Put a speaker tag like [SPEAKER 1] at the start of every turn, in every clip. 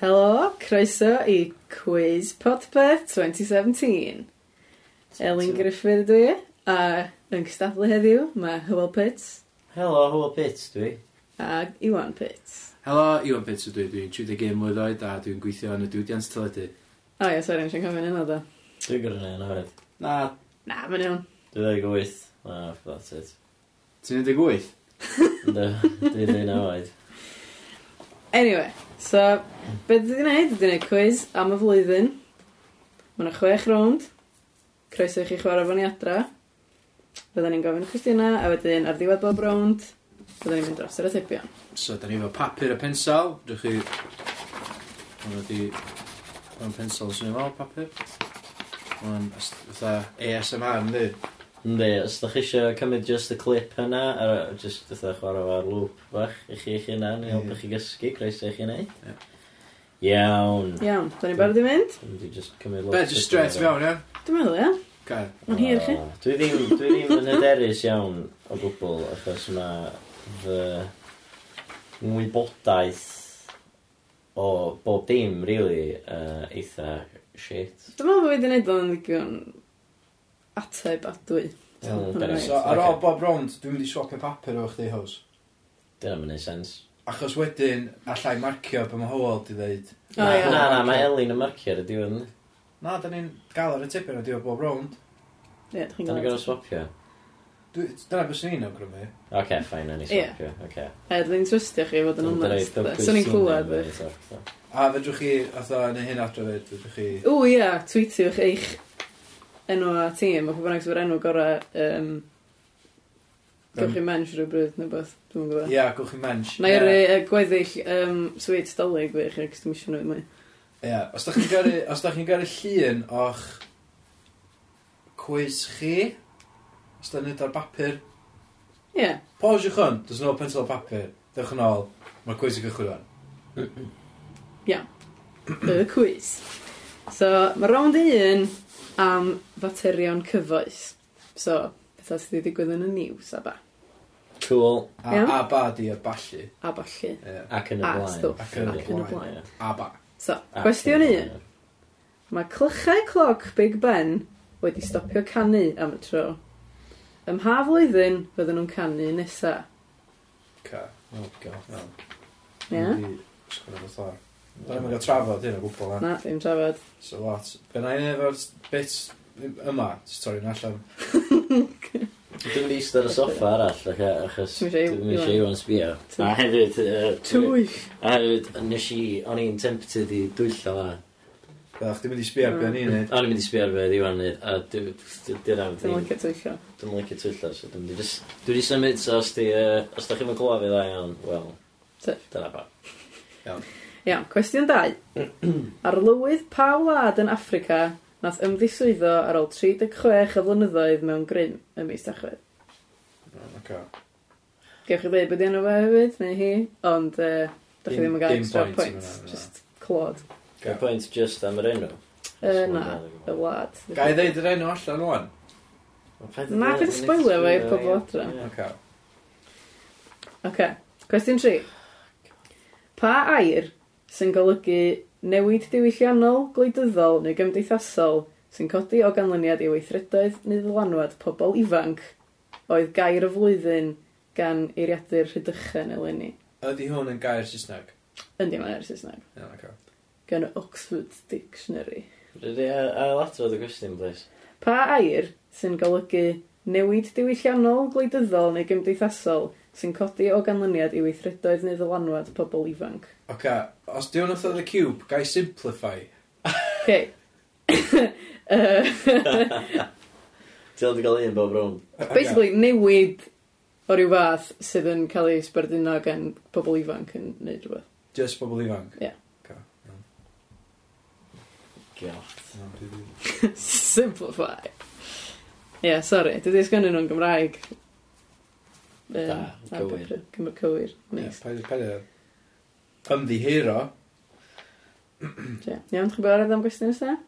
[SPEAKER 1] Helo, croeso i Quiz Podpeth 2017. Elin Griffith dwi, a yn cystadlu heddiw, mae Hywel Pits
[SPEAKER 2] Helo, hwyl pits dwi.
[SPEAKER 1] a Iwan Pits.
[SPEAKER 3] Helo, Iwan Pits ydw i, dwi'n 31 mlynedd oed a dwi'n gweithio yn y diwydiant teledu.
[SPEAKER 1] O ia, sori, nes i'n cofyn yna do.
[SPEAKER 2] Dwi'n gwrdd yna yna hefyd.
[SPEAKER 3] Na,
[SPEAKER 1] Na, mae'n iawn.
[SPEAKER 2] Dwi'n ddeg wyth. Ah, that's it.
[SPEAKER 3] ti'n 18?
[SPEAKER 2] Yndw, Dwi'n ddeg na oed.
[SPEAKER 1] Anyway, so, be dwi wedi gwneud? Dwi wedi gwneud quiz am y flwyddyn. Mae yna chwech rownd. Croeso i chi chwarae fo'n i adra. Byddwn ni'n gofyn cwestiynau, a wedyn ar ddiwedd bob rownd, byddwn ni'n mynd dros yr atebion.
[SPEAKER 3] So, da ni efo papur a pensel. Dwi'n chi... Mae'n wedi... Mae'n pensel sy'n efo papur. Mae'n fatha ASMR yn di.
[SPEAKER 2] Ynddi, os ydych chi eisiau cymryd just y clip yna, ar, just ydych chwarae fo ar lŵp bach i chi eich hunan, i helpu
[SPEAKER 3] Ie.
[SPEAKER 2] chi gysgu, croeso i chi wneud.
[SPEAKER 3] Ie.
[SPEAKER 2] Iawn.
[SPEAKER 1] Iawn, da ni'n barod i fynd?
[SPEAKER 2] Dwi'n di just cymryd
[SPEAKER 3] Be, just straight fewn, ia?
[SPEAKER 1] Dwi'n meddwl, ia?
[SPEAKER 3] Gael.
[SPEAKER 1] Mae'n hir chi.
[SPEAKER 2] O, Dwi ddim, dwi ddim yn hyderus iawn o gwbl, achos mae fy ngwybodaeth o bob dim, really, uh, eitha shit.
[SPEAKER 1] Dwi'n meddwl bod wedi gwneud o'n ddigon ateb adwy.
[SPEAKER 2] Iawn,
[SPEAKER 1] So,
[SPEAKER 2] alright,
[SPEAKER 3] So, ar ôl
[SPEAKER 2] ocê.
[SPEAKER 3] bob rownd, dwi'n mynd i swapio papur o chdi hws.
[SPEAKER 2] Dyna mae'n neud sens.
[SPEAKER 3] Achos wedyn, allai marcio be mae Howell di ddeud.
[SPEAKER 1] O,
[SPEAKER 2] Na,
[SPEAKER 1] ia.
[SPEAKER 2] na, na, mae Elin yn marcio ar y diwedd. yndi?
[SPEAKER 3] Na, da ni'n gael ar y tipyn o diwedd bob rownd.
[SPEAKER 1] Ie, dwi'n
[SPEAKER 2] Dyna
[SPEAKER 1] gwybod.
[SPEAKER 2] gorau swapio.
[SPEAKER 3] Dwi- Dyna bys ni'n awgrymu.
[SPEAKER 2] Oce, ffain, na ni
[SPEAKER 1] Ie.
[SPEAKER 2] swapio. Oce.
[SPEAKER 1] E, dwi'n trwstio chi fod yn
[SPEAKER 2] Dyna rhaid
[SPEAKER 1] onest.
[SPEAKER 2] double
[SPEAKER 1] Swn i'n
[SPEAKER 2] team
[SPEAKER 1] clywed
[SPEAKER 2] neu
[SPEAKER 1] eich.
[SPEAKER 2] rhywbeth, so.
[SPEAKER 3] A fedrwch chi, atho, neu hyn adro fyd, fedrwch chi...
[SPEAKER 1] O ia, tweetiwch eich enw a tîm, o pwy bynnag sy'n fawr enw gorau um,
[SPEAKER 3] Yym.
[SPEAKER 1] Gwch chi mensh rhywbryd neu beth, dwi'n gwybod.
[SPEAKER 3] Ia, gwch chi mensh.
[SPEAKER 1] Na i
[SPEAKER 3] Ie.
[SPEAKER 1] ry yy, gweddill um, sweet dolyg fi chi, cos dwi'n siŵr nhw mwy.
[SPEAKER 3] Ie, os da chi'n garu, os da chi'n garu llun o'ch quiz chi, os da nid ar bapur,
[SPEAKER 1] Ie,
[SPEAKER 3] pause i'ch hwn, does no pencil o papur, dewch yn ôl, mae'r quiz i gychwyn o'n.
[SPEAKER 1] y cwis. So, mae round un am faterion cyfoes. So, beth sydd wedi digwydd yn y news a ba.
[SPEAKER 2] Cool.
[SPEAKER 3] A,
[SPEAKER 1] Iawn.
[SPEAKER 3] a ba di a balli.
[SPEAKER 1] A balli.
[SPEAKER 3] Ie.
[SPEAKER 2] Ac yn y
[SPEAKER 1] A
[SPEAKER 2] blaen.
[SPEAKER 1] stwff.
[SPEAKER 3] Ac yn y
[SPEAKER 1] blaen.
[SPEAKER 2] ie.
[SPEAKER 3] A ba.
[SPEAKER 1] So,
[SPEAKER 2] Ac yn y
[SPEAKER 1] cwestiwn un.
[SPEAKER 2] blaen.
[SPEAKER 1] Mae clychau cloc Big Ben wedi stopio canu am y tro. Ym ha flwyddyn fydden nhw'n canu nesa.
[SPEAKER 3] Ca. Oh, god. No.
[SPEAKER 1] Ie?
[SPEAKER 3] Dwi'n sgwrdd o thor. Dwi'n mynd o trafod hyn o gwbl, na.
[SPEAKER 1] Na, ddim trafod.
[SPEAKER 3] So lot. Gynna i efo'r bit yma, stori'n allan.
[SPEAKER 2] Dwi'n mynd i eistedd ar y soffa arall, ac- achos
[SPEAKER 1] Ti'm
[SPEAKER 2] dwi'n
[SPEAKER 1] isio i-
[SPEAKER 2] mynd eisiau
[SPEAKER 1] Iwan.
[SPEAKER 2] Iwan sbio.
[SPEAKER 1] Ti-
[SPEAKER 2] A hefyd, yy, dwi-
[SPEAKER 1] Twyll.
[SPEAKER 2] a hefyd, nes i, o'n i'n tempted i dwyllo fa.
[SPEAKER 3] Dwi'n mynd i sbio ar beth ni'n neud.
[SPEAKER 2] O'n i'n mynd i sbio ar beth Iwan neud, a dwi- dwi- dwi'n am
[SPEAKER 1] Dwi'n
[SPEAKER 2] ddim,
[SPEAKER 1] licio twyllio.
[SPEAKER 2] dwi'n licio twyllo, so dwi'n mynd i jyst, dwi'n i symud, so os di, yy, os da chi'n mynd clywed fi dda iawn, wel,
[SPEAKER 1] Ti-
[SPEAKER 2] dyna ba.
[SPEAKER 1] Iawn, cwestiwn 2. Ar lywydd pa wlad yn Africa nath ymddiswyddo ar ôl 36 o flynyddoedd mewn grym ym mis Tachwedd?
[SPEAKER 3] Ca.
[SPEAKER 1] Gewch chi dweud bod enw fe hefyd, neu hi, ond uh, da chi
[SPEAKER 3] Dim-
[SPEAKER 1] ddim yn gael
[SPEAKER 3] dim
[SPEAKER 1] extra
[SPEAKER 3] point yn
[SPEAKER 1] points,
[SPEAKER 3] hwnna, na.
[SPEAKER 1] just clod.
[SPEAKER 2] Y pwynt just am yr enw.
[SPEAKER 1] Uh, na, y wlad.
[SPEAKER 3] Ga i ddeud yr enw allan o'n?
[SPEAKER 1] Na, paid â spoilio fo i'r pobol adra.
[SPEAKER 2] Ie.
[SPEAKER 3] Ca.
[SPEAKER 1] Ok, cwestiwn 3. Pa air sy'n golygu newid diwylliannol, gwleidyddol neu gymdeithasol sy'n codi o ganlyniad i weithredoedd neu ddylanwad pobl ifanc oedd gair y flwyddyn gan eiriadur rhydychen eleni?
[SPEAKER 3] Ydy hwn yn gair Saesneg?
[SPEAKER 1] Yndi mae'n er Saesneg.
[SPEAKER 3] Iawn, oce.
[SPEAKER 1] Gan y Oxford Dictionary.
[SPEAKER 2] Rydw i ail adrodd y gwestiwn, please.
[SPEAKER 1] Pa air sy'n golygu newid diwylliannol, gwleidyddol neu gymdeithasol sy'n codi o ganlyniad i weithredoedd neu ddylanwad pobl ifanc?
[SPEAKER 3] Oce, os di hwn oedd The Cube, gai simplify.
[SPEAKER 1] Okay. uh,
[SPEAKER 2] Ti'n dod i gael un bob rownd.
[SPEAKER 1] basically, newid o ryw fath sydd yn cael ei sbarduno gan pobl ifanc yn neud rhywbeth.
[SPEAKER 3] Just bobl ifanc.
[SPEAKER 2] God.
[SPEAKER 3] Iawn, dwi 'di-
[SPEAKER 1] Simplify. Ie, yeah, sori, dwi wedi sgynnu nhw'n Gymraeg. Yym,
[SPEAKER 2] Da,
[SPEAKER 1] a
[SPEAKER 2] cywir.
[SPEAKER 1] pepper- Cymru cywir.
[SPEAKER 3] Ie,
[SPEAKER 1] Neis.
[SPEAKER 3] paid- paid e- â Ymddihiro.
[SPEAKER 1] Ie. Iawn, chi'n barod am gwestiwn nesaf?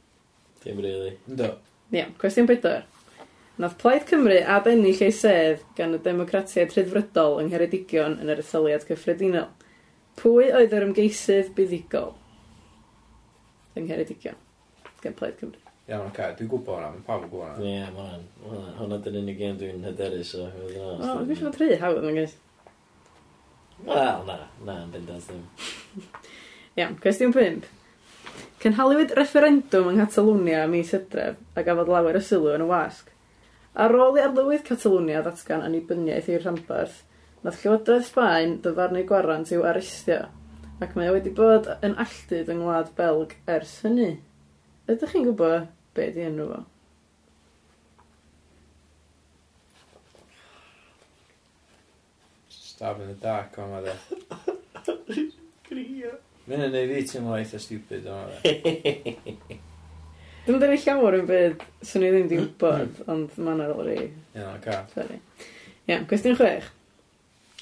[SPEAKER 2] Dim really.
[SPEAKER 3] Ynddo.
[SPEAKER 1] Iawn, cwestiwn pedwar. Nath Plaid Cymru a bennill ei sedd gan y democratiaid rhyddfrydol yng Ngheredigion yn yr etholiad cyffredinol. Pwy oedd yr ymgeisydd buddigol? Fy ngheredigion. Gen Plaid Cymru.
[SPEAKER 3] Iawn, oce, okay, dwi'n gwybod hwnna, mae pawb yn gwybod hwnna.
[SPEAKER 2] Ie, ma' hwnna'n... ma' hwnna'n- Hwnna dyn unig gen dwi'n hyderus o. i fod
[SPEAKER 1] O,
[SPEAKER 2] yn onest.
[SPEAKER 1] dwi'n siŵr bod rhy hawdd yn gais.
[SPEAKER 2] Wel, na, na, yn bendant ddim.
[SPEAKER 1] Iawn, cwestiwn 5. Cynhaliwyd referendwm yng Nghatalwnia am mis hydref a gafodd lawer o sylw yn y wasg. Ar ôl i arlywydd Catalwnia ddatgan annibyniaeth i'r rhanbarth, nath Llywodraeth Sbaen dyfarnu gwarant i'w arestio, ac mae o wedi bod yn alltud yng Ngwlad Belg ers hynny. Ydych chi'n gwybod be di enw fo?
[SPEAKER 3] Stab in the dark, o'n ma dde. Mae'n yn ei fi teimlo eitha stupid o'n dde.
[SPEAKER 1] Dim dyn ni llawer yn byd, swn i ddim di gwybod, ond mae'n ar ôl i
[SPEAKER 3] Iawn, oce.
[SPEAKER 1] Sorry. Iawn, cwestiwn chwech.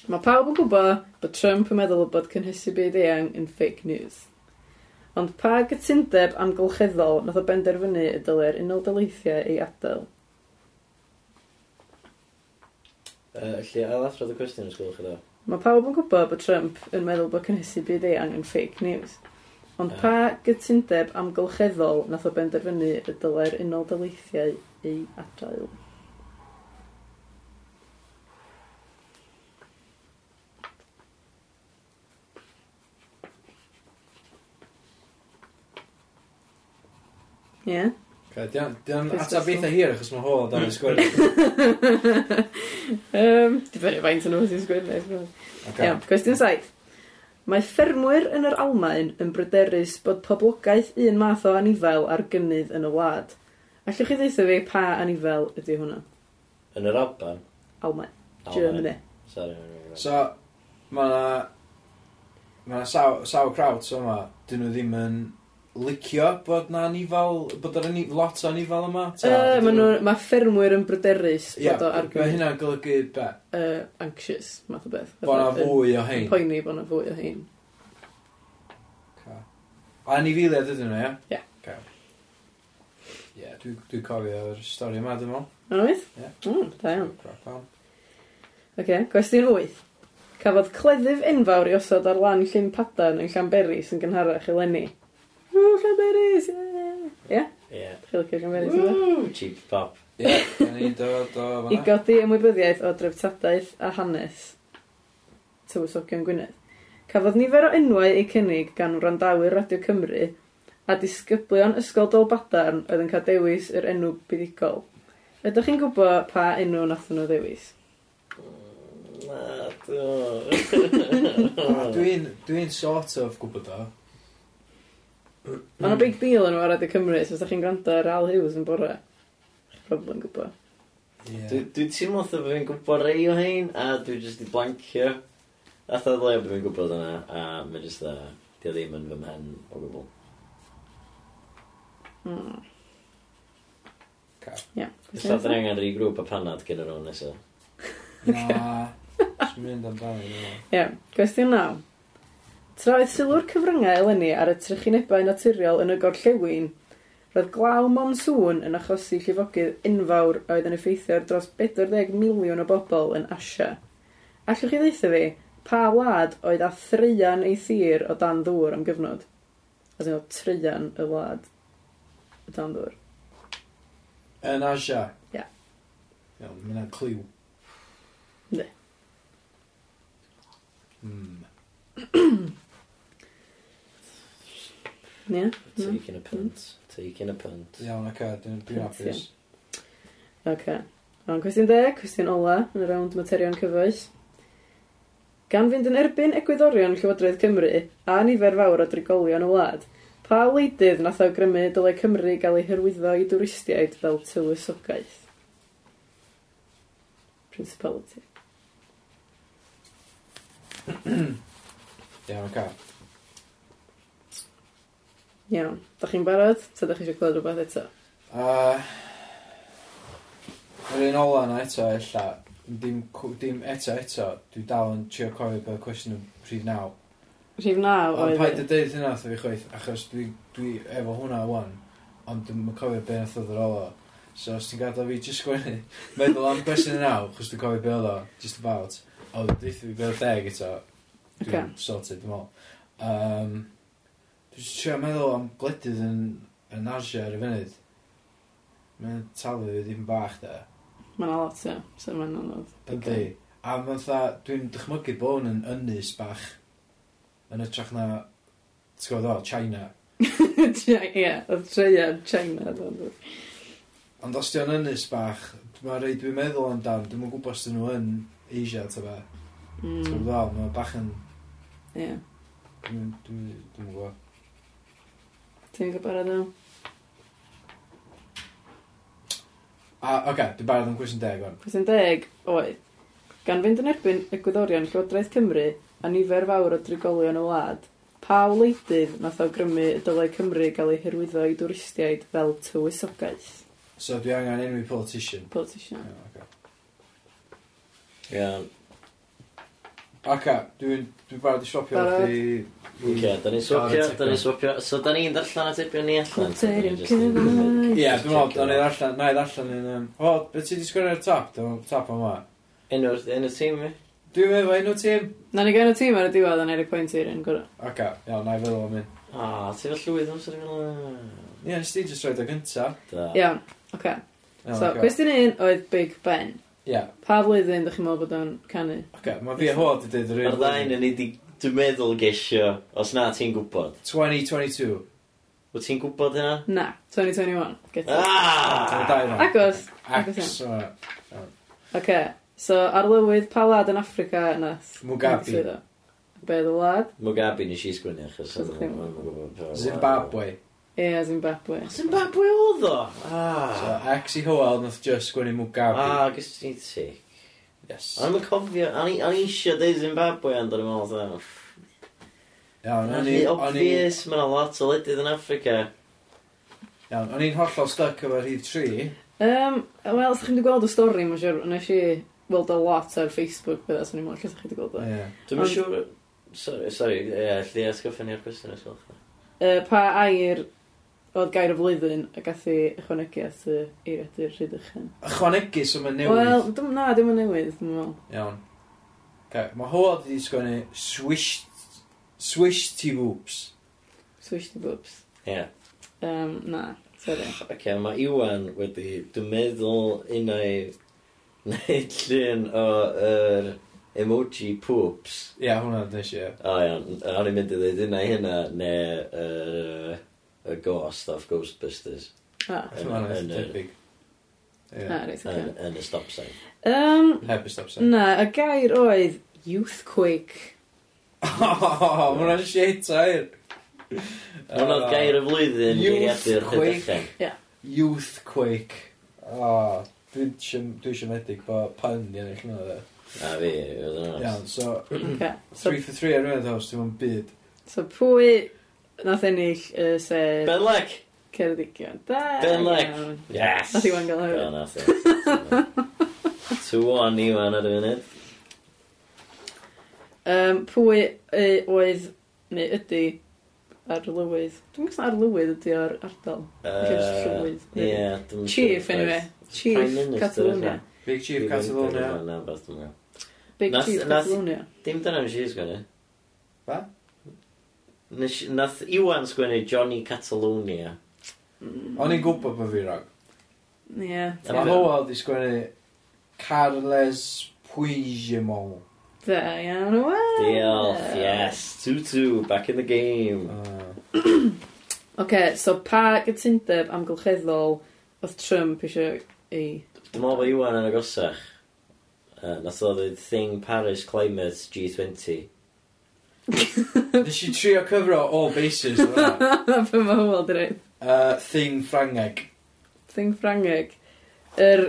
[SPEAKER 1] Mae pawb yn gwybod bod Trump yn meddwl bod cynhysu byd eang yn fake news. Ond pa gytundeb amgylcheddol nath o benderfynu y dyle'r unol daleithiau ei adael?
[SPEAKER 2] Yy, Lly, a ddathrodd y cwestiwn os gwelwch chi dda.
[SPEAKER 1] Mae pawb yn gwybod bod Trump yn meddwl bod cynhysu byd eang yn fake news. Ond
[SPEAKER 2] Ie.
[SPEAKER 1] pa gytundeb amgylcheddol nath o benderfynu y dyle'r unol daleithiau ei adael? Ie? Yeah.
[SPEAKER 3] Oce, di'n
[SPEAKER 1] Cwestiwn
[SPEAKER 3] atab eitha
[SPEAKER 1] sôn.
[SPEAKER 3] hir, achos mae hol dan y sgwrs.
[SPEAKER 1] um, Dibynnu faint yn nhw sy'n sgwyrna, I suppose.
[SPEAKER 3] Oce,
[SPEAKER 1] Iawn, cwestiwn 7. Mae ffermwyr yn yr Almaen yn bryderus bod poblogaeth un math o anifel ar gynnydd yn y wlad. Allwch chi ddeitha fi pa anifel ydy hwnna?
[SPEAKER 2] Yn yr Alban.
[SPEAKER 1] Almaen.
[SPEAKER 2] Alban.
[SPEAKER 1] Germany.
[SPEAKER 2] Sorry, mae'n rhaid.
[SPEAKER 3] so, mae na... Mae na saw, sauerkraut yma, dyn nhw ddim yn licio bod na anifal, bod yr anif, lot o anifal yma?
[SPEAKER 1] Yy, ma' nhw- Mae ffermwyr yn bryderus
[SPEAKER 3] Ia,
[SPEAKER 1] bod o ar
[SPEAKER 3] mae
[SPEAKER 1] gynnydd
[SPEAKER 3] hynna'n golygu be?
[SPEAKER 1] uh, anxious, math o beth.
[SPEAKER 3] Bo na
[SPEAKER 1] Fatha yn
[SPEAKER 3] fwy o hein.
[SPEAKER 1] Poeni bod na fwy o hein.
[SPEAKER 3] Ca. A anifiliad ydyn nhw, ia?
[SPEAKER 1] Ie.
[SPEAKER 3] Ca. Ie, dwi- dwi'n cofio'r stori yma, dwi'n meddwl.
[SPEAKER 1] Yn oedd?
[SPEAKER 3] Ie.
[SPEAKER 1] Mm, da iawn.
[SPEAKER 3] Crap, iawn.
[SPEAKER 1] Oce, cwestiwn 8. Cafodd cleddyf enfawr i osod ar lan llyn padan yn Llanberis yn gynharach eleni. Ww, Llanberis! Ie! Ie?
[SPEAKER 2] Ie.
[SPEAKER 1] Chi'n licio Llanberis yna?
[SPEAKER 2] Woo, cheap pop.
[SPEAKER 3] Ie, gan ni dod o
[SPEAKER 1] I
[SPEAKER 3] fanna.
[SPEAKER 1] godi ymwybyddiaeth o dreftadaeth a hanes tywysogion Gwynedd. Cafodd nifer o enwau eu cynnig gan wrandawyr Radio Cymru a disgyblion ysgol Dolbadarn oedd yn cael dewis yr enw buddigol. Ydych chi'n gwybod pa enw nathon nhw ddewis?
[SPEAKER 2] Na, dwi'n...
[SPEAKER 3] A Dwi'n dwi'n sort of gwybod o.
[SPEAKER 1] Ond o big deal yn nhw ar Radio Cymru, so os ydych chi'n gwrando ar Al Hughes yn bore, chi'n probably yn gwybod.
[SPEAKER 3] Ie.
[SPEAKER 2] Dwi- Dwi'n teimlo fatha bod fi'n gwybod rei o hein, a dwi jyst i blancio. Atha ddau o bod fi'n gwybod yna, a mae jyst dda, di o ddim yn fy mhen o gwbl.
[SPEAKER 1] Mm.
[SPEAKER 3] Ca.
[SPEAKER 1] Ia.
[SPEAKER 2] Ys dda dyn angen rhi grŵp a panad gen yr o'n nesaf.
[SPEAKER 3] Na. Dwi'n mynd amdani. dwi'n meddwl.
[SPEAKER 1] Ie, cwestiwn naw. Tra oedd sylw'r cyfryngau eleni ar y trychinebau naturiol yn y gorllewin, roedd glaw monsŵn yn achosi llifogydd enfawr a oedd yn effeithio ar dros 40 miliwn o bobl yn Asia. Allwch chi ddeitha fi, pa wlad oedd a threian ei thir o dan ddŵr am gyfnod? As in o treian y wlad o dan ddŵr.
[SPEAKER 3] Yn Asia.
[SPEAKER 1] Ie.
[SPEAKER 3] Iawn, mae yna cliw.
[SPEAKER 1] Ne.
[SPEAKER 3] Hmm.
[SPEAKER 1] Ie? Mm.
[SPEAKER 2] Taking a punt. Taking a punt.
[SPEAKER 3] Iawn, ac a, dwi'n dwi'n
[SPEAKER 1] Punt,
[SPEAKER 3] hapus.
[SPEAKER 1] Oce. Ond cwestiwn 10, cwestiwn ola yn y rownd materion cyfoes. Gan fynd yn erbyn egwyddorion Llywodraeth Cymru a nifer fawr o drigolion y wlad, pa wleidydd nath awgrymu dylai Cymru gael ei hyrwyddo i dwristiaid fel tywysogaeth? Principality.
[SPEAKER 3] Iawn, ac a.
[SPEAKER 1] Iawn. Da chi'n barod? Ta da chi eisiau clywed rhywbeth eto?
[SPEAKER 3] A... Yr un ola yna eto, ella, dim, cw- dim eto eto, dwi dal yn trio cofio bod cwestiwn yn rhif naw.
[SPEAKER 1] Rhif naw
[SPEAKER 3] Ond
[SPEAKER 1] oedd...
[SPEAKER 3] paid
[SPEAKER 1] e.
[SPEAKER 3] y deud hynna wrtho fi chwaith, achos dwi, dwi efo hwnna wan, ond dwi'n cofio be nath oedd yr ola. So os ti'n gadael fi jyst sgwennu, meddwl am beth sy'n naw, achos dwi'n cofio be oedd o, just about. O, dwi'n fi be oedd deg eto, dwi'n
[SPEAKER 1] Oce.
[SPEAKER 3] sorted, dwi'n mol. Um, Dwi'n just trio meddwl am gledydd yn, yn Asia ar y funud. Mae'n talu fi ddim bach da.
[SPEAKER 1] Mae'n lot, ie. So mae'n anodd.
[SPEAKER 3] Ydy. A mae'n tha, dwi'n dychmygu bod hwn yn ynnus bach. Yn ytrach na, ti'n gwybod o, China.
[SPEAKER 1] Chi- Ie, oedd treia China. do, do.
[SPEAKER 3] Ond os ti'n ynnus bach, mae'n rhaid dwi'n meddwl amdan, dwi'n gwybod os dyn nhw yn Asia, ta be. Ti'n
[SPEAKER 1] Mm,
[SPEAKER 3] gwybod o, mae'n bach yn,
[SPEAKER 1] Ie.
[SPEAKER 3] dwi'n dwi, dwi gwybod.
[SPEAKER 1] Ti'n gwybod o?
[SPEAKER 3] A, oce, okay, dwi'n barod am cwestiwn deg o'n.
[SPEAKER 1] Cwestiwn deg oedd, gan fynd yn erbyn y gwyddorion Llywodraeth Cymru a nifer fawr o drigolion y wlad, pa wleidydd nath awgrymu y dylai Cymru gael ei hyrwyddo i dwristiaid fel tywysogaeth?
[SPEAKER 3] So dwi angen enw i politician.
[SPEAKER 1] Politician.
[SPEAKER 3] Ie, Oce,
[SPEAKER 2] Iawn.
[SPEAKER 3] okay. dwi'n dwi barod i swapio
[SPEAKER 1] Barod.
[SPEAKER 3] chdi. i-
[SPEAKER 2] Oce, da ni swapio, da ni swapio. So, da ni'n darllen atebion ni allan. so dan ni
[SPEAKER 1] Materion
[SPEAKER 2] jyst yn-
[SPEAKER 1] cyfoes.
[SPEAKER 3] Ie, dwi'n
[SPEAKER 2] Checio.
[SPEAKER 3] meddwl, da ni'n allan, na i allan yn... Um, o, beth ti di sgwrdd ar y top, dwi'n top o'n ma.
[SPEAKER 2] Enw'r enw tîm mi.
[SPEAKER 3] Dwi'n meddwl enw tîm?
[SPEAKER 1] Na ni gan y tîm ar y diwedd yn erioed pwynt i'r un gorau.
[SPEAKER 3] Oce, iawn, na i feddwl am un.
[SPEAKER 2] A, ti fel llwydd amser i fel...
[SPEAKER 3] Ie, nes ti jyst roed o gynta.
[SPEAKER 2] Da.
[SPEAKER 1] Iawn, oce.
[SPEAKER 3] Iawn,
[SPEAKER 1] So,
[SPEAKER 3] oce.
[SPEAKER 1] cwestiwn un oedd Big Ben.
[SPEAKER 3] Ie,
[SPEAKER 1] Pa flwyddyn ydych chi'n meddwl bod o'n canu?
[SPEAKER 3] oce, mae fi a hod i dweud yr
[SPEAKER 2] Yr
[SPEAKER 3] un.
[SPEAKER 2] ddain yn i di, dwi'n meddwl gesio, os na ti'n gwybod.
[SPEAKER 3] 2022.
[SPEAKER 2] Wyt ti'n gwybod hynna?
[SPEAKER 1] Na, 2021. Get it.
[SPEAKER 3] Dyna
[SPEAKER 2] Ah!
[SPEAKER 3] dau yma.
[SPEAKER 1] Agos. Agos iawn.
[SPEAKER 3] Ax, o,
[SPEAKER 1] Oce, so ar lywydd pa wlad yn Africa nath?
[SPEAKER 3] Mugabe.
[SPEAKER 1] Be oedd y wlad?
[SPEAKER 2] Mugabe nes i sgwini achos
[SPEAKER 1] Ydych chi'n-
[SPEAKER 2] dwi'm yn gwbod pa-
[SPEAKER 3] Zimbabwe.
[SPEAKER 1] Ie, Zimbabwe.
[SPEAKER 2] Zimbabwe oedd o?
[SPEAKER 3] So,
[SPEAKER 2] Ah.
[SPEAKER 3] Ax i Howell nath just gwneud Mugabe.
[SPEAKER 2] Ah, gys ti'n tic.
[SPEAKER 3] Yes.
[SPEAKER 2] A ni'n cofio, a ni eisiau deud Zimbabwe ond o'n i'n meddwl
[SPEAKER 3] Iawn,
[SPEAKER 2] o'n
[SPEAKER 3] o'n
[SPEAKER 2] i...
[SPEAKER 3] i- o'n i...
[SPEAKER 2] Obvious, mae'n lot o ledydd yn Africa.
[SPEAKER 3] Iawn, o'n i'n hollol stuck efo'r rhif 3.
[SPEAKER 1] Um, Wel, os ydych chi'n wedi gweld y stori, mae'n siŵr, nes i weld o lot ar Facebook, bydda, so ni'n mwyn lle ydych chi wedi gweld o.
[SPEAKER 3] Ie.
[SPEAKER 2] Dwi'n
[SPEAKER 1] Ond-
[SPEAKER 2] mynd siŵr... Sorry, sorry, e, lli atgoffa ni'r cwestiwn os gwelwch. chi.
[SPEAKER 1] Uh, pa air oedd gair y flwyddyn a gath i ychwanegu at y eiriadur rhydychen?
[SPEAKER 3] Ychwanegu, so mae'n
[SPEAKER 1] Wel,
[SPEAKER 3] newydd.
[SPEAKER 1] dim, na, dim yn newydd, dwi'n meddwl.
[SPEAKER 3] Iawn. Okay, mae Howard wedi sgwennu swish, swish ti whoops.
[SPEAKER 1] Swish the boobs.
[SPEAKER 2] Ie.
[SPEAKER 1] Um, na, sorry.
[SPEAKER 2] Ac mae Iwan wedi, dwi'n meddwl, un o'i... Neud llun o yr emoji poops.
[SPEAKER 3] Ie, hwnna nes i. ie.
[SPEAKER 2] O iawn, o'n i'n mynd i ddweud unna hynna, ne yr... Y ghost of Ghostbusters
[SPEAKER 1] Ah,
[SPEAKER 3] Felly Mae'n
[SPEAKER 2] Yn-
[SPEAKER 3] eitha
[SPEAKER 2] yn-
[SPEAKER 3] debyg.
[SPEAKER 1] na,
[SPEAKER 3] Ie.
[SPEAKER 1] reit,
[SPEAKER 2] yn,
[SPEAKER 1] oce.
[SPEAKER 2] yn y stop sign.
[SPEAKER 1] Um,
[SPEAKER 3] Heb y stop sign.
[SPEAKER 1] na, y gair oedd youthquake.
[SPEAKER 3] Oh, Hwna'n shit air.
[SPEAKER 2] Ond oedd gair y flwyddyn i
[SPEAKER 3] Youth
[SPEAKER 2] adur
[SPEAKER 3] quake.
[SPEAKER 2] hydrychen.
[SPEAKER 3] Youthquake. O, dwi eisiau medig bod pun i ennill hwnna dde.
[SPEAKER 2] A fi, oedd yn
[SPEAKER 3] Iawn,
[SPEAKER 2] oes.
[SPEAKER 3] so
[SPEAKER 1] Okay. So,
[SPEAKER 3] 3 for 3 ar hwnna ddos, dim ond byd.
[SPEAKER 1] so pwy nath ennill y sef
[SPEAKER 2] Ben Leck!
[SPEAKER 1] Ceredigion? Da,
[SPEAKER 2] Ben Leck!
[SPEAKER 1] iawn.
[SPEAKER 2] Yes!
[SPEAKER 1] Nath Iwan gael hefyd.
[SPEAKER 2] Go, nath e. Two one Iwan ar y funud.
[SPEAKER 1] Um, pwy y- oedd, neu ydy, ar lywydd. Dwi'n gwybod ar lywydd ydy ar ardal. Jyst
[SPEAKER 2] Yy,
[SPEAKER 1] llywydd.
[SPEAKER 2] Ie, dwi'n
[SPEAKER 1] Chief, anyway.
[SPEAKER 2] Prime
[SPEAKER 1] Chief
[SPEAKER 2] Minister,
[SPEAKER 1] Catalonia.
[SPEAKER 2] ella.
[SPEAKER 3] Big Chief Catalonia.
[SPEAKER 2] Na, beth dwi'n gael.
[SPEAKER 1] Big
[SPEAKER 2] Nath-
[SPEAKER 1] Chief
[SPEAKER 2] nath-
[SPEAKER 1] Catalonia.
[SPEAKER 2] Dim dyna nes i sgwennu.
[SPEAKER 3] Be?
[SPEAKER 2] Nes- Nath Iwan sgwennu Johnny Catalonia.
[SPEAKER 3] O'n i'n gwybod bod fi rog.
[SPEAKER 1] Ie.
[SPEAKER 2] A
[SPEAKER 3] Mae
[SPEAKER 2] be-
[SPEAKER 3] Howell di sgwennu Carles Puigdemont.
[SPEAKER 1] Da, iawn. wel.
[SPEAKER 2] Diolch, yes. 2-2, back in the game.
[SPEAKER 3] Ah.
[SPEAKER 1] Oce, so pa gytundeb amgylcheddol oedd Trump eisiau ei...
[SPEAKER 2] Dwi'n meddwl bod Iwan yn agosach. Uh, nath o ddweud Thing Paris Climate G20.
[SPEAKER 3] Nes i trio cyfro o bases yna.
[SPEAKER 1] Na, fy mae hwyl di reid.
[SPEAKER 3] Uh, thing Ffrangeg.
[SPEAKER 1] Thing Ffrangeg. Yr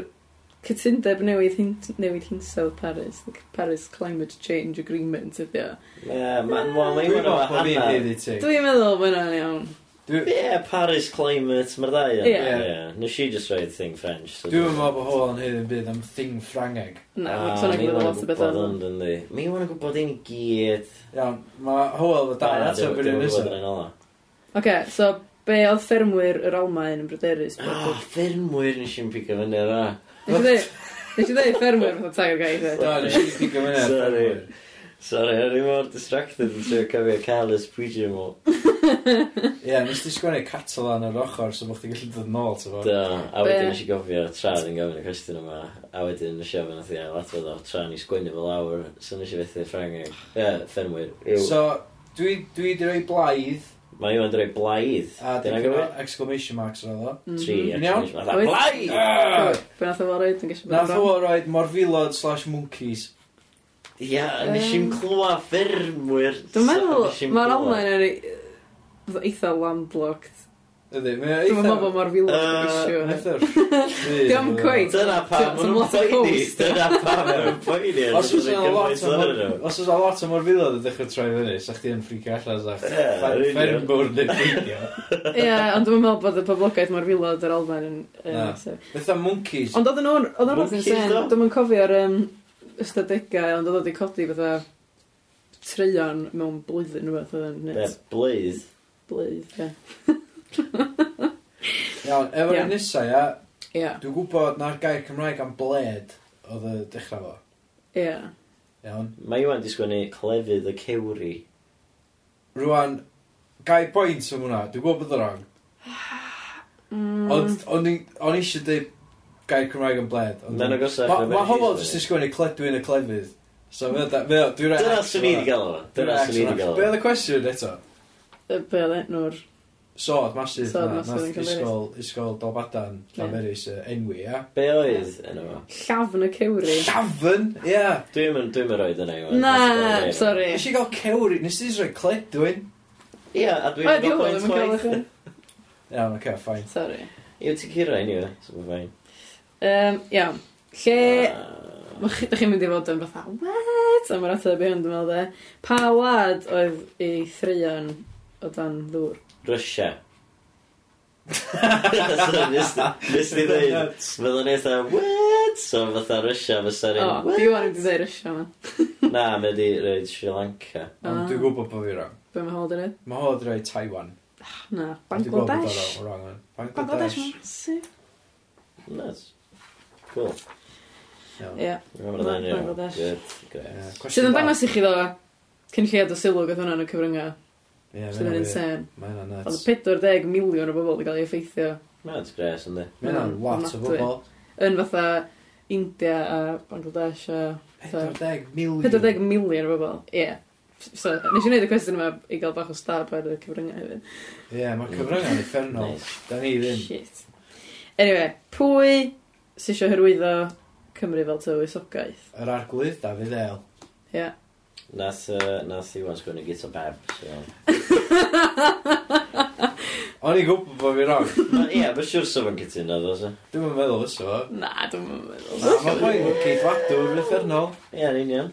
[SPEAKER 1] cytundeb newydd, hin- newid hinsawdd Paris, the Paris Climate Change Agreement ydy o.
[SPEAKER 2] Ie, ma'n wel,
[SPEAKER 3] Dwi'n
[SPEAKER 2] Iwan
[SPEAKER 3] meddwl
[SPEAKER 2] o'n
[SPEAKER 3] bod fi'n
[SPEAKER 2] hana.
[SPEAKER 3] dweud i ti.
[SPEAKER 1] Dwi'n meddwl bod hwnna'n iawn.
[SPEAKER 3] Dwi-
[SPEAKER 2] Ie, Paris Climate, mae'r ddau yn.
[SPEAKER 1] Ie.
[SPEAKER 2] Ie. Nes i just read Thing French. so
[SPEAKER 3] Dwi'n meddwl bod Howell yn hyn yn byd am Thing Ffrangeg.
[SPEAKER 1] Na,
[SPEAKER 2] Ah,
[SPEAKER 1] mae'n sôn
[SPEAKER 2] mi
[SPEAKER 1] gwybod
[SPEAKER 2] wan
[SPEAKER 1] lot o beth
[SPEAKER 2] yn
[SPEAKER 1] oedd.
[SPEAKER 2] gwbod ond, yndi. Mi wan yn gwybod ein i gyd.
[SPEAKER 3] Iawn, mae Howell y dal ato bod yn
[SPEAKER 2] nesaf.
[SPEAKER 3] nesaf.
[SPEAKER 1] Oce, so be oedd ffermwyr yr Almain yn bryderus?
[SPEAKER 3] Ah,
[SPEAKER 2] O, Ah, ffermwyr nes i'n pigo fyny ar
[SPEAKER 1] Nes i ddweud ffermwyr fatha tair gair.
[SPEAKER 3] Da, nes i ddim yn
[SPEAKER 2] Sorry.
[SPEAKER 3] edrych.
[SPEAKER 2] Sorry, o'n i mor distracted yn trio cofio Carlos Puigdemont.
[SPEAKER 3] Ie, nes ti sgwennu Catalan ar ochr, so bych ti'n gallu dod nôl, ti'n fawr.
[SPEAKER 2] Do, a wedyn
[SPEAKER 1] Be?
[SPEAKER 2] nes i gofio tra oedd yn gofyn y cwestiwn yma, a wedyn nes i ofyn oedd i ailadfod o tra ni sgwynnu fel awr, so nes i fethu Ffrangeg, e, ffermwyr. Ew.
[SPEAKER 3] So, dwi, dwi di roi blaidd,
[SPEAKER 2] Mae Iwan dweud blaidd.
[SPEAKER 3] a
[SPEAKER 2] Dyna
[SPEAKER 3] dipyn o
[SPEAKER 2] gofio?
[SPEAKER 3] exclamation marks ar oedd o.
[SPEAKER 1] Mm-hmm.
[SPEAKER 2] Tri,
[SPEAKER 3] Mhm.
[SPEAKER 2] exclamation mark. Fatha,
[SPEAKER 1] Wyt.
[SPEAKER 2] blaidd!
[SPEAKER 1] Mm. Be nath o fo roed yn gallu
[SPEAKER 3] Ah! Nath
[SPEAKER 1] bod yn
[SPEAKER 3] o
[SPEAKER 1] wrong.
[SPEAKER 3] roed morfilod slash monkeys.
[SPEAKER 2] Ia, nes i'n clywed ffermwyr.
[SPEAKER 1] Dwi'n meddwl,
[SPEAKER 2] Nes i'm
[SPEAKER 1] mae'r
[SPEAKER 2] clywed.
[SPEAKER 1] Almain yn ei- eitha landlocked.
[SPEAKER 3] Ydy,
[SPEAKER 1] Dwi'n meddwl bod
[SPEAKER 3] mae'n
[SPEAKER 1] mor filod
[SPEAKER 2] Yy,
[SPEAKER 1] yn issue.
[SPEAKER 3] Ah, eitha...
[SPEAKER 1] Diom cweit.
[SPEAKER 2] Dyna pam
[SPEAKER 1] It's a
[SPEAKER 2] maen nhw'n
[SPEAKER 1] lot of
[SPEAKER 2] poeni.
[SPEAKER 1] hosts.
[SPEAKER 2] Dyna pam maen nhw'n poeni.
[SPEAKER 3] Os oes yna lot o
[SPEAKER 2] o'n
[SPEAKER 3] mor- os oes 'na lot o morfilod yn dechrau troi fyny, sa chdi yn ffricio allan, sa
[SPEAKER 2] Ie, yn
[SPEAKER 3] chdi
[SPEAKER 2] union.
[SPEAKER 3] ffermwr neu ffeindio.
[SPEAKER 1] Ie, ond dwi'n meddwl bod y poblogaeth mor filod yr Almain yn... yn
[SPEAKER 3] Na.
[SPEAKER 1] sef.
[SPEAKER 3] Eitha monkeys.
[SPEAKER 1] Ond oedden nhw'n oedden nhw'n
[SPEAKER 2] Monkeys,
[SPEAKER 1] rhywbeth yn
[SPEAKER 2] do?
[SPEAKER 1] dwi'n cofio'r yym, ystadegau, ond oedden nhw'n codi fatha treion mewn blwyddyn rhywbeth oedden nhw'n
[SPEAKER 2] Ie,
[SPEAKER 1] net
[SPEAKER 2] blaidd.
[SPEAKER 1] blwydd. ie.
[SPEAKER 3] Iawn, efo'r
[SPEAKER 1] Ie.
[SPEAKER 3] un nesa, ia,
[SPEAKER 1] Ie,
[SPEAKER 3] dwi'n gwybod na'r gair Cymraeg am bled oedd y dechrau fo.
[SPEAKER 1] ie.
[SPEAKER 3] Iawn.
[SPEAKER 2] Mae Iwan di sgwennu clefydd y cewri.
[SPEAKER 3] Rwan, gai pwynt am hwnna, dwi'n gwybod bod o'n rong.
[SPEAKER 1] Mm.
[SPEAKER 3] Ond o'n i- o'n i eisiau dweud gair Cymraeg am bled. ond-
[SPEAKER 2] Mae'n agosach
[SPEAKER 3] Ma-
[SPEAKER 2] na
[SPEAKER 3] Mae
[SPEAKER 2] Benny
[SPEAKER 3] hobl
[SPEAKER 2] Hughes, ie.
[SPEAKER 3] jyst i sgwennu cledwy yn y clefydd. So, fe- da- fe- dwi'n rhaid...
[SPEAKER 2] Dyna swn i wedi gael o. Dyna swn i wedi gael
[SPEAKER 3] Be
[SPEAKER 2] o.
[SPEAKER 3] oedd y cwestiwn eto?
[SPEAKER 1] Y Be oedd enw'r...
[SPEAKER 3] Sod, masif.
[SPEAKER 1] Sword
[SPEAKER 3] na,
[SPEAKER 1] massive yn
[SPEAKER 3] Nath
[SPEAKER 1] Llanberis.
[SPEAKER 3] isgol, isgol Dolbadan,
[SPEAKER 1] Ie.
[SPEAKER 3] Llanberis, yy, enwi, ia.
[SPEAKER 2] Be oedd yna fo?
[SPEAKER 1] Llafn y cewri.
[SPEAKER 3] Llafn, ia.
[SPEAKER 2] Dwi'n mynd, dwi'n mynd roed yna Iwan.
[SPEAKER 1] Na, sori.
[SPEAKER 3] Nes i gael cewri, nes i rhoi cledwyn.
[SPEAKER 2] Ia, a
[SPEAKER 1] O,
[SPEAKER 2] dwi'n
[SPEAKER 1] di hwn ddim yn
[SPEAKER 2] mynd o
[SPEAKER 1] cael
[SPEAKER 2] pwynt
[SPEAKER 1] eich-
[SPEAKER 2] chwaith.
[SPEAKER 3] Iawn, oce, ffain.
[SPEAKER 1] Sorry.
[SPEAKER 2] Yw ti'n cyrra i ni fe? So mae'n fain.
[SPEAKER 1] Um, iawn. Lle...
[SPEAKER 2] Ah,
[SPEAKER 1] Mae chi- Dach chi'n mynd i fod yn fatha, what? A mae'r ateb i hwn, dwi'n meddwl, de. Pa wlad oedd ei threion o dan ddŵr?
[SPEAKER 2] Russia. So, nes nes di ddeud, fydda ni eitha, what? So fatha Russia fysa
[SPEAKER 1] O,
[SPEAKER 2] ni'n,
[SPEAKER 1] di wan i wedi dweud Russia, man.
[SPEAKER 2] "What?" Na, mae di roed Sri Lanka.
[SPEAKER 1] Ah.
[SPEAKER 3] Ond dwi'n gwybod bod fi wrong.
[SPEAKER 1] Be mae hod yn ei?
[SPEAKER 3] Mae hodd rhoi Taiwan.
[SPEAKER 1] Na,
[SPEAKER 3] Ond dwi'n gwbod bod
[SPEAKER 1] Bangladesh.
[SPEAKER 3] o'n wrong, ond.
[SPEAKER 1] Bangladesh,
[SPEAKER 3] Bangladesh.
[SPEAKER 1] mae'n masif.
[SPEAKER 2] Nuts. Cool.
[SPEAKER 3] Iawn.
[SPEAKER 1] Ie.
[SPEAKER 2] Remember that, yeah.
[SPEAKER 1] Bangladesh.
[SPEAKER 2] Good,
[SPEAKER 3] Ie,
[SPEAKER 2] great.
[SPEAKER 3] cwestiwn
[SPEAKER 1] Sydd yn
[SPEAKER 3] bach.
[SPEAKER 1] dangos i chi ddo, cyn llead o sylw gyda hwnna'n y cyfryngau.
[SPEAKER 3] Ie, mae
[SPEAKER 1] Sydd yn
[SPEAKER 3] hynna'n wir.
[SPEAKER 1] insane.
[SPEAKER 3] Mae hynna'n
[SPEAKER 1] Oedd
[SPEAKER 3] nuts.
[SPEAKER 1] 40 miliwn o bobl wedi cael ei effeithio
[SPEAKER 2] That's great, yndi.
[SPEAKER 3] Mae hynna'n
[SPEAKER 1] Hynna'n
[SPEAKER 3] lot o
[SPEAKER 1] ofnadwy.
[SPEAKER 3] bobl.
[SPEAKER 1] yn fatha India a Bangladesh a...
[SPEAKER 3] 40 miliwn.
[SPEAKER 1] 40 miliwn o bobl, ie. So, nes i wneud y cwestiwn yma i gael bach o stab ar y cyfryngau hefyd.
[SPEAKER 3] Ie, mae'r cyfryngau'n effernol.
[SPEAKER 2] Nice.
[SPEAKER 3] Da ni ddim.
[SPEAKER 1] Shit. Anyway, pwy sy'n eisiau hyrwyddo Cymru fel tywysogaeth?
[SPEAKER 3] Yr arglwydd, Dafydd El.
[SPEAKER 1] Ie.
[SPEAKER 2] Nath, uh, nath Iwan sgwyn i gyda bab, so...
[SPEAKER 3] O'n i'n gwybod bod fi wrong.
[SPEAKER 2] Ma- Ie, mae'n siwr sef yn cytuno, ddo, so.
[SPEAKER 3] Dwi'n meddwl fysa fo.
[SPEAKER 1] Na, dwi'n meddwl.
[SPEAKER 3] Mae poen yn ceidwadw'n effernol.
[SPEAKER 2] Ie, yn union.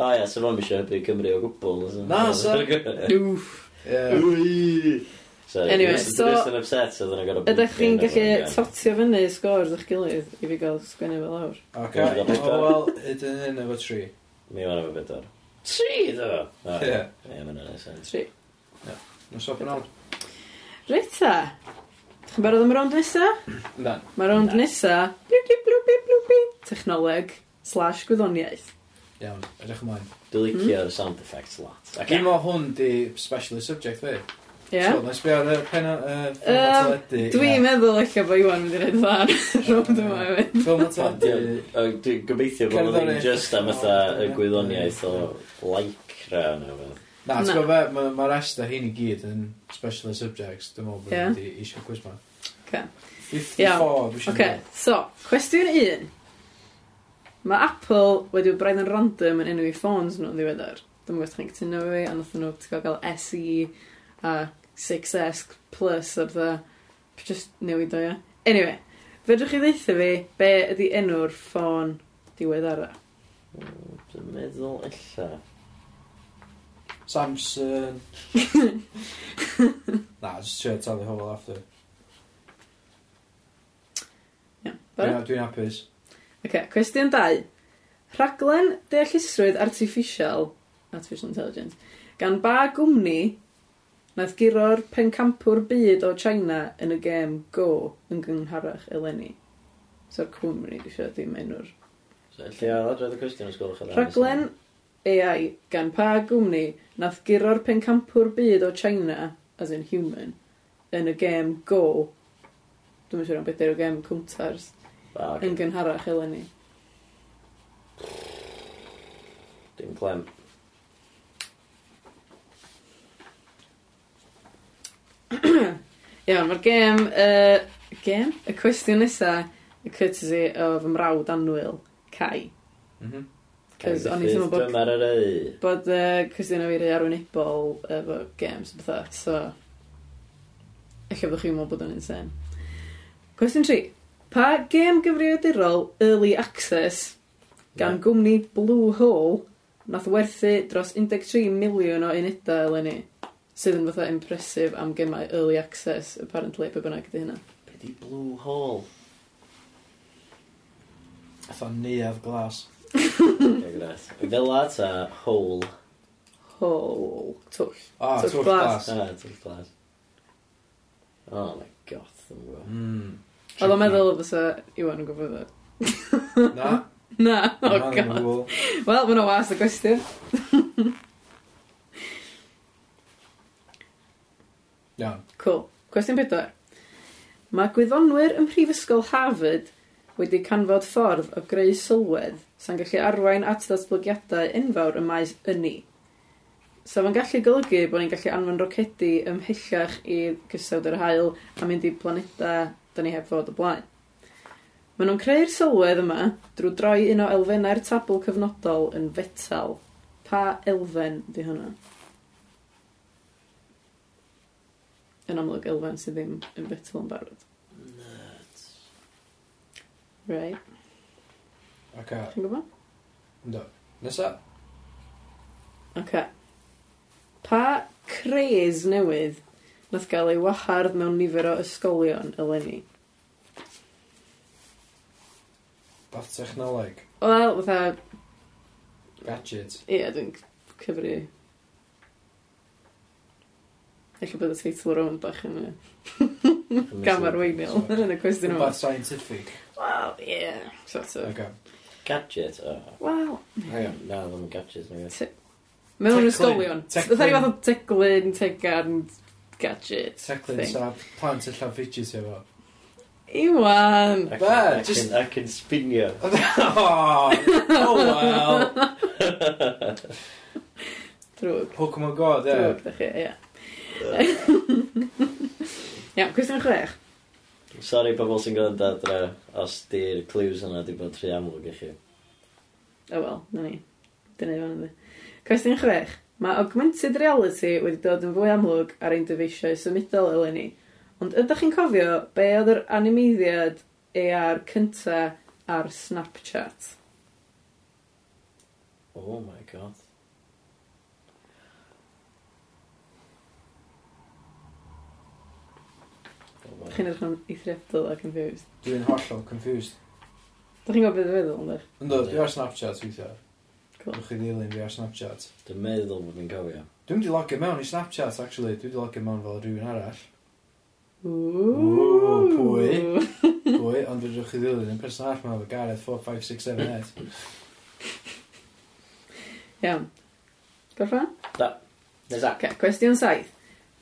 [SPEAKER 2] O ie, so fo'n mysio hybyd Cymru o e? gwbl, ddo, so.
[SPEAKER 3] Na, so-
[SPEAKER 1] Wff.
[SPEAKER 3] Ie.
[SPEAKER 2] Wii! Sorry,
[SPEAKER 1] Anyway,
[SPEAKER 2] anyway, so...
[SPEAKER 1] so-
[SPEAKER 2] Dwi'n yn upset, so dwi'n gorau...
[SPEAKER 1] Ydych chi'n gallu totio fyny scores o'ch gilydd i fi gael sgwennu fel awr?
[SPEAKER 3] Oce.
[SPEAKER 2] Dwi'n gwbod
[SPEAKER 3] O, wel, ydyn yn efo tri.
[SPEAKER 2] Mi o'n efo bedwar. Tri, ddo! O, Ie,
[SPEAKER 3] Ie.
[SPEAKER 2] mae'n neud sens.
[SPEAKER 1] Tri.
[SPEAKER 3] Nos o bynol.
[SPEAKER 1] Rita! Ydych chi'n barod am y rownd nesa?
[SPEAKER 3] Na.
[SPEAKER 1] Mae rownd
[SPEAKER 2] Na.
[SPEAKER 1] nesa... Blwbi, blwbi, blwbi. Technoleg slash gwyddoniaeth.
[SPEAKER 3] Iawn, edrych ymlaen.
[SPEAKER 2] Dwi'n licio'r sound effects lot.
[SPEAKER 3] Ac
[SPEAKER 2] Ac
[SPEAKER 3] Dwi'n meddwl hwn di specialist subject fi.
[SPEAKER 1] Ie?
[SPEAKER 3] So, let's be ar y pen o... yy, ffilm a
[SPEAKER 1] Yym,
[SPEAKER 3] teledu,
[SPEAKER 1] Dwi'n
[SPEAKER 3] ie.
[SPEAKER 1] meddwl eich bod Iwan mynd i reid fan rownd yma hefyd.
[SPEAKER 3] Ffilm a
[SPEAKER 2] Ond
[SPEAKER 3] teledu...
[SPEAKER 2] ie, o, Dwi'n gobeithio bod nhw ddim
[SPEAKER 3] Cerddoriaeth.
[SPEAKER 2] just am ytha y
[SPEAKER 3] O,
[SPEAKER 2] gwyddoniaeth o lycra neu beth.
[SPEAKER 3] Na, ti'n
[SPEAKER 1] Na.
[SPEAKER 3] gwybod fe, ma- mae'r rest o hyn i gyd yn specialist subjects. Dwi'n meddwl bod
[SPEAKER 1] Ie.
[SPEAKER 3] yeah. di eisiau cwis ma.
[SPEAKER 1] Oce.
[SPEAKER 3] 54, dwi'n
[SPEAKER 1] Oce, so, cwestiwn un. Mae Apple wedi braidd yn random yn enw i ffôns nhw'n ddiweddar. Dwi'n gwybod chi'n cytuno efo fi, a nath nhw ti'n gael SE a 6S plus a bydda. Just newid o, ia. Anyway, fedrwch chi ddeitha fi be ydi enw'r ffôn diweddara.
[SPEAKER 2] Dwi'n meddwl illa.
[SPEAKER 3] Samson. Na, just trio talu hobl after. Dwi'n dwi'n hapus.
[SPEAKER 1] Oce, cwestiwn 2. Rhaglen deallusrwydd artificial, artificial intelligence, gan ba gwmni nath guro'r pencampwr byd o China yn y gêm Go yn gyngharach eleni. So'r cwmni, dwi eisiau ddim enw'r...
[SPEAKER 2] So, lle ar adrodd y cwestiwn os gwelwch yn
[SPEAKER 1] Rhaglen AI gan pa gwmni nath guro'r pencampwr byd o China, as in human, yn y gêm Go. Dwi'n siŵr am beth yw'r gêm cwntars
[SPEAKER 2] Ah,
[SPEAKER 1] yn
[SPEAKER 2] okay.
[SPEAKER 1] gynharach eleni.
[SPEAKER 2] Dim clem.
[SPEAKER 1] Iawn, mae'r gêm... Uh, gêm? Y cwestiwn nesa, y courtesy o fy mrawd anwyl, Cai.
[SPEAKER 3] Mhm.
[SPEAKER 1] Cos o'n i'n teimlo bod-
[SPEAKER 2] Dwi'n ar yr ei.
[SPEAKER 1] Bod uh, Christina fi rei arwynebol efo games a bethau, so... Eich byddwch chi'n meddwl bod o'n insane. Cwestiwn 3. Pa gêm gyfrifiadurol Early Access gan
[SPEAKER 2] Ie.
[SPEAKER 1] gwmni Bluehole nath werthu dros 13 miliwn o unedau eleni sydd yn fatha impresif am gemau early access, apparently, pe bynnag ydy hynna.
[SPEAKER 2] Be di Blue Hole?
[SPEAKER 3] Fatha neuadd glas.
[SPEAKER 2] Ie, gres. Fela ta hole.
[SPEAKER 1] Hole. Twll.
[SPEAKER 3] Ah,
[SPEAKER 1] Twll
[SPEAKER 3] twll
[SPEAKER 1] glas.
[SPEAKER 3] glas.
[SPEAKER 2] Ah, ti'n glas. Oh my god, ddim yn gwybod.
[SPEAKER 3] Mm.
[SPEAKER 1] Oedd o'n meddwl fysa Iwan yn gwybod o.
[SPEAKER 3] Na.
[SPEAKER 1] Na, o
[SPEAKER 3] na, ddim yn
[SPEAKER 1] Oh, god.
[SPEAKER 3] gwbod.
[SPEAKER 1] Wel, mae'n o was y gwestiwn.
[SPEAKER 3] Iawn.
[SPEAKER 1] Cool. Cwestiwn 4. Mae gwyddonwyr yn prifysgol Harvard wedi canfod ffordd o greu sylwedd sa'n gallu arwain at datblygiadau enfawr y maes yni. So fo'n gallu golygu bod ni'n gallu anfon rocedi ymhellach i gysawd yr hael a mynd i planeda da ni heb fod o blaen. Maen nhw'n creu'r sylwedd yma drwy droi un o elfennau'r tabl cyfnodol yn fetal. Pa elfen di hwnna? Yn amlwg elfen sydd ddim yn fetal yn barod.
[SPEAKER 2] Nuts.
[SPEAKER 1] Right.
[SPEAKER 3] Oce.
[SPEAKER 1] Chi'n gwybod?
[SPEAKER 3] Ynddo. Nesa?
[SPEAKER 1] Oce. Pa cres newydd nath gael ei wahardd mewn nifer o ysgolion eleni?
[SPEAKER 3] Bath technoleg.
[SPEAKER 1] Wel, fatha,
[SPEAKER 3] Gadget.
[SPEAKER 1] ie, dwi'n c- cyfri... Eich bod y teitl rown bach yn y gamarweiniol yn y cwestiwn yma.
[SPEAKER 3] Bath scientific.
[SPEAKER 1] Wel, ie, sort of.
[SPEAKER 3] Oce.
[SPEAKER 2] Gadget, o.
[SPEAKER 1] Wel,
[SPEAKER 3] Iawn.
[SPEAKER 2] Na, ddim yn gadget. nag oes.
[SPEAKER 1] te- mewn
[SPEAKER 3] Teclyn.
[SPEAKER 1] ysgolion.
[SPEAKER 3] Teclyn.
[SPEAKER 1] Fatha i fath o teclyn, tegan, gadget.
[SPEAKER 3] Teclyn
[SPEAKER 1] thing.
[SPEAKER 3] sa plant y llawn fidget efo.
[SPEAKER 1] Iwan!
[SPEAKER 2] I can-
[SPEAKER 3] Bad,
[SPEAKER 2] I
[SPEAKER 3] just-
[SPEAKER 2] can- I can spin you.
[SPEAKER 3] oh, oh well.
[SPEAKER 1] Drwg.
[SPEAKER 3] Pokemon Go,
[SPEAKER 1] Drwg,
[SPEAKER 3] de.
[SPEAKER 1] da chi, ie. Iawn, cwestiwn chwech.
[SPEAKER 2] Sorry pobl sy'n gwrando adra os di'r clues yna di bod rhy amlwg i chi.
[SPEAKER 1] O wel, na ni. Dyna i fan ynddi. Cwestiwn chwech. Mae augmented reality wedi dod yn fwy amlwg ar ein dyfeisiau symudol eleni. Ond ydych chi'n cofio be oedd yr animeiddiad AR cynta ar Snapchat?
[SPEAKER 2] Oh my god. Oh my-
[SPEAKER 1] Ydych chi'n edrych yn eithriadol a confused?
[SPEAKER 3] Dwi'n hollol confused.
[SPEAKER 1] Ydych chi'n gwybod beth dwi'n feddwl, ydych?
[SPEAKER 3] Ynddo,
[SPEAKER 2] Ie.
[SPEAKER 3] dwi ar Snapchat weithio.
[SPEAKER 1] Cool.
[SPEAKER 3] Dwi'n chi ddilyn fi ar Snapchat.
[SPEAKER 2] Dwi'n meddwl bod fi'n cofio.
[SPEAKER 3] Dwi'n di logio mewn i Snapchat, actually. Dwi'n di logio mewn fel rhywun arall.
[SPEAKER 1] Ooh.
[SPEAKER 3] pwy? Pwy, ond dwi'n chi ddilyn yn person arall mewn fel Gareth 45678.
[SPEAKER 1] Iawn. Gorffan?
[SPEAKER 2] Nesa.
[SPEAKER 1] Ac cwestiwn saith.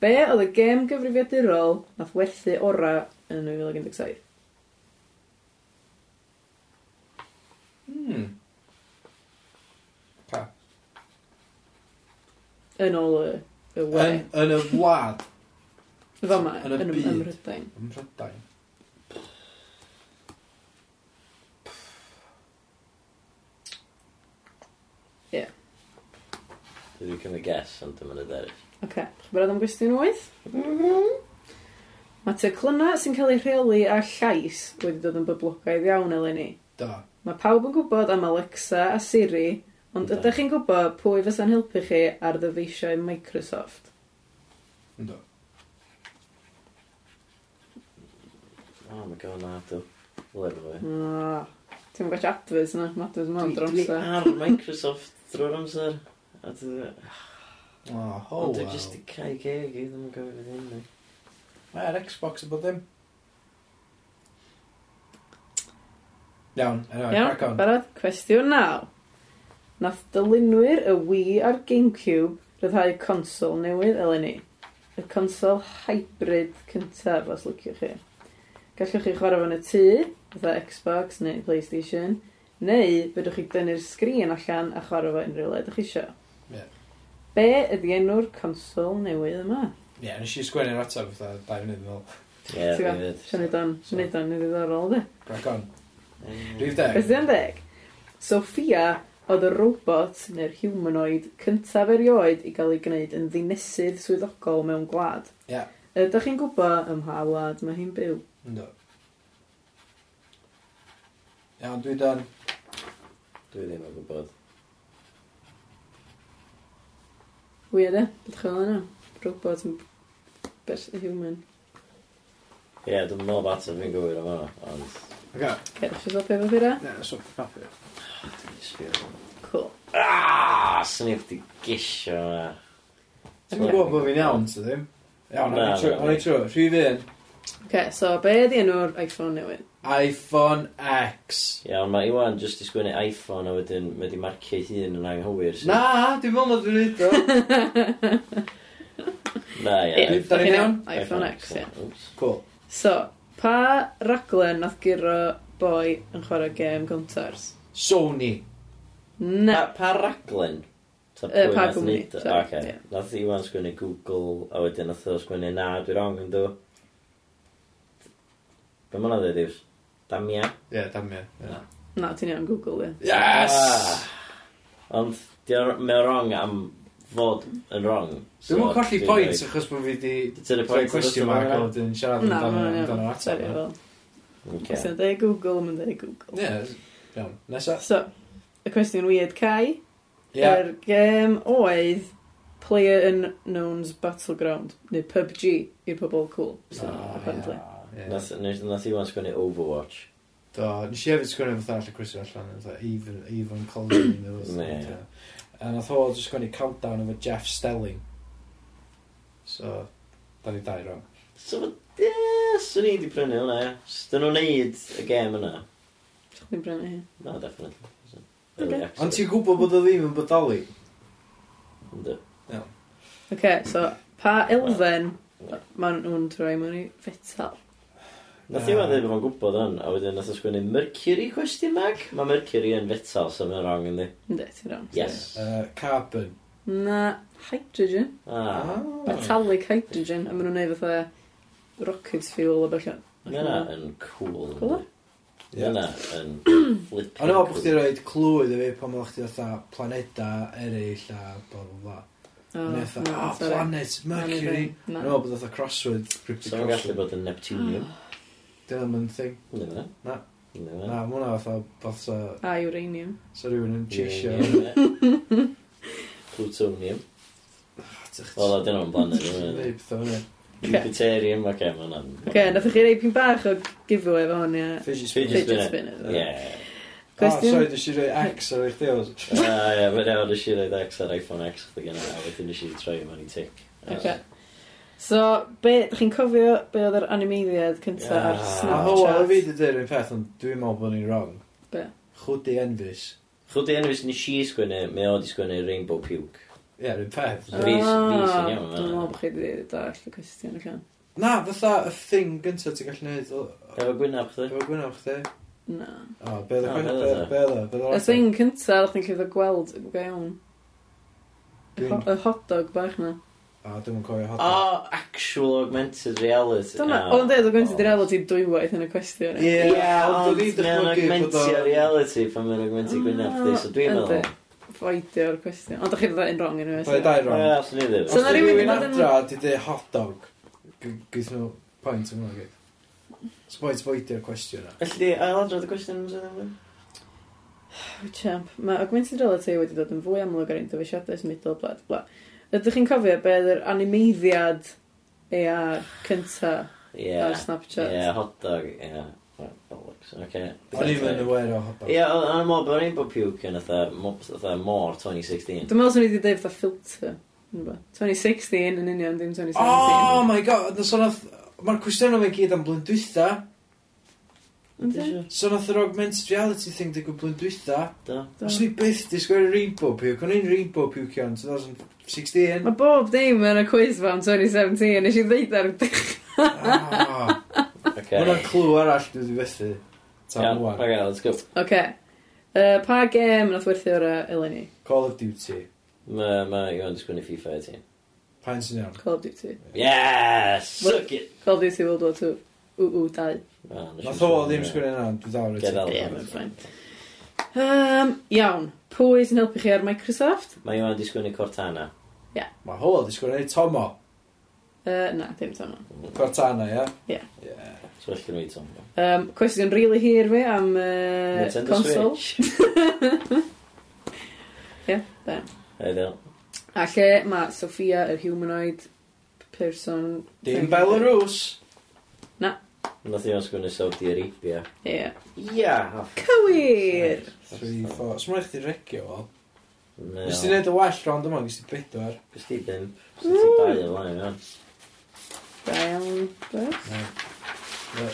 [SPEAKER 1] Be oedd y gêm gyfrifiadurol nath werthu ora yn 2017?
[SPEAKER 3] Hmm. Pa.
[SPEAKER 1] Yn ôl y, y we.
[SPEAKER 3] Yn, yn y wlad.
[SPEAKER 1] Fyma, yn
[SPEAKER 3] yn y
[SPEAKER 1] y
[SPEAKER 3] byd.
[SPEAKER 1] ymrydain.
[SPEAKER 3] Ym Mhrydain.
[SPEAKER 2] Dwi'n cymryd guess ond dwi'n mynd edrych.
[SPEAKER 1] Oce, chi'n barod am gwestiwn 8? Mae teclynna sy'n cael ei rheoli a llais wedi dod yn boblogaidd iawn eleni.
[SPEAKER 3] Da.
[SPEAKER 1] Mae pawb yn gwybod am Alexa a Siri, ond
[SPEAKER 2] Yndan.
[SPEAKER 1] ydych chi'n gwybod pwy fysa'n helpu chi ar ddyfeisiau Microsoft?
[SPEAKER 3] Ynddo.
[SPEAKER 2] Oh my god, na, dwi'n lyfo fi.
[SPEAKER 1] Ah, Ti'n gwach adfys yna, adfys mewn
[SPEAKER 2] Dwi
[SPEAKER 1] dromsa.
[SPEAKER 2] ar Microsoft drwy'r amser. A dwi...
[SPEAKER 3] Oh,
[SPEAKER 2] Oh,
[SPEAKER 3] oh
[SPEAKER 2] dwi
[SPEAKER 3] well.
[SPEAKER 2] just i cael geg i ddim yn gofio beth hyn. ni.
[SPEAKER 3] Mae'r Xbox yn bod ddim. Iawn, anyway,
[SPEAKER 1] Iawn,
[SPEAKER 3] crack on.
[SPEAKER 1] barod? Cwestiwn naw. Nath dylunwyr y Wii a'r Gamecube ryddhau consol newydd eleni. Y consol hybrid cyntaf, os lyciwch chi. Gallwch chi chwarae fo'n y tŷ, fatha Xbox neu Playstation, neu fedrwch chi dynnu'r sgrin allan a chwarae fo unrhyw le ydych chi isio.
[SPEAKER 3] Ie.
[SPEAKER 1] Be ydi enw'r consol newydd yma?
[SPEAKER 3] Ie, nes i sgwennu'r ateb fatha dau funud yn ôl.
[SPEAKER 2] Ie,
[SPEAKER 1] Ti'n
[SPEAKER 2] fi'n
[SPEAKER 1] gwbod?
[SPEAKER 2] fyd.
[SPEAKER 1] Sian nid o'n,
[SPEAKER 3] So-
[SPEAKER 1] nid o'n, nid ddiddorol, de.
[SPEAKER 3] Grac on.
[SPEAKER 2] Ie.
[SPEAKER 3] Rhyw deg.
[SPEAKER 1] Beth ydy'n deg? Sophia oedd y robot neu'r humanoid cyntaf erioed i gael ei gwneud yn ddinesydd swyddogol mewn gwlad.
[SPEAKER 3] Ie.
[SPEAKER 1] Ydych chi'n gwybod ym mha wlad mae hi'n byw?
[SPEAKER 3] Ynddo. Iawn, dwi dan.
[SPEAKER 2] Dwi ddim yn gwybod.
[SPEAKER 1] Weird e? Beth chi'n yna? Robot yn best a human.
[SPEAKER 2] Ie, dwi'n meddwl bat yn fi'n gywir am hwnna, ond...
[SPEAKER 3] Oce.
[SPEAKER 1] Cer, eisiau fel pefo fyra?
[SPEAKER 3] Ie, so, papur.
[SPEAKER 2] Dwi'n sbio.
[SPEAKER 1] Cool.
[SPEAKER 2] Ah, snif di gisio yna.
[SPEAKER 3] Ti'n gwybod bod fi'n iawn, ti ddim? Iawn,
[SPEAKER 2] Na,
[SPEAKER 3] o'n i trwy,
[SPEAKER 2] na,
[SPEAKER 3] o'n i trwy. Rhyf un.
[SPEAKER 1] Ok, so be ydi enw'r iPhone newydd?
[SPEAKER 3] iPhone X.
[SPEAKER 2] Iawn, mae Iwan jyst i sgwennu iPhone a wedyn mae di marcio ei hun yn anghywir. sydd-
[SPEAKER 3] Na, dwi'n meddwl na dwi'n neud o.
[SPEAKER 2] Na,
[SPEAKER 1] Ie,
[SPEAKER 2] ie.
[SPEAKER 3] Da ni'n iawn?
[SPEAKER 1] iPhone X, ie.
[SPEAKER 2] Oops.
[SPEAKER 3] Cool.
[SPEAKER 1] So, pa raglen nath giro boi yn chwarae gêm Gontars?
[SPEAKER 3] Sony.
[SPEAKER 1] Na.
[SPEAKER 2] Pa- Pa raglen? Ta
[SPEAKER 1] Yy,
[SPEAKER 2] pwy
[SPEAKER 1] pa
[SPEAKER 2] nath
[SPEAKER 1] gwmni,
[SPEAKER 2] neud o?
[SPEAKER 1] sorry,
[SPEAKER 2] Ocê.
[SPEAKER 1] ie.
[SPEAKER 2] Nath Iwan sgwennu Google, a wedyn nath o sgwennu na, dwi wrong yn dwi. Be ma'n dweud iws? Damia.
[SPEAKER 3] Ie, dam ie.
[SPEAKER 2] Na.
[SPEAKER 1] Na, ti'n iawn Google, ie.
[SPEAKER 3] Yes!
[SPEAKER 2] Ond, di o- mae o wrong am fod yn wrong.
[SPEAKER 3] Dwi'n mwyn colli
[SPEAKER 2] dwi'n
[SPEAKER 3] pwynt
[SPEAKER 2] dweud-
[SPEAKER 3] achos bod fi di...
[SPEAKER 2] To the point,
[SPEAKER 3] Rhoi cwestiwn
[SPEAKER 2] so
[SPEAKER 3] mark
[SPEAKER 2] dyna-
[SPEAKER 3] o dyn siarad
[SPEAKER 1] Na,
[SPEAKER 3] amdano
[SPEAKER 1] mae'n
[SPEAKER 3] amdano
[SPEAKER 1] iawn.
[SPEAKER 3] yr
[SPEAKER 1] Sorry,
[SPEAKER 3] ateb.
[SPEAKER 1] fel.
[SPEAKER 2] Ocê.
[SPEAKER 1] Os yna'n dweud Google, mae'n dweud Google.
[SPEAKER 3] Ie, iawn. Nesa?
[SPEAKER 1] So, y cwestiwn weird Kai.
[SPEAKER 3] Ie.
[SPEAKER 1] Yr gêm oedd Player Unknown's Battleground, neu PUBG, i'r pobol cool. So,
[SPEAKER 3] Ah,
[SPEAKER 1] apparently.
[SPEAKER 3] ie, ie.
[SPEAKER 2] Nath nes- nath Iwan sgwennu Overwatch.
[SPEAKER 3] Do, nes i hefyd sgwini fatha allan Chris allan, fatha Even, Even Colin. neu rywbeth,
[SPEAKER 2] Ne.
[SPEAKER 3] ie. A nath o just sgwini countdown efo Jeff Stelling. So, da ni dau rong.
[SPEAKER 2] So, ie, swn i wedi prynu hwnna, ie. Dyn nhw'n neud y gêm yna.
[SPEAKER 1] Dwi'n brynu hi.
[SPEAKER 2] Na, definitely. So,
[SPEAKER 1] Ocê.
[SPEAKER 2] early access.
[SPEAKER 3] Ond ti'n gwybod bod o ddim yn bodoli?
[SPEAKER 2] Yndw.
[SPEAKER 1] Ok, so, pa elfen maen nhw'n troi mewn i fetal?
[SPEAKER 2] Nath Iwan dweud bod o'n gwybod hwn, a wedyn nath o sgwennu Mercury question mark? Mae Mercury yn fetal, so mae'n wrong yndi.
[SPEAKER 1] Ynddi, ti'n iawn.
[SPEAKER 2] Yes.
[SPEAKER 3] Uh, carbon.
[SPEAKER 1] Na, hydrogen.
[SPEAKER 2] Ah,
[SPEAKER 3] Hmm.
[SPEAKER 1] Metallic hydrogen, a maen nhw'n neud fatha rocket fuel o bellio.
[SPEAKER 2] mae yna yn cool. yndi?
[SPEAKER 1] Cool.
[SPEAKER 2] Mae
[SPEAKER 3] Ie.
[SPEAKER 2] yna yn flipping
[SPEAKER 3] Ond o, bod chdi roed clwyd efo pan bod chdi fatha planeda eraill a bla bla bla.
[SPEAKER 1] O,
[SPEAKER 3] Neu fatha,
[SPEAKER 1] na,
[SPEAKER 3] ah,
[SPEAKER 1] Oh, sorry.
[SPEAKER 3] planet, Mercury.
[SPEAKER 1] Na,
[SPEAKER 3] Ond
[SPEAKER 1] na.
[SPEAKER 3] o, bod fatha crossword, cryptic
[SPEAKER 2] So mae'n gallu
[SPEAKER 3] crossword.
[SPEAKER 2] bod yn Neptunium.
[SPEAKER 3] Dyna mae'n thing.
[SPEAKER 2] Ynddi fe?
[SPEAKER 3] Na.
[SPEAKER 2] Ynddi fe?
[SPEAKER 3] Na, mae hwnna fatha, bod sa,
[SPEAKER 1] A Ah, uranium.
[SPEAKER 3] sa rhywun yn cheisio.
[SPEAKER 2] Uranium, ie. Plutonium. Wel, a dyn nhw'n blanet. ynddi fe?
[SPEAKER 3] Neu beth o'n e.
[SPEAKER 2] Jupiterium, oce, mae hwnna'n...
[SPEAKER 1] Ok, nath chi rei pyn bach o giveaway efo hwn, ie.
[SPEAKER 3] Fidget
[SPEAKER 2] Fidget
[SPEAKER 3] spinner.
[SPEAKER 1] Fidget
[SPEAKER 2] spinner.
[SPEAKER 1] spinners.
[SPEAKER 2] Ie.
[SPEAKER 3] Ah,
[SPEAKER 1] Cwestiwn?
[SPEAKER 3] sorry, dwi'n siarad X ar eich deos.
[SPEAKER 2] Ah, ie, mae'n iawn, nes i roed X ar iPhone X chdi gyna, a wedyn nes i troi e mewn i tic.
[SPEAKER 1] Oce. So, be, dych chi'n cofio be oedd yr animeiddiad cyntaf
[SPEAKER 2] Ie.
[SPEAKER 1] ar
[SPEAKER 3] A ho, o Oh, fi
[SPEAKER 1] Snapchat?
[SPEAKER 3] di dweud un peth, ond dwi'n meddwl bod ni'n wrong.
[SPEAKER 1] Be?
[SPEAKER 3] Chwdi envis.
[SPEAKER 2] Chwyd i enwys nes i sgwennu, mae o di sgwennu Rainbow Puke.
[SPEAKER 3] Ie, un peth.
[SPEAKER 2] Fi- fi sy'n iawn,
[SPEAKER 1] Ah, Dwi'n
[SPEAKER 2] fan'na.
[SPEAKER 1] meddwl bod chi wedi dall y cwestiwn allan.
[SPEAKER 3] Na, fatha y thing gyntaf ti'n gallu neud o-
[SPEAKER 2] Efo gwynaf, chdi?
[SPEAKER 3] efo gwynaf chdi.
[SPEAKER 1] Na.
[SPEAKER 3] O, be
[SPEAKER 2] O,
[SPEAKER 3] dda,
[SPEAKER 2] be oedd
[SPEAKER 3] be
[SPEAKER 2] o?
[SPEAKER 3] dda, be dda, be dda.
[SPEAKER 1] Y thing cyntaf, dych chi'n cofio gweld y go iawn. Y ho-
[SPEAKER 3] Dwi'n-
[SPEAKER 1] y hot dog bach na.
[SPEAKER 3] O, dwi'n cofio hot dog.
[SPEAKER 2] O, actual augmented reality.
[SPEAKER 1] Dyna, oedd yn dweud o gwynt i reality dwywaith yn y cwestiwn. ie?
[SPEAKER 3] Ie, ond
[SPEAKER 2] ond mae'n
[SPEAKER 3] dwi'n dychmygu bod
[SPEAKER 2] augmentio
[SPEAKER 3] o...
[SPEAKER 2] reality pan mae'n augmentio gwynaf chdi, so dwi'n
[SPEAKER 1] Yndi.
[SPEAKER 2] meddwl.
[SPEAKER 1] Foedio'r cwestiwn. Ond dych chi'n dweud yn wrong yn
[SPEAKER 3] Dau dau
[SPEAKER 2] Wel,
[SPEAKER 3] rong.
[SPEAKER 2] allwn i ddim.
[SPEAKER 1] So
[SPEAKER 3] Os
[SPEAKER 1] na
[SPEAKER 3] dwi'n
[SPEAKER 1] rywun
[SPEAKER 3] rhywun
[SPEAKER 1] bod yn-
[SPEAKER 3] adra, di dweud hot dog. g- Gwyth nhw pwynt yn mwyn gyd. Sboet foedio'r cwestiwn na.
[SPEAKER 2] Felly, di ailadrodd y cwestiwn yn sydd
[SPEAKER 1] Champ, mae augmented reality wedi dod yn fwy amlwg ar ein dyfeisiadau symudol, bla, bla. Ydych chi'n cofio beth yr animeiddiad AR cynta
[SPEAKER 2] Ie.
[SPEAKER 1] ar Snapchat?
[SPEAKER 2] Ie, hot dog, ie. Wel, Bollocks, oce.
[SPEAKER 3] O'n i'n mynd aware o hot dog.
[SPEAKER 2] Ie, ond yn mob, o'n i'n bod puke yn fatha more 2016.
[SPEAKER 1] Dwi'n meddwl sy'n wedi dweud fatha filter. yn rywbeth. 2016 yn union, dim 2017.
[SPEAKER 3] Oh my god, nes o'n oedd... Mae'r cwestiwn o'n gyd am blwyddyn dwytha.
[SPEAKER 2] Yndi siŵr?
[SPEAKER 3] So nath yr augmented reality thing digwydd blwyddyn dwytha.
[SPEAKER 2] Do.
[SPEAKER 1] Do.
[SPEAKER 3] Os ni byth di sgwer Rainbow Puke, o'n i'n Rainbow Puke yn 2016.
[SPEAKER 1] Mae bob dim yn y quiz fan 2017, nes i ddeud ar y dech-
[SPEAKER 3] Ah, Ma'
[SPEAKER 2] Okay.
[SPEAKER 3] hwnna'n clw arall dwi wedi fethu.
[SPEAKER 2] Iawn,
[SPEAKER 3] Tan yeah,
[SPEAKER 2] Okay, let's go.
[SPEAKER 1] Oce. Yy, Pa gêm nath werthu o'r yy, eleni?
[SPEAKER 3] Call of Duty.
[SPEAKER 2] Mae ma, Iwan yn sgwini FIFA i ti.
[SPEAKER 3] Pa'n sy'n iawn.
[SPEAKER 1] Call of Duty.
[SPEAKER 2] Yes! Suck it!
[SPEAKER 1] Call of Duty World War 2. Ww, ww, dau.
[SPEAKER 2] Ah, nes i
[SPEAKER 3] Nath o
[SPEAKER 2] sgwennu-
[SPEAKER 3] ddim sgwer yna, dwi dal yn
[SPEAKER 2] Get out.
[SPEAKER 1] Ie, mae'n ffain. Um, iawn. Pwy sy'n helpu chi ar Microsoft?
[SPEAKER 2] Mae Iwan di sgwini Cortana.
[SPEAKER 3] Mae ho di sgwer yna, Tomo.
[SPEAKER 1] Uh, na, dim tan nhw.
[SPEAKER 3] Cortana, ia?
[SPEAKER 1] Ie.
[SPEAKER 3] Ie.
[SPEAKER 2] Swell gen i Tom.
[SPEAKER 1] Um, cwestiwn rili really hir fi am uh,
[SPEAKER 2] Nintendo
[SPEAKER 1] console.
[SPEAKER 2] Switch.
[SPEAKER 1] Da.
[SPEAKER 2] Ideal.
[SPEAKER 1] A lle mae Sophia, yr humanoid person...
[SPEAKER 3] Dim Belarus.
[SPEAKER 2] Nath Iwan sgwini Saudi Arabia.
[SPEAKER 1] Ie. Yeah.
[SPEAKER 2] Ia!
[SPEAKER 1] Cywir!
[SPEAKER 3] 3, 4. Swn rhaid i regio fo.
[SPEAKER 2] No.
[SPEAKER 3] Nes ti neud y well rond yma, nes ti bedwar.
[SPEAKER 2] Nes ti ddim. Nes ti dau ymlaen, iawn.
[SPEAKER 1] Da iawn. da.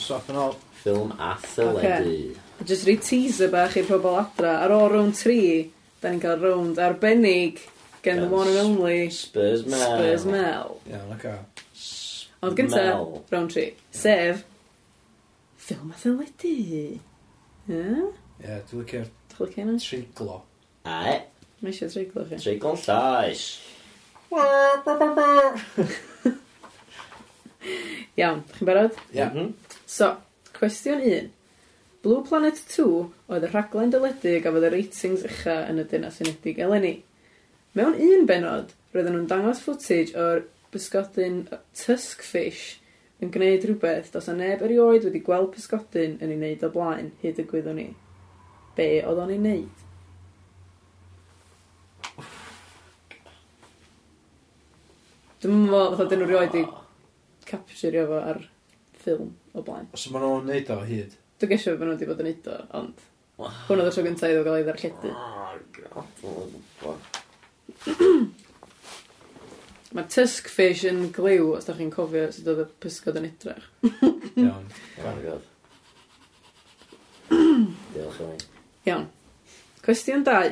[SPEAKER 3] Swap yn ôl.
[SPEAKER 2] Ffilm a theledu.
[SPEAKER 1] Just rei teaser bach i pobl adra. Ar ôl round 3, da ni'n cael round arbennig gen the
[SPEAKER 2] Gan
[SPEAKER 1] one and only
[SPEAKER 2] Spurs Mel.
[SPEAKER 1] Spurs Mel.
[SPEAKER 3] Iawn, ac a.
[SPEAKER 1] Ond gynta,
[SPEAKER 2] Mel.
[SPEAKER 1] round 3. Sef, ffilm a theledu. Ie?
[SPEAKER 3] Ie, dwi'n licio'r
[SPEAKER 1] Dach chi'n cael hynna?
[SPEAKER 3] triglo.
[SPEAKER 2] Ae,
[SPEAKER 1] Mae eisiau treiglo chi.
[SPEAKER 2] treiglon e, llais.
[SPEAKER 1] Iawn, dach chi'n barod?
[SPEAKER 3] Ie.
[SPEAKER 2] Mhm.
[SPEAKER 1] So, cwestiwn 1. Blue Planet 2 oedd y rhaglen dyledu a gafodd y ratings ucha yn y dynas unedig eleni. Mewn un benod, roedden nhw'n dangos footage o'r bysgodyn Tuskfish yn gwneud rhywbeth dos a neb erioed wedi gweld pysgodyn yn ei wneud o blaen hyd y gwyddwn ni. Be oedd o'n ei wneud? Dwi'n meddwl oedd nhw rioed i capturio fo ar ffilm o blaen.
[SPEAKER 3] Os yma nhw'n neud o hyd.
[SPEAKER 1] Dwi'n gesio bod nhw wedi bod yn neud o, ond
[SPEAKER 2] Wow.
[SPEAKER 1] hwn oedd y tro gyntaf iddo gael ei ddarlledu.
[SPEAKER 2] Oh, God, oh, fuck.
[SPEAKER 1] Mae Tuskfish yn glyw, os da chi'n cofio sut oedd y pysgod yn edrych.
[SPEAKER 3] Iawn.
[SPEAKER 2] Oh, my God. Diolch yn
[SPEAKER 1] Iawn. Cwestiwn 2.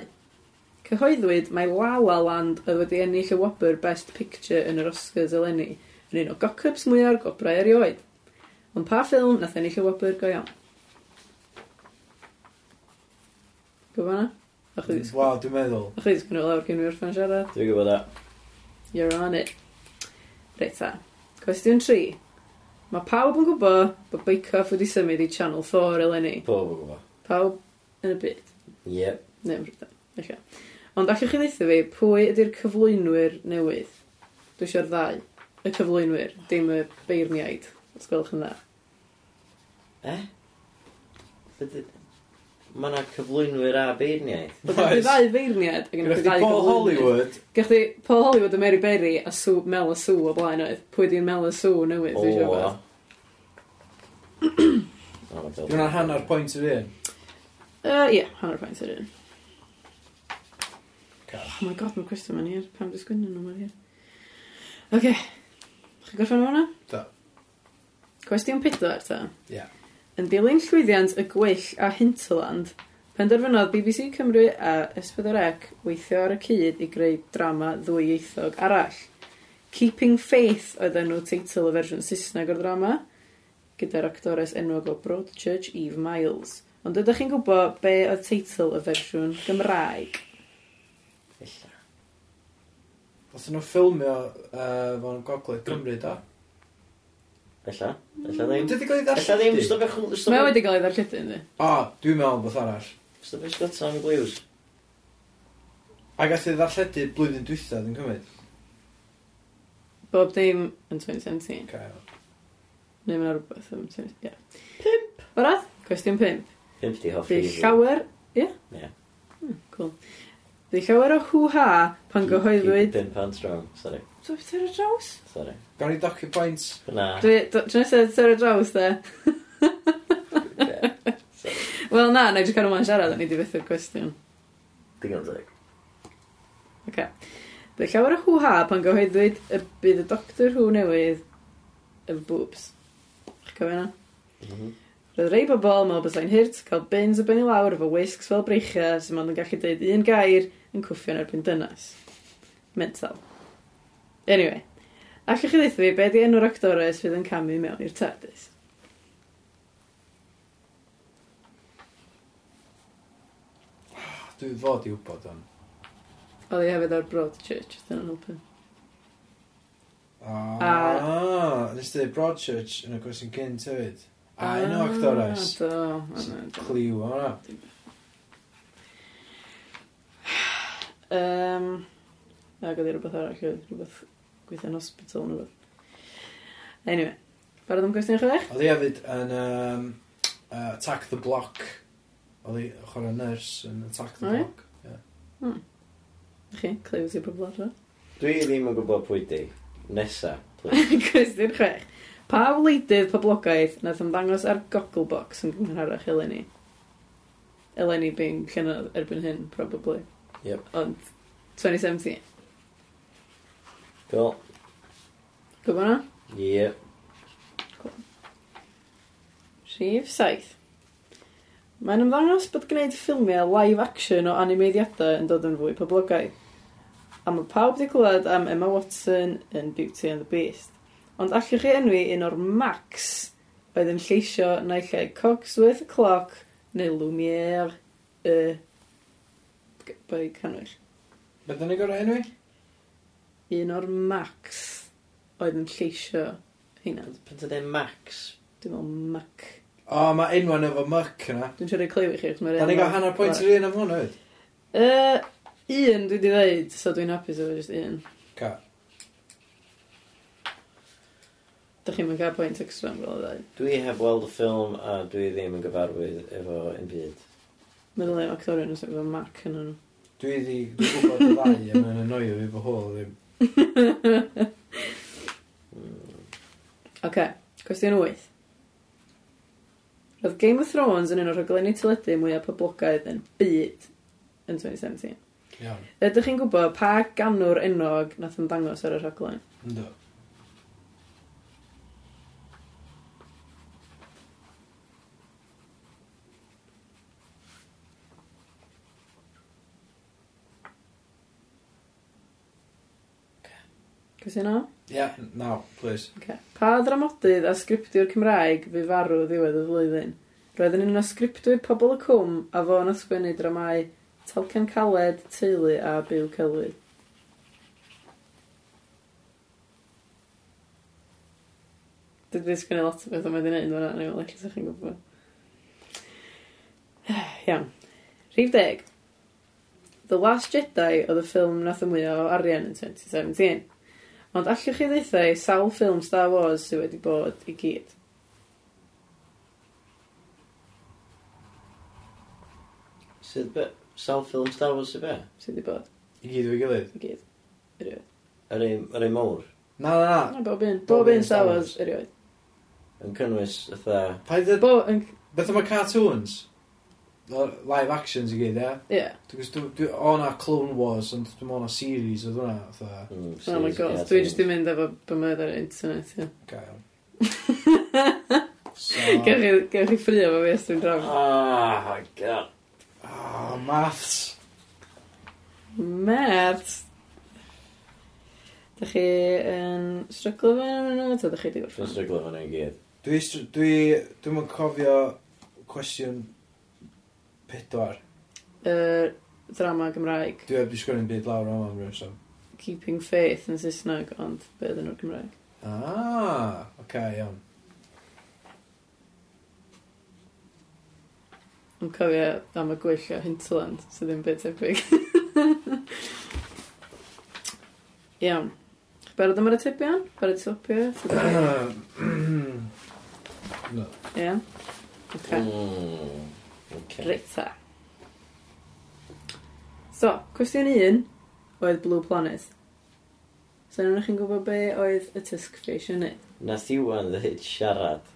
[SPEAKER 1] Cyhoeddwyd mae La La Land oedd wedi ennill y Whopper Best Picture yn yr Oscars eleni yn un o gocups mwyaf gobrau erioed. Ond pa ffilm nath ennill y Whopper go iawn? Gwbod na? Ach chi ddisgwyl?
[SPEAKER 3] Waw, dwi'n meddwl.
[SPEAKER 1] Ach chi ddisgwyl lawr cyn fi orffan siarad?
[SPEAKER 2] Dwi'n gwybod da.
[SPEAKER 1] You're on it. Reit ta. Cwestiwn 3. Mae pawb yn gwybod bod Bake-Off wedi symud i Channel 4 eleni.
[SPEAKER 2] Pob yn gwybod.
[SPEAKER 1] Pawb yn y byd.
[SPEAKER 2] Yep.
[SPEAKER 1] Neu yn Brydain. Eich Ond allwch chi ddeitha fi, pwy ydy'r cyflwynwyr newydd? Dwi eisiau'r ddau. Y cyflwynwyr, dim y beirniaid. Os gwelwch yn dda.
[SPEAKER 2] Eh? Bydde- Mae yna cyflwynwyr a beirniaeth.
[SPEAKER 1] Oedd gen i
[SPEAKER 3] Oes.
[SPEAKER 1] ddau feirniad ac yn
[SPEAKER 3] Gwna chdi Paul Hollywood.
[SPEAKER 1] Gwych chi Paul Hollywood y Mary Berry a Sue, Mel a Sue o blaen oedd. Pwy ydy'n Mel a Sue newydd? Dwi eisiau gweld.
[SPEAKER 2] Dwi'n
[SPEAKER 3] Dwi'n hanner pwynt yr un.
[SPEAKER 1] Yy, Ie, hanner pwynt yr un.
[SPEAKER 3] Cael.
[SPEAKER 1] Oh my god, mae'r cwestiwn ma'n hir. Pam di sgwynnu nhw ma'n hir? Oce. Okay. Chi'n gorffan efo hwnna?
[SPEAKER 3] Do.
[SPEAKER 1] Cwestiwn pedwar, ta.
[SPEAKER 3] Ie.
[SPEAKER 1] Yn dilyn llwyddiant y gwyll a hinterland, penderfynodd BBC Cymru a S4C weithio ar y cyd i greu drama ddwyieithog arall. Keeping Faith oedd enw teitl y fersiwn Saesneg o'r drama, gyda'r actores enwog o Broadchurch Eve Miles. Ond ydych chi'n gwybod be oedd teitl y fersiwn Gymraeg?
[SPEAKER 3] Oedden nhw ffilmio uh, fo'n gogledd Cymru, da?
[SPEAKER 2] Ella? Ella ddim?
[SPEAKER 3] Dwi wedi gael ei
[SPEAKER 2] Ella ddim?
[SPEAKER 3] ddarlledu?
[SPEAKER 2] Stopio chw...
[SPEAKER 1] Mae o
[SPEAKER 2] Stopio...
[SPEAKER 1] wedi gael ei ddarlledu, ynddi?
[SPEAKER 3] O, dwi'n meddwl beth arall.
[SPEAKER 2] Stopio sgota am glyws.
[SPEAKER 3] A gath ei ddarlledu blwyddyn dwytha, dwi'n cymryd.
[SPEAKER 1] Bob dim yn 2017.
[SPEAKER 3] Cael.
[SPEAKER 1] Neu mae'n rhywbeth am ti'n... Ie. Pimp! Barod? Cwestiwn pimp.
[SPEAKER 2] Pimp di hoffi.
[SPEAKER 1] Di llawer... Ie?
[SPEAKER 2] Ie.
[SPEAKER 1] Hmm, cool. Di llawer o hw-ha pan gyhoeddwyd...
[SPEAKER 2] Pimp and strong. Sorry.
[SPEAKER 1] Dwi'n tyr o draws?
[SPEAKER 2] Sorry.
[SPEAKER 3] Gawn ni docu pwynt.
[SPEAKER 2] Na.
[SPEAKER 1] Dwi'n tyr tyr o draws, de.
[SPEAKER 2] Ie.
[SPEAKER 1] Wel na, na i jyst cael ymlaen siarad, o'n i di fythu'r cwestiwn.
[SPEAKER 2] Digon teg.
[SPEAKER 1] Oce. Di llawer o hw-ha pan gyhoeddwyd y bydd
[SPEAKER 2] Mhm.
[SPEAKER 1] y doctor hw newydd... y boobs. Chi'n cofio na? Roedd rei bobl yn meddwl bysai'n hirt cael bins o bynnu lawr efo wisgs fel breichiau sy'n ond yn gallu dweud un gair yn cwffio yn erbyn dynas. Mental. Anyway, allwch chi ddeithio fi be di enw'r actores fydd yn camu mewn i'r TARDIS?
[SPEAKER 3] Dwi fod i wybod am.
[SPEAKER 1] Oedd hi hefyd ar Broadchurch, oedd hynna'n helpu.
[SPEAKER 3] Ah, nes ti Broadchurch yn y gwestiwn cynt hefyd. A
[SPEAKER 1] Ah,
[SPEAKER 3] un o actores.
[SPEAKER 1] Do, o, na, do.
[SPEAKER 3] Cliw o hwnna.
[SPEAKER 1] Um, ac oedd hi rhywbeth arall, oedd rhywbeth gweithio'n hospital neu rhywbeth. Anyway, barod am gwestiwn chi ddech?
[SPEAKER 3] Oedd hi hefyd yn um, uh, Attack the Block. Oedd hi chwarae nurse yn Attack the
[SPEAKER 1] O, ie?
[SPEAKER 3] Block. Ie.
[SPEAKER 1] Chi, clywed i'r pobl adro.
[SPEAKER 2] Dwi ddim yn gwybod pwy di. Nesa, please.
[SPEAKER 1] Cwestiwn chwech. Pa wleidydd poblogaeth nath ymddangos ar Gogglebox yn gynharach Eleni? Eleni being llynydd erbyn hyn, probably.
[SPEAKER 2] Yep.
[SPEAKER 1] Ond 2017.
[SPEAKER 2] Cool.
[SPEAKER 1] Gwybod hwnna?
[SPEAKER 2] Ie.
[SPEAKER 1] Rhif 7. Mae'n ymddangos bod gwneud ffilmiau live action o animeiddiadau yn dod yn fwy poblogaidd. A mae pawb wedi clywed am Emma Watson yn Beauty and the Beast. Ond allwch chi enwi un o'r Max oedd yn lleisio naill ai Cogsworth y Cloc neu Lumiere y... g- Bai canwyll.
[SPEAKER 3] Beth yn ei gorau enw i?
[SPEAKER 1] Un o'r Max oedd yn lleisio heina.
[SPEAKER 2] Pan ta dweud Max?
[SPEAKER 1] Dwi'n meddwl Mac.
[SPEAKER 3] O, mae enwan efo muck yna.
[SPEAKER 1] Dwi'n siarad cliw i chi. achos mae'r
[SPEAKER 3] Da ni
[SPEAKER 1] enw-
[SPEAKER 3] gael hanner pwynt i'r un am hwn hefyd.
[SPEAKER 1] Uh, un dwi wedi dweud, so dwi'n hapus efo just un.
[SPEAKER 3] Ca.
[SPEAKER 1] Dych chi'n mynd cael pwynt extra am gael o ddau.
[SPEAKER 2] Dwi heb weld y ffilm a dwi ddim yn gyfarwydd efo un byd.
[SPEAKER 1] Mae'n dweud actorion os efo Mac yn nhw.
[SPEAKER 3] Dwi di dwi'n gwybod y ddau a mae'n anoio fi fy hôl ddim.
[SPEAKER 1] Ok, cwestiwn 8. Roedd Game of Thrones yn un o'r rhaglenni teledu mwyaf poblogaidd yn byd yn 2017.
[SPEAKER 3] Iawn.
[SPEAKER 1] Ydych chi'n gwybod pa ganwr enwog nath yn dangos ar y rhaglen?
[SPEAKER 3] Ynddo.
[SPEAKER 1] Cwestiwn 9?
[SPEAKER 3] Ia, naw, please.
[SPEAKER 1] Okay. Pa dramodydd a sgriptiwr Cymraeg fu farw ddiwedd y flwyddyn? Roedd yn un o sgriptwyr pobl y cwm a fo yn ysgrifennu dramau Talcan Caled, Teulu a Byw Celwydd. Dwi wedi sgwennu lot o beth o'n mynd i wneud fyna, ni'n meddwl eich chi'n gwybod. Iawn. Rhif deg. The Last Jedi oedd y ffilm nath y mwyaf o arian yn 2017. Ond allwch chi ddeithau sawl ffilm Star Wars sydd wedi bod i gyd.
[SPEAKER 2] Sydd be? Sawl ffilm Star Wars sydd be?
[SPEAKER 1] Sydd wedi bod
[SPEAKER 3] I gyd efo'i gilydd.
[SPEAKER 1] i gyd. Erioed.
[SPEAKER 2] Yr un yr un mawr.
[SPEAKER 3] Na, na, na.
[SPEAKER 1] Na, bob un. Ah, Bob un Star Wars, erioed.
[SPEAKER 2] Yn cynnwys, ytha...
[SPEAKER 3] Paid y...
[SPEAKER 1] Bob yn...
[SPEAKER 3] Beth yma cartoons? O, Live actions i gyd, ia?
[SPEAKER 1] Ie.
[SPEAKER 3] Dwi'n gwrs, dwi... O na Clone Wars, ond dwi'n mwyn o series oedd hwnna, fatha.
[SPEAKER 2] hmm,
[SPEAKER 1] Oh my god, dwi jyst i mynd efo bymryd ar internet, ie.
[SPEAKER 3] Gael.
[SPEAKER 1] Ah. Gewch
[SPEAKER 3] So...
[SPEAKER 1] chi- gewch chi ffrio efo fi os dwi'n drafod.
[SPEAKER 2] Ah, god.
[SPEAKER 3] Ah, maths.
[SPEAKER 1] Ah. Mert! Dych chi yn stryglo fe yn nhw, ta dych chi wedi
[SPEAKER 2] Dwi'n
[SPEAKER 1] gorffen?
[SPEAKER 2] stryglo fan i gyd.
[SPEAKER 3] Dwi... str- Dwi... Dwi'n mwyn cofio cwestiwn pedwar.
[SPEAKER 1] Yr drama Gymraeg,
[SPEAKER 3] Dwi heb di sgwrdd yn byd lawr am am rhywbeth.
[SPEAKER 1] Keeping Faith yn Saesneg, ond be ydyn nhw'r Gymraeg?
[SPEAKER 3] Ah, oce, okay, iawn.
[SPEAKER 1] Yn cofio am y gwyll o Hinterland, sydd ddim byd tebyg. Iawn. Chi'n barod am yr atebion? Barod i swopio? Ti'n barod?
[SPEAKER 3] No.
[SPEAKER 1] Ie. Ocê.
[SPEAKER 2] Mm, Okay.
[SPEAKER 1] Rita. So, cwestiwn un oedd Blue Planet. So, nhw'n chi'n gwybod be oedd y Tuskfish yn ei?
[SPEAKER 2] Nath Iwan ddweud siarad.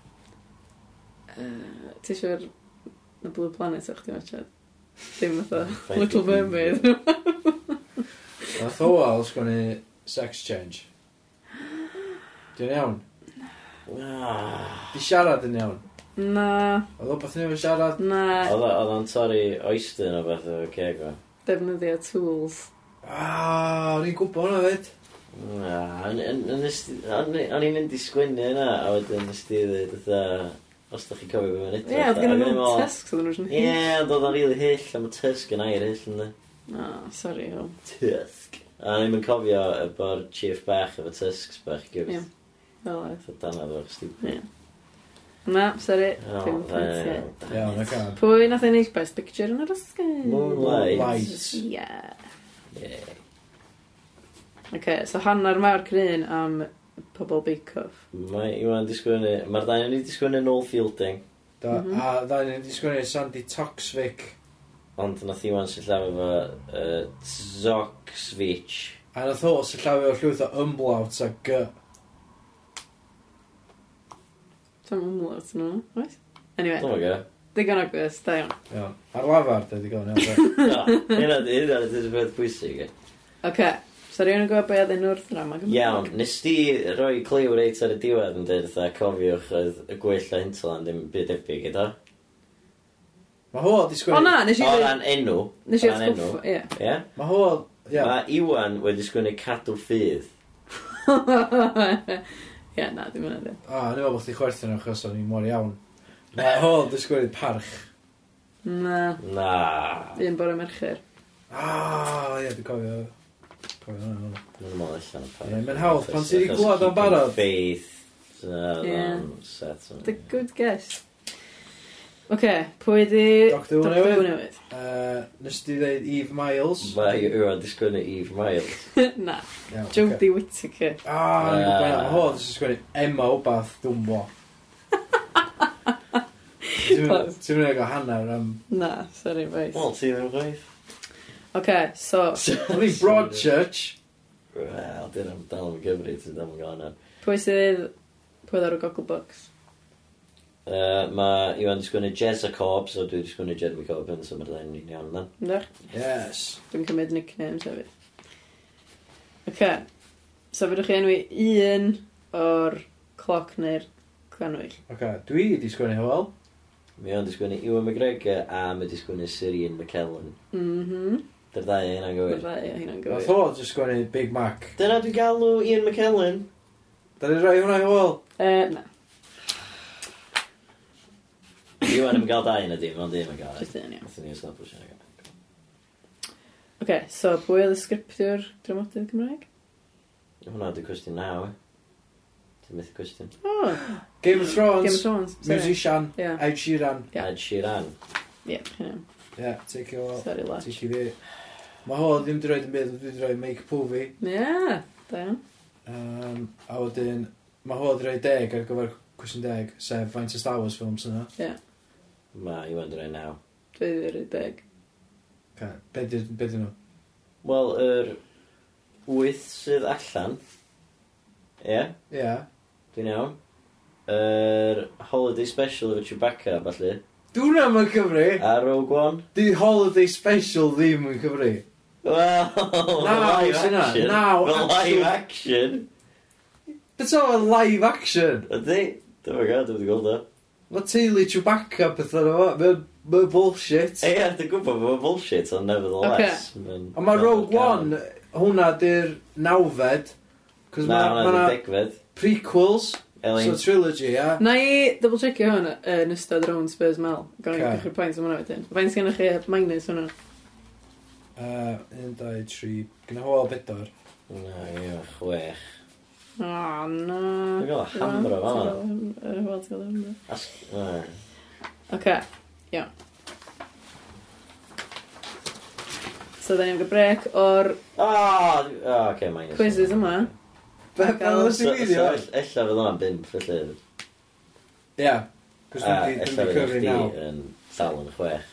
[SPEAKER 1] Uh, Ti eisiau'r y Blue Planet o'ch ti'n meddwl? Dim fatha
[SPEAKER 2] Thank
[SPEAKER 1] Little
[SPEAKER 2] you.
[SPEAKER 1] Mermaid.
[SPEAKER 3] Nath Owl sgwni sex change. Dwi'n iawn.
[SPEAKER 2] Ah,
[SPEAKER 3] Di siarad yn iawn.
[SPEAKER 1] Na,
[SPEAKER 3] Oedd o'n beth ni'n siarad?
[SPEAKER 1] na,
[SPEAKER 2] Oedd o- oedd o'n torri oestyn o beth o ceg o.
[SPEAKER 1] defnyddio tools.
[SPEAKER 3] Ah, o'n i'n gwybod hwnna fyd.
[SPEAKER 2] Na, Ah, o'n- o'n- o'n nes di- o'n i- o'n i'n mynd i sgwynnu yna, a wedyn nes di ddweud, fatha, os da chi cofio beth mae'n
[SPEAKER 1] Ie,
[SPEAKER 2] edrych.
[SPEAKER 1] yeah, oedd
[SPEAKER 2] fatha,
[SPEAKER 1] gen
[SPEAKER 2] ac o'n i'n
[SPEAKER 1] nhw
[SPEAKER 2] meddwl,
[SPEAKER 1] tesg sydd yn rhywun
[SPEAKER 2] Ie, ond oedd o'n rili hyll, am y tysg yn air hyll yna.
[SPEAKER 1] Na, sori, o.
[SPEAKER 2] Tysg. A o'n i'n mynd cofio y bo'r chief bach efo tysgs bach
[SPEAKER 1] Ie.
[SPEAKER 2] gyfres.
[SPEAKER 1] Fel oedd.
[SPEAKER 2] Fatha dana ddwch
[SPEAKER 1] Ie.
[SPEAKER 2] stupid. Oh,
[SPEAKER 1] Na, sori,
[SPEAKER 2] O,
[SPEAKER 1] dim
[SPEAKER 2] fel,
[SPEAKER 1] pwyntiau.
[SPEAKER 2] damn
[SPEAKER 3] Iawn,
[SPEAKER 2] it.
[SPEAKER 3] oce.
[SPEAKER 1] Pwy nath ei wneud best picture yn yr Oscar?
[SPEAKER 2] Moonlight.
[SPEAKER 3] Lights.
[SPEAKER 1] Ie.
[SPEAKER 2] Ie.
[SPEAKER 1] Oce, so hanner mawr cryn am pobl bake-off.
[SPEAKER 2] Mae Iwan di sgwynnu, mae'r dain yn ei di sgwynnu Noel Fielding,
[SPEAKER 3] Da,
[SPEAKER 1] Mhm.
[SPEAKER 3] a da ni'n di sgwennu Sandy Toxvic.
[SPEAKER 2] ond nath Iwan sy'n llaw efo uh, Zoxvich.
[SPEAKER 3] A nath o syllawio llwyth o ymblawt a gy.
[SPEAKER 1] Tam ymlaet nhw, oes? Anyway,
[SPEAKER 2] Dwi'n gwybod.
[SPEAKER 1] digon agos, da iawn.
[SPEAKER 3] Iawn. Ar lafar, da di gael. iawn,
[SPEAKER 2] Hynna hynna ydy'r peth pwysig. ie.
[SPEAKER 1] Oce, so rhywun yn gwybod be oedd enw'r drama Gymraeg?
[SPEAKER 2] Iawn, nes di roi cliw reit ar y diwedd yn dweud fatha cofiwch oedd y gwyll a hintalan ddim byd ebyg gyda.
[SPEAKER 3] da. Mae ho di
[SPEAKER 1] O
[SPEAKER 3] sgwennu...
[SPEAKER 1] na, nes i
[SPEAKER 2] O
[SPEAKER 1] ddweud...
[SPEAKER 2] ran enw,
[SPEAKER 1] Nes i
[SPEAKER 2] o ran
[SPEAKER 1] ddweud
[SPEAKER 2] enw.
[SPEAKER 1] ie.
[SPEAKER 2] ie?
[SPEAKER 3] Mae ho... Ia.
[SPEAKER 2] Mae Iwan wedi sgwynnu cadw ffydd.
[SPEAKER 1] Ie, na, ddim yn edrych.
[SPEAKER 3] A, ni'n meddwl bod chdi chwerthu'n achos o'n i'n mor iawn. Mae ho di sgwennu parch.
[SPEAKER 1] Na,
[SPEAKER 2] Na,
[SPEAKER 1] un bore mercher.
[SPEAKER 3] Ah, ia, di cofio. Cofio hwnna.
[SPEAKER 2] Mae'n
[SPEAKER 3] hwnna.
[SPEAKER 2] ymwneud allan pa.
[SPEAKER 3] Ie, mae'n hawdd pan ti 'di glwad o'n barod.
[SPEAKER 2] Faith. um,
[SPEAKER 1] Ie. The
[SPEAKER 2] Ie.
[SPEAKER 1] good guess. Oce, pwy di...
[SPEAKER 3] Doctor Who
[SPEAKER 1] Doctor
[SPEAKER 3] newydd?
[SPEAKER 1] newydd?
[SPEAKER 3] Yy, Nes di ddeud Eve Miles.
[SPEAKER 2] Mae Iwan di E sgwynnu Eve Miles.
[SPEAKER 1] Na,
[SPEAKER 3] Iawn, ocê.
[SPEAKER 1] Jodie Whittaker.
[SPEAKER 3] Ah, ni'n gwybod hynna.
[SPEAKER 2] Ah.
[SPEAKER 3] Mae ho di sgwennu Emma o bath dwmbo. Ti'n mynd
[SPEAKER 1] Close.
[SPEAKER 3] i gael hanner am...
[SPEAKER 1] Na, sorry, boys.
[SPEAKER 2] Wel, ti ddim chwaith.
[SPEAKER 1] Oce, so,
[SPEAKER 3] O'n i Broadchurch.
[SPEAKER 2] Wel, dyn am dal am Gymru, ti'n dal am gana.
[SPEAKER 1] pwy sydd... Pwy ddod o'r Goggle Box?
[SPEAKER 2] Mae Iwan di sgwynnu Jezza Cobb, so dwi di sgwynnu Jeremy Corbyn, so mae'r ddain ni'n iawn dan.
[SPEAKER 1] Ynda?
[SPEAKER 3] Yes.
[SPEAKER 1] Dwi'n cymryd nicknames hefyd. Oce, so fydwch chi enwi un o'r cloc neu'r clanwyll.
[SPEAKER 3] Ok, dwi di sgwennu Hywel.
[SPEAKER 2] Mae Iwan di sgwynnu Iwan McGregor a mae di sgwynnu Syrian McKellen.
[SPEAKER 1] Mhm.
[SPEAKER 2] Dy'r ddau hynna'n
[SPEAKER 1] Mae'r
[SPEAKER 2] gywir.
[SPEAKER 1] ddau o hynna'n
[SPEAKER 3] Nath
[SPEAKER 1] gywir.
[SPEAKER 3] o di sgwennu Big Mac.
[SPEAKER 2] Dyna dwi'n galw Ian McKellen.
[SPEAKER 3] Da ni roi hwnna Hywel.
[SPEAKER 1] Uh, na,
[SPEAKER 2] Iwan yn gael dau yn y dim, ond un yn gael.
[SPEAKER 1] jyst un iawn.
[SPEAKER 2] Nath ni'n establish yn y gael.
[SPEAKER 1] Oce, so pwy oedd y sgriptiwr dramodydd Cymraeg?
[SPEAKER 2] Hwna dy cwestiwn naw, e. Ti'n methu cwestiwn.
[SPEAKER 1] O, oh, Game
[SPEAKER 3] Game of
[SPEAKER 1] of
[SPEAKER 3] Thrones.
[SPEAKER 1] Thrones. Sorry.
[SPEAKER 3] Musician.
[SPEAKER 1] Ie,
[SPEAKER 3] Ed Sheeran.
[SPEAKER 1] Ie.
[SPEAKER 2] Ed Sheeran.
[SPEAKER 1] ie, hynna.
[SPEAKER 3] Ie, take it all.
[SPEAKER 1] Sorry, lad.
[SPEAKER 3] Take it fi. Mae ho ddim di roed yn byd, ond dwi di roi Mike Povey.
[SPEAKER 1] Ie, da iawn.
[SPEAKER 3] Um, a wedyn, mae ho di roi deg ar gyfer cwestiwn deg, sef faint o Star Wars films yna.
[SPEAKER 2] Mae Iwan dwi'n naw.
[SPEAKER 1] Dwi ddim yn deg.
[SPEAKER 3] Ok, be di be 'dyn nhw?
[SPEAKER 2] Wel, yr wyth sydd allan. Ie, yeah,
[SPEAKER 3] Ie.
[SPEAKER 2] dwi'n iawn. Yr holiday special efo Chewbacca, falle.
[SPEAKER 3] Dwi'n am yn Cymru.
[SPEAKER 2] A Rogue One.
[SPEAKER 3] Di holiday special ddim yn Cymru.
[SPEAKER 2] Wel,
[SPEAKER 3] Naw
[SPEAKER 2] live
[SPEAKER 3] sy'n na,
[SPEAKER 2] action.
[SPEAKER 3] naw
[SPEAKER 2] Fel
[SPEAKER 3] actual-
[SPEAKER 2] live action.
[SPEAKER 3] Beth o'n live action?
[SPEAKER 2] Ydy? Dwi'n gwybod, dwi'n gweld o.
[SPEAKER 3] Mae teulu Chewbacca beth o'n efo. Mae'n ma bullshit.
[SPEAKER 2] Ie, dwi'n gwybod bod o'n bullshit, ond nevertheless. ma'n-
[SPEAKER 3] Ond mae
[SPEAKER 2] ma'n
[SPEAKER 3] Rogue
[SPEAKER 2] canon.
[SPEAKER 3] One, hwnna di'r nawfed. Cos
[SPEAKER 2] Na,
[SPEAKER 3] mae
[SPEAKER 2] hwnna
[SPEAKER 3] ma
[SPEAKER 2] dwi'n degfed.
[SPEAKER 3] prequels,
[SPEAKER 2] Elin,
[SPEAKER 3] so trilogy, ia.
[SPEAKER 1] Na i double checkio hwn yy, yn ystod rown Spurs Mel. Gwna i
[SPEAKER 3] Oce.
[SPEAKER 1] ddechrau pwynt am hwnna wedyn. Faint sy'n chi minus hwnna?
[SPEAKER 3] Uh, 1, 2, 3, gyda hwyl bedwar.
[SPEAKER 2] Na, ie, chwech.
[SPEAKER 1] O, na.
[SPEAKER 2] Dwi'n gael hamro fan yna.
[SPEAKER 1] Wel, ti'n gael hamro.
[SPEAKER 2] As- na.
[SPEAKER 1] Oce, iawn. So, da ni'n gael brec o'r...
[SPEAKER 2] Ah, dwi- ah, oce, minus.
[SPEAKER 1] Quizzes yma.
[SPEAKER 3] Be,
[SPEAKER 1] Ac
[SPEAKER 3] pan
[SPEAKER 1] al-
[SPEAKER 3] oes i
[SPEAKER 2] So-
[SPEAKER 3] fi
[SPEAKER 2] so
[SPEAKER 3] ddiwa?
[SPEAKER 2] ell- Ella fydd hwnna'n bimp, felly.
[SPEAKER 3] Ia, cos
[SPEAKER 2] A,
[SPEAKER 3] dwi'n
[SPEAKER 2] Ella
[SPEAKER 3] dwi'n
[SPEAKER 2] fydd
[SPEAKER 3] cyfri
[SPEAKER 2] Ah, chdi
[SPEAKER 3] naw.
[SPEAKER 2] yn llawn yn chwech.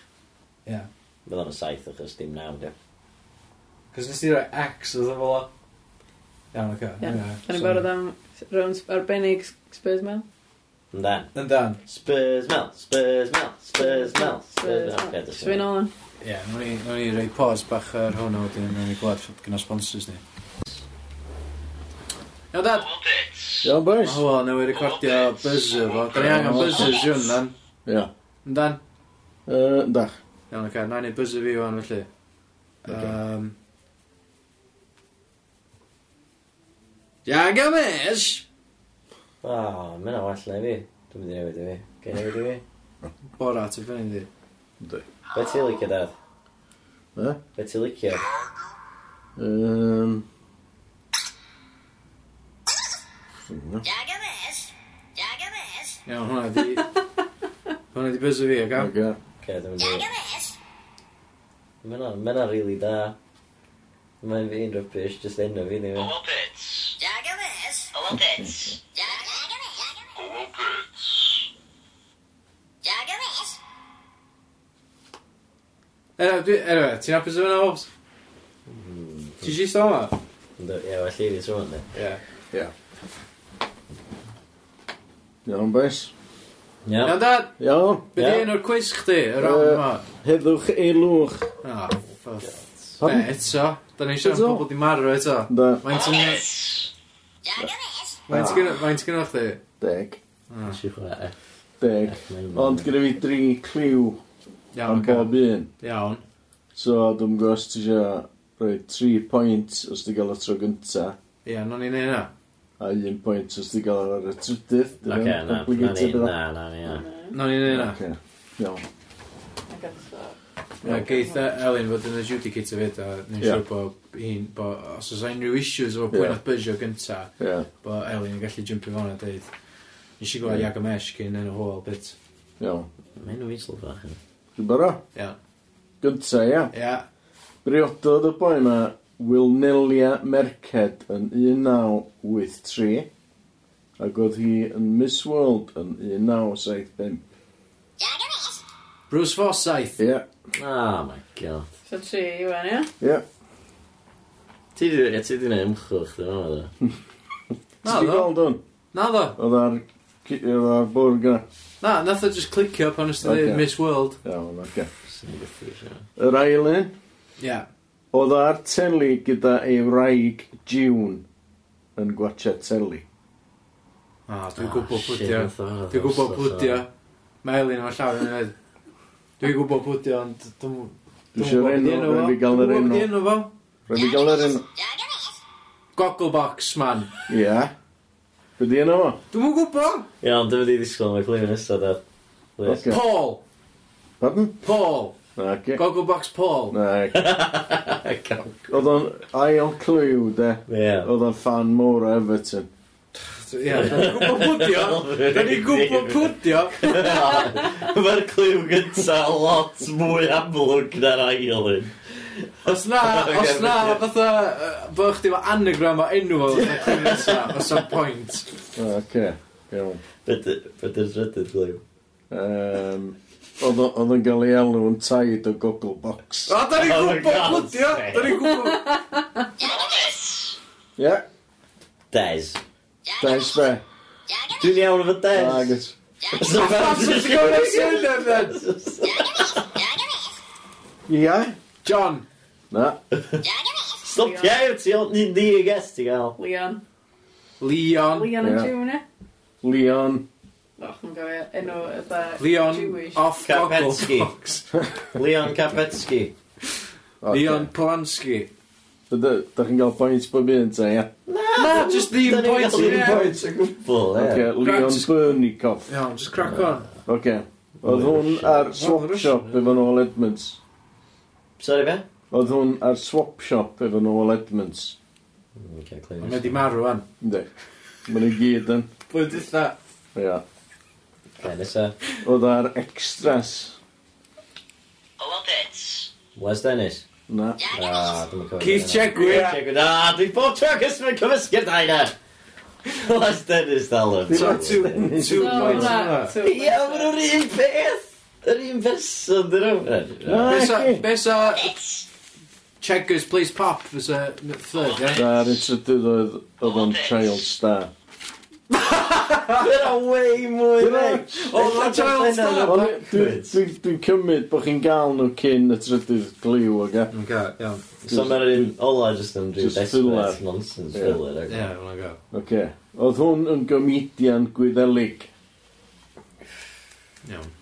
[SPEAKER 3] Ia,
[SPEAKER 2] Fydd hwnna'n saith achos dim naw, di.
[SPEAKER 3] cos nes i roi X oedd efo lo. Iawn, oce.
[SPEAKER 1] Ia,
[SPEAKER 3] hwnna,
[SPEAKER 1] Da ni'n
[SPEAKER 3] so-
[SPEAKER 1] barod am rown sp- arbennig s- Spurs Mel.
[SPEAKER 2] Yndan.
[SPEAKER 3] Yn dan.
[SPEAKER 2] Spurs mel, Spurs mel, Spurs mel, Spurs mel. Oce,
[SPEAKER 1] Spurs Mel.
[SPEAKER 2] dyna-
[SPEAKER 1] Oce,
[SPEAKER 3] Ie, nhw'n i- nhw'n i roi pause bach ar hwn a wedyn nhw'n i gwlad gyda sponsors ni. Iawn, dad.
[SPEAKER 4] Double Dits. Iawn, boys?
[SPEAKER 3] O, wel, newid recordio buzzer fo. Da ni angen buzzer siwn, dan.
[SPEAKER 4] Ia.
[SPEAKER 3] Dan.
[SPEAKER 4] Yy, da.
[SPEAKER 3] Iawn, oce, na ni buzzer fi o'n felly. Um, Gilgamesh!
[SPEAKER 2] O, mae yna well na fi. Dwi'n mynd i newid i fi. Ga'i newid i fi?
[SPEAKER 3] Bora, ti'n ffynu ni?
[SPEAKER 4] Ynddi.
[SPEAKER 2] Be ti'n licio, dad?
[SPEAKER 4] Ie?
[SPEAKER 2] Be ti'n licio?
[SPEAKER 4] Yym...
[SPEAKER 3] Iawn, hwnna di... Hwnna di buzzer fi, oce?
[SPEAKER 4] Oce.
[SPEAKER 2] Oce, dwi'n mynd i fi. Mae yna, mae yna rili da. Mae'n fi'n rybys, jyst enw fi, ni fi.
[SPEAKER 3] Anyway, dwi- anyway, ti'n hapus o fyna, Hobbs? Ti'n siist o yma?
[SPEAKER 2] Hmm. Ie, well i fi sôn, ne.
[SPEAKER 3] Ie.
[SPEAKER 4] Ia. Iawn, boys?
[SPEAKER 2] Iawn.
[SPEAKER 3] Iawn, dad,
[SPEAKER 4] Iawn.
[SPEAKER 3] be di
[SPEAKER 2] Ie.
[SPEAKER 3] enw'r quiz chdi, y round
[SPEAKER 4] Yy.
[SPEAKER 3] yma?
[SPEAKER 4] Heddwch eilwch.
[SPEAKER 3] Ah, fuck. Be,
[SPEAKER 4] Pam?
[SPEAKER 3] eto? Da ni'n siarad
[SPEAKER 4] Eto?
[SPEAKER 3] am pobl di marw eto.
[SPEAKER 4] Da.
[SPEAKER 3] Mae'n ti'n... Mae'n ti'n Mae'n ti'n gynnwch chdi?
[SPEAKER 4] Deg.
[SPEAKER 3] Ah,
[SPEAKER 2] Siwch o e.
[SPEAKER 4] Deg. Ond gyda fi dri cliw am
[SPEAKER 3] Iawn,
[SPEAKER 4] bob
[SPEAKER 3] oce.
[SPEAKER 4] un.
[SPEAKER 3] Iawn.
[SPEAKER 4] So, dwi'n gwybod os ti eisiau rhoi 3 pwynt os ti gael y tro gynta,
[SPEAKER 3] Ie, no ni'n neud hynna.
[SPEAKER 4] a 1 pwynt os ti gael ar y trydydd. Dyna
[SPEAKER 2] Oce, na, na ni,
[SPEAKER 4] complicated yna.
[SPEAKER 2] na, na ni, na.
[SPEAKER 3] No ni'n neud hynna.
[SPEAKER 4] Ocê. Iawn.
[SPEAKER 3] Ie, Geith e- Elin fod yn adjudicator fyd, a ni'n
[SPEAKER 4] Ie.
[SPEAKER 3] siŵr bod hi'n... bo- Os oes unrhyw issues efo
[SPEAKER 4] Ie.
[SPEAKER 3] pwynt bysio gyntaf,
[SPEAKER 4] Ie.
[SPEAKER 3] Bo Elin yn gallu jumpio fan a dweud Nes i gweld Yagamesh cyn yn y hôl bit
[SPEAKER 4] Iawn.
[SPEAKER 2] Mae'n nhw'n weasel bach yn.
[SPEAKER 4] Dwi'n barod?
[SPEAKER 3] Ia
[SPEAKER 4] Gynta, ia.
[SPEAKER 3] Ia
[SPEAKER 4] Briododd y boi yma Wilnelia Merced yn 1983 ac oedd hi yn Miss World yn 1975.
[SPEAKER 3] Bruce Forsyth
[SPEAKER 4] Ie,
[SPEAKER 2] Oh my god.
[SPEAKER 1] So tri i wen, ia?
[SPEAKER 4] ie.
[SPEAKER 2] Ti di, e, ti di na ymchwch, dwi'n meddwl, da.
[SPEAKER 3] Na, ddo.
[SPEAKER 4] Ti'n gweld hwn?
[SPEAKER 3] Na ddo
[SPEAKER 4] Oedd ar, ci- oedd ar bwrdd gyna.
[SPEAKER 3] Na, nath o just clicio pan ysdi
[SPEAKER 4] Ocê.
[SPEAKER 3] okay. Miss World
[SPEAKER 4] Iawn, oce.
[SPEAKER 2] Swn i'n gwybod eisiau.
[SPEAKER 4] Yr ailyn,
[SPEAKER 3] Ia
[SPEAKER 4] oedd o ar teli gyda ei wraig June yn gwatcha teli.
[SPEAKER 3] ah, Dwi'n gwybod pwdio Dwi'n gwybod pwdio Mae Elin o'r llawer yn dweud Dwi'n gwybod pwdio ond Dwi'n
[SPEAKER 4] Dwi eisiau
[SPEAKER 3] be' 'di
[SPEAKER 4] enw, rhaid fi gael yr
[SPEAKER 3] Dwi'n
[SPEAKER 4] enw.
[SPEAKER 3] gwybod enw fo
[SPEAKER 4] Rhaid fi gael yr enw.
[SPEAKER 3] Gogglebox man
[SPEAKER 4] Ie. Be di enw fo?
[SPEAKER 3] Dwi'n gwybod
[SPEAKER 2] Iawn, dwi'n mynd i ddisgwyl mae'r clif yn ystod ar. Please.
[SPEAKER 4] Ocê.
[SPEAKER 3] Paul
[SPEAKER 4] Pardon?
[SPEAKER 3] Paul
[SPEAKER 4] Na, oce.
[SPEAKER 3] Gogglebox Paul
[SPEAKER 4] Na, oce.
[SPEAKER 2] Gael.
[SPEAKER 4] Oedd o'n ail clyw, de.
[SPEAKER 2] Ie.
[SPEAKER 4] Oedd o'n fan mowr o Everton.
[SPEAKER 3] Ia Dwi'n gwybod pwdio Dwi'n gwybod pwdio
[SPEAKER 2] Mae'r cliw gynta lot mwy amlwg na'r ail un.
[SPEAKER 3] Os na, os na, fatha, yy, bo chdi efo anagram o enw o fatha cliw nesa, os o'n pwynt.
[SPEAKER 4] O, Oce, iawn.
[SPEAKER 2] Bydy'r drydydd cliw.
[SPEAKER 4] Yym, Oedd o- oedd o'n gael ei elw yn taid o Google Box.
[SPEAKER 3] O, da ni'n
[SPEAKER 2] Oh my
[SPEAKER 3] gwybod
[SPEAKER 2] God,
[SPEAKER 3] pwdio,
[SPEAKER 2] sake.
[SPEAKER 3] da ni'n gwybod.
[SPEAKER 4] Ie,
[SPEAKER 2] Des.
[SPEAKER 4] da i sbe.
[SPEAKER 2] Dwi'n iawn efo des.
[SPEAKER 4] Agus.
[SPEAKER 2] So
[SPEAKER 3] Os
[SPEAKER 2] fel-
[SPEAKER 3] oes gwybod ei sy'n edrych.
[SPEAKER 4] Ie?
[SPEAKER 3] John,
[SPEAKER 4] Na.
[SPEAKER 2] Stop iawn, ti ond ni'n ni y ges ti gael.
[SPEAKER 1] Leon.
[SPEAKER 3] Leon,
[SPEAKER 1] Leon yn
[SPEAKER 4] Ie.
[SPEAKER 1] June, ia?
[SPEAKER 4] Leon.
[SPEAKER 1] Och, yn gofio enw yda
[SPEAKER 3] Leon,
[SPEAKER 1] Jewish.
[SPEAKER 3] off
[SPEAKER 2] Kapetsky.
[SPEAKER 3] Gogglebox.
[SPEAKER 2] Leon Kapetsky.
[SPEAKER 4] Oce.
[SPEAKER 3] Leon Polanski.
[SPEAKER 4] Dy- Da chi'n gael pwynt bob un, ta, ie?
[SPEAKER 3] Na, just ddim pwynt.
[SPEAKER 2] Ddim
[SPEAKER 3] ie.
[SPEAKER 2] pwynt o gwbl, ie.
[SPEAKER 4] Oce, Leon
[SPEAKER 3] Grant.
[SPEAKER 4] Burnikoff.
[SPEAKER 3] Iawn, just crack on.
[SPEAKER 4] Oce. Oedd hwn ar swap shop efo Noel Edmonds.
[SPEAKER 2] Sorry fe?
[SPEAKER 4] Oedd hwn ar swap shop efo Noel Edmonds.
[SPEAKER 2] Oce, cliw.
[SPEAKER 3] Mae di marw an.
[SPEAKER 4] Ynddi. Mae'n i gyd yn.
[SPEAKER 3] Pwy di dda?
[SPEAKER 4] Ie.
[SPEAKER 2] Oce, nesa.
[SPEAKER 4] Oedd ar extras.
[SPEAKER 2] Wes Dennis.
[SPEAKER 4] Na.
[SPEAKER 2] Ah, dwi'm yn cofio
[SPEAKER 3] Keith
[SPEAKER 2] hynna.
[SPEAKER 3] Chegwin.
[SPEAKER 2] Keith Chegwin. Ah, dwi bob tro cysgu'n cymysgu'r daina. Wes Dennis dal yn.
[SPEAKER 3] So, two, two
[SPEAKER 1] So,
[SPEAKER 3] points.
[SPEAKER 1] hwnna,
[SPEAKER 3] yna.
[SPEAKER 1] two
[SPEAKER 2] Ie, maen
[SPEAKER 1] points.
[SPEAKER 2] nhw'r un peth. Yr un person, dyn nhw.
[SPEAKER 4] Na,
[SPEAKER 3] Be sa-
[SPEAKER 4] oce.
[SPEAKER 3] Be sa... Checkers, please pop, fysa third, ie?
[SPEAKER 4] Dar yn trydydd oedd oedd o'n child star.
[SPEAKER 2] Mae'n Mae'n way mwy
[SPEAKER 4] Dyna-
[SPEAKER 2] rich.
[SPEAKER 3] Oedd o'n child star.
[SPEAKER 4] Ond dwi-
[SPEAKER 2] Backwards.
[SPEAKER 4] dwi- Dwi'n cymryd bod chi'n gael nhw cyn y trydydd gliw o'r gael.
[SPEAKER 3] Yn gael, iawn.
[SPEAKER 2] So mae'r un ola just yn rhyw
[SPEAKER 4] Just
[SPEAKER 2] desperate nonsense
[SPEAKER 4] Ie.
[SPEAKER 2] filler.
[SPEAKER 3] Ie,
[SPEAKER 2] ac-
[SPEAKER 3] yn gael.
[SPEAKER 4] Oce. Oedd hwn yn gomedian gwyddelig.
[SPEAKER 3] Iawn.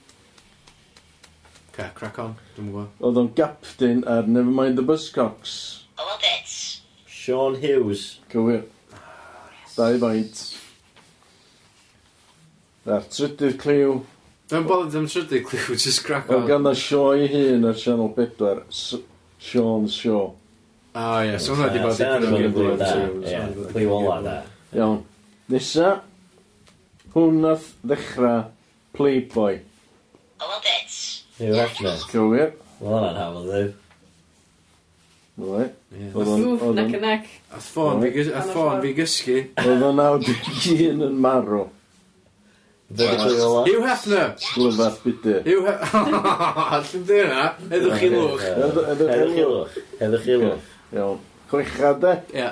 [SPEAKER 3] Ca, crack on, dwi'n gwybod.
[SPEAKER 4] Oedd o'n gapten ar Nevermind the Buzzcocks.
[SPEAKER 2] Sean Hughes.
[SPEAKER 4] Cywir. Dau faint. A'r trydydd cliw.
[SPEAKER 3] Dwi'n bod ddim trydy cliw, just crack
[SPEAKER 4] Oedd
[SPEAKER 3] on.
[SPEAKER 4] gan y sioe ei hun ar Sianel 4, S- Sean's Show.
[SPEAKER 3] O ie, Ah, so hwnna di bod
[SPEAKER 2] Sa-
[SPEAKER 3] dipyn
[SPEAKER 2] sa-
[SPEAKER 3] o
[SPEAKER 2] sa-
[SPEAKER 3] gyflym,
[SPEAKER 2] da,
[SPEAKER 3] so-
[SPEAKER 2] ie,
[SPEAKER 3] so-
[SPEAKER 2] Cliw ola da.
[SPEAKER 4] Iawn. Nesa. Hwn nath ddechrau Playboy.
[SPEAKER 2] Rhyw hefna.
[SPEAKER 4] Cywir.
[SPEAKER 2] Wel, hwnna'n hawdd dweud.
[SPEAKER 4] Oedd
[SPEAKER 3] Ie.
[SPEAKER 4] Oedd o'n-
[SPEAKER 1] Wff,
[SPEAKER 4] oedd
[SPEAKER 1] neck
[SPEAKER 4] o'n-
[SPEAKER 1] and neck.
[SPEAKER 3] A ffôn fi gys- a ffôn fi gysgu.
[SPEAKER 4] oedd o'n 91 yn marw.
[SPEAKER 2] Dyna cliw ola.
[SPEAKER 3] Hugh Hefner!
[SPEAKER 4] Glyfath bydyr.
[SPEAKER 3] Hugh Hefner! Llym di hynna, edrych chi lwch.
[SPEAKER 4] Edd- edrych i
[SPEAKER 2] Edwch i
[SPEAKER 4] lwch.
[SPEAKER 2] lwch. Edwch i lwch.
[SPEAKER 4] Iawn. Chwechad e.
[SPEAKER 3] Ie,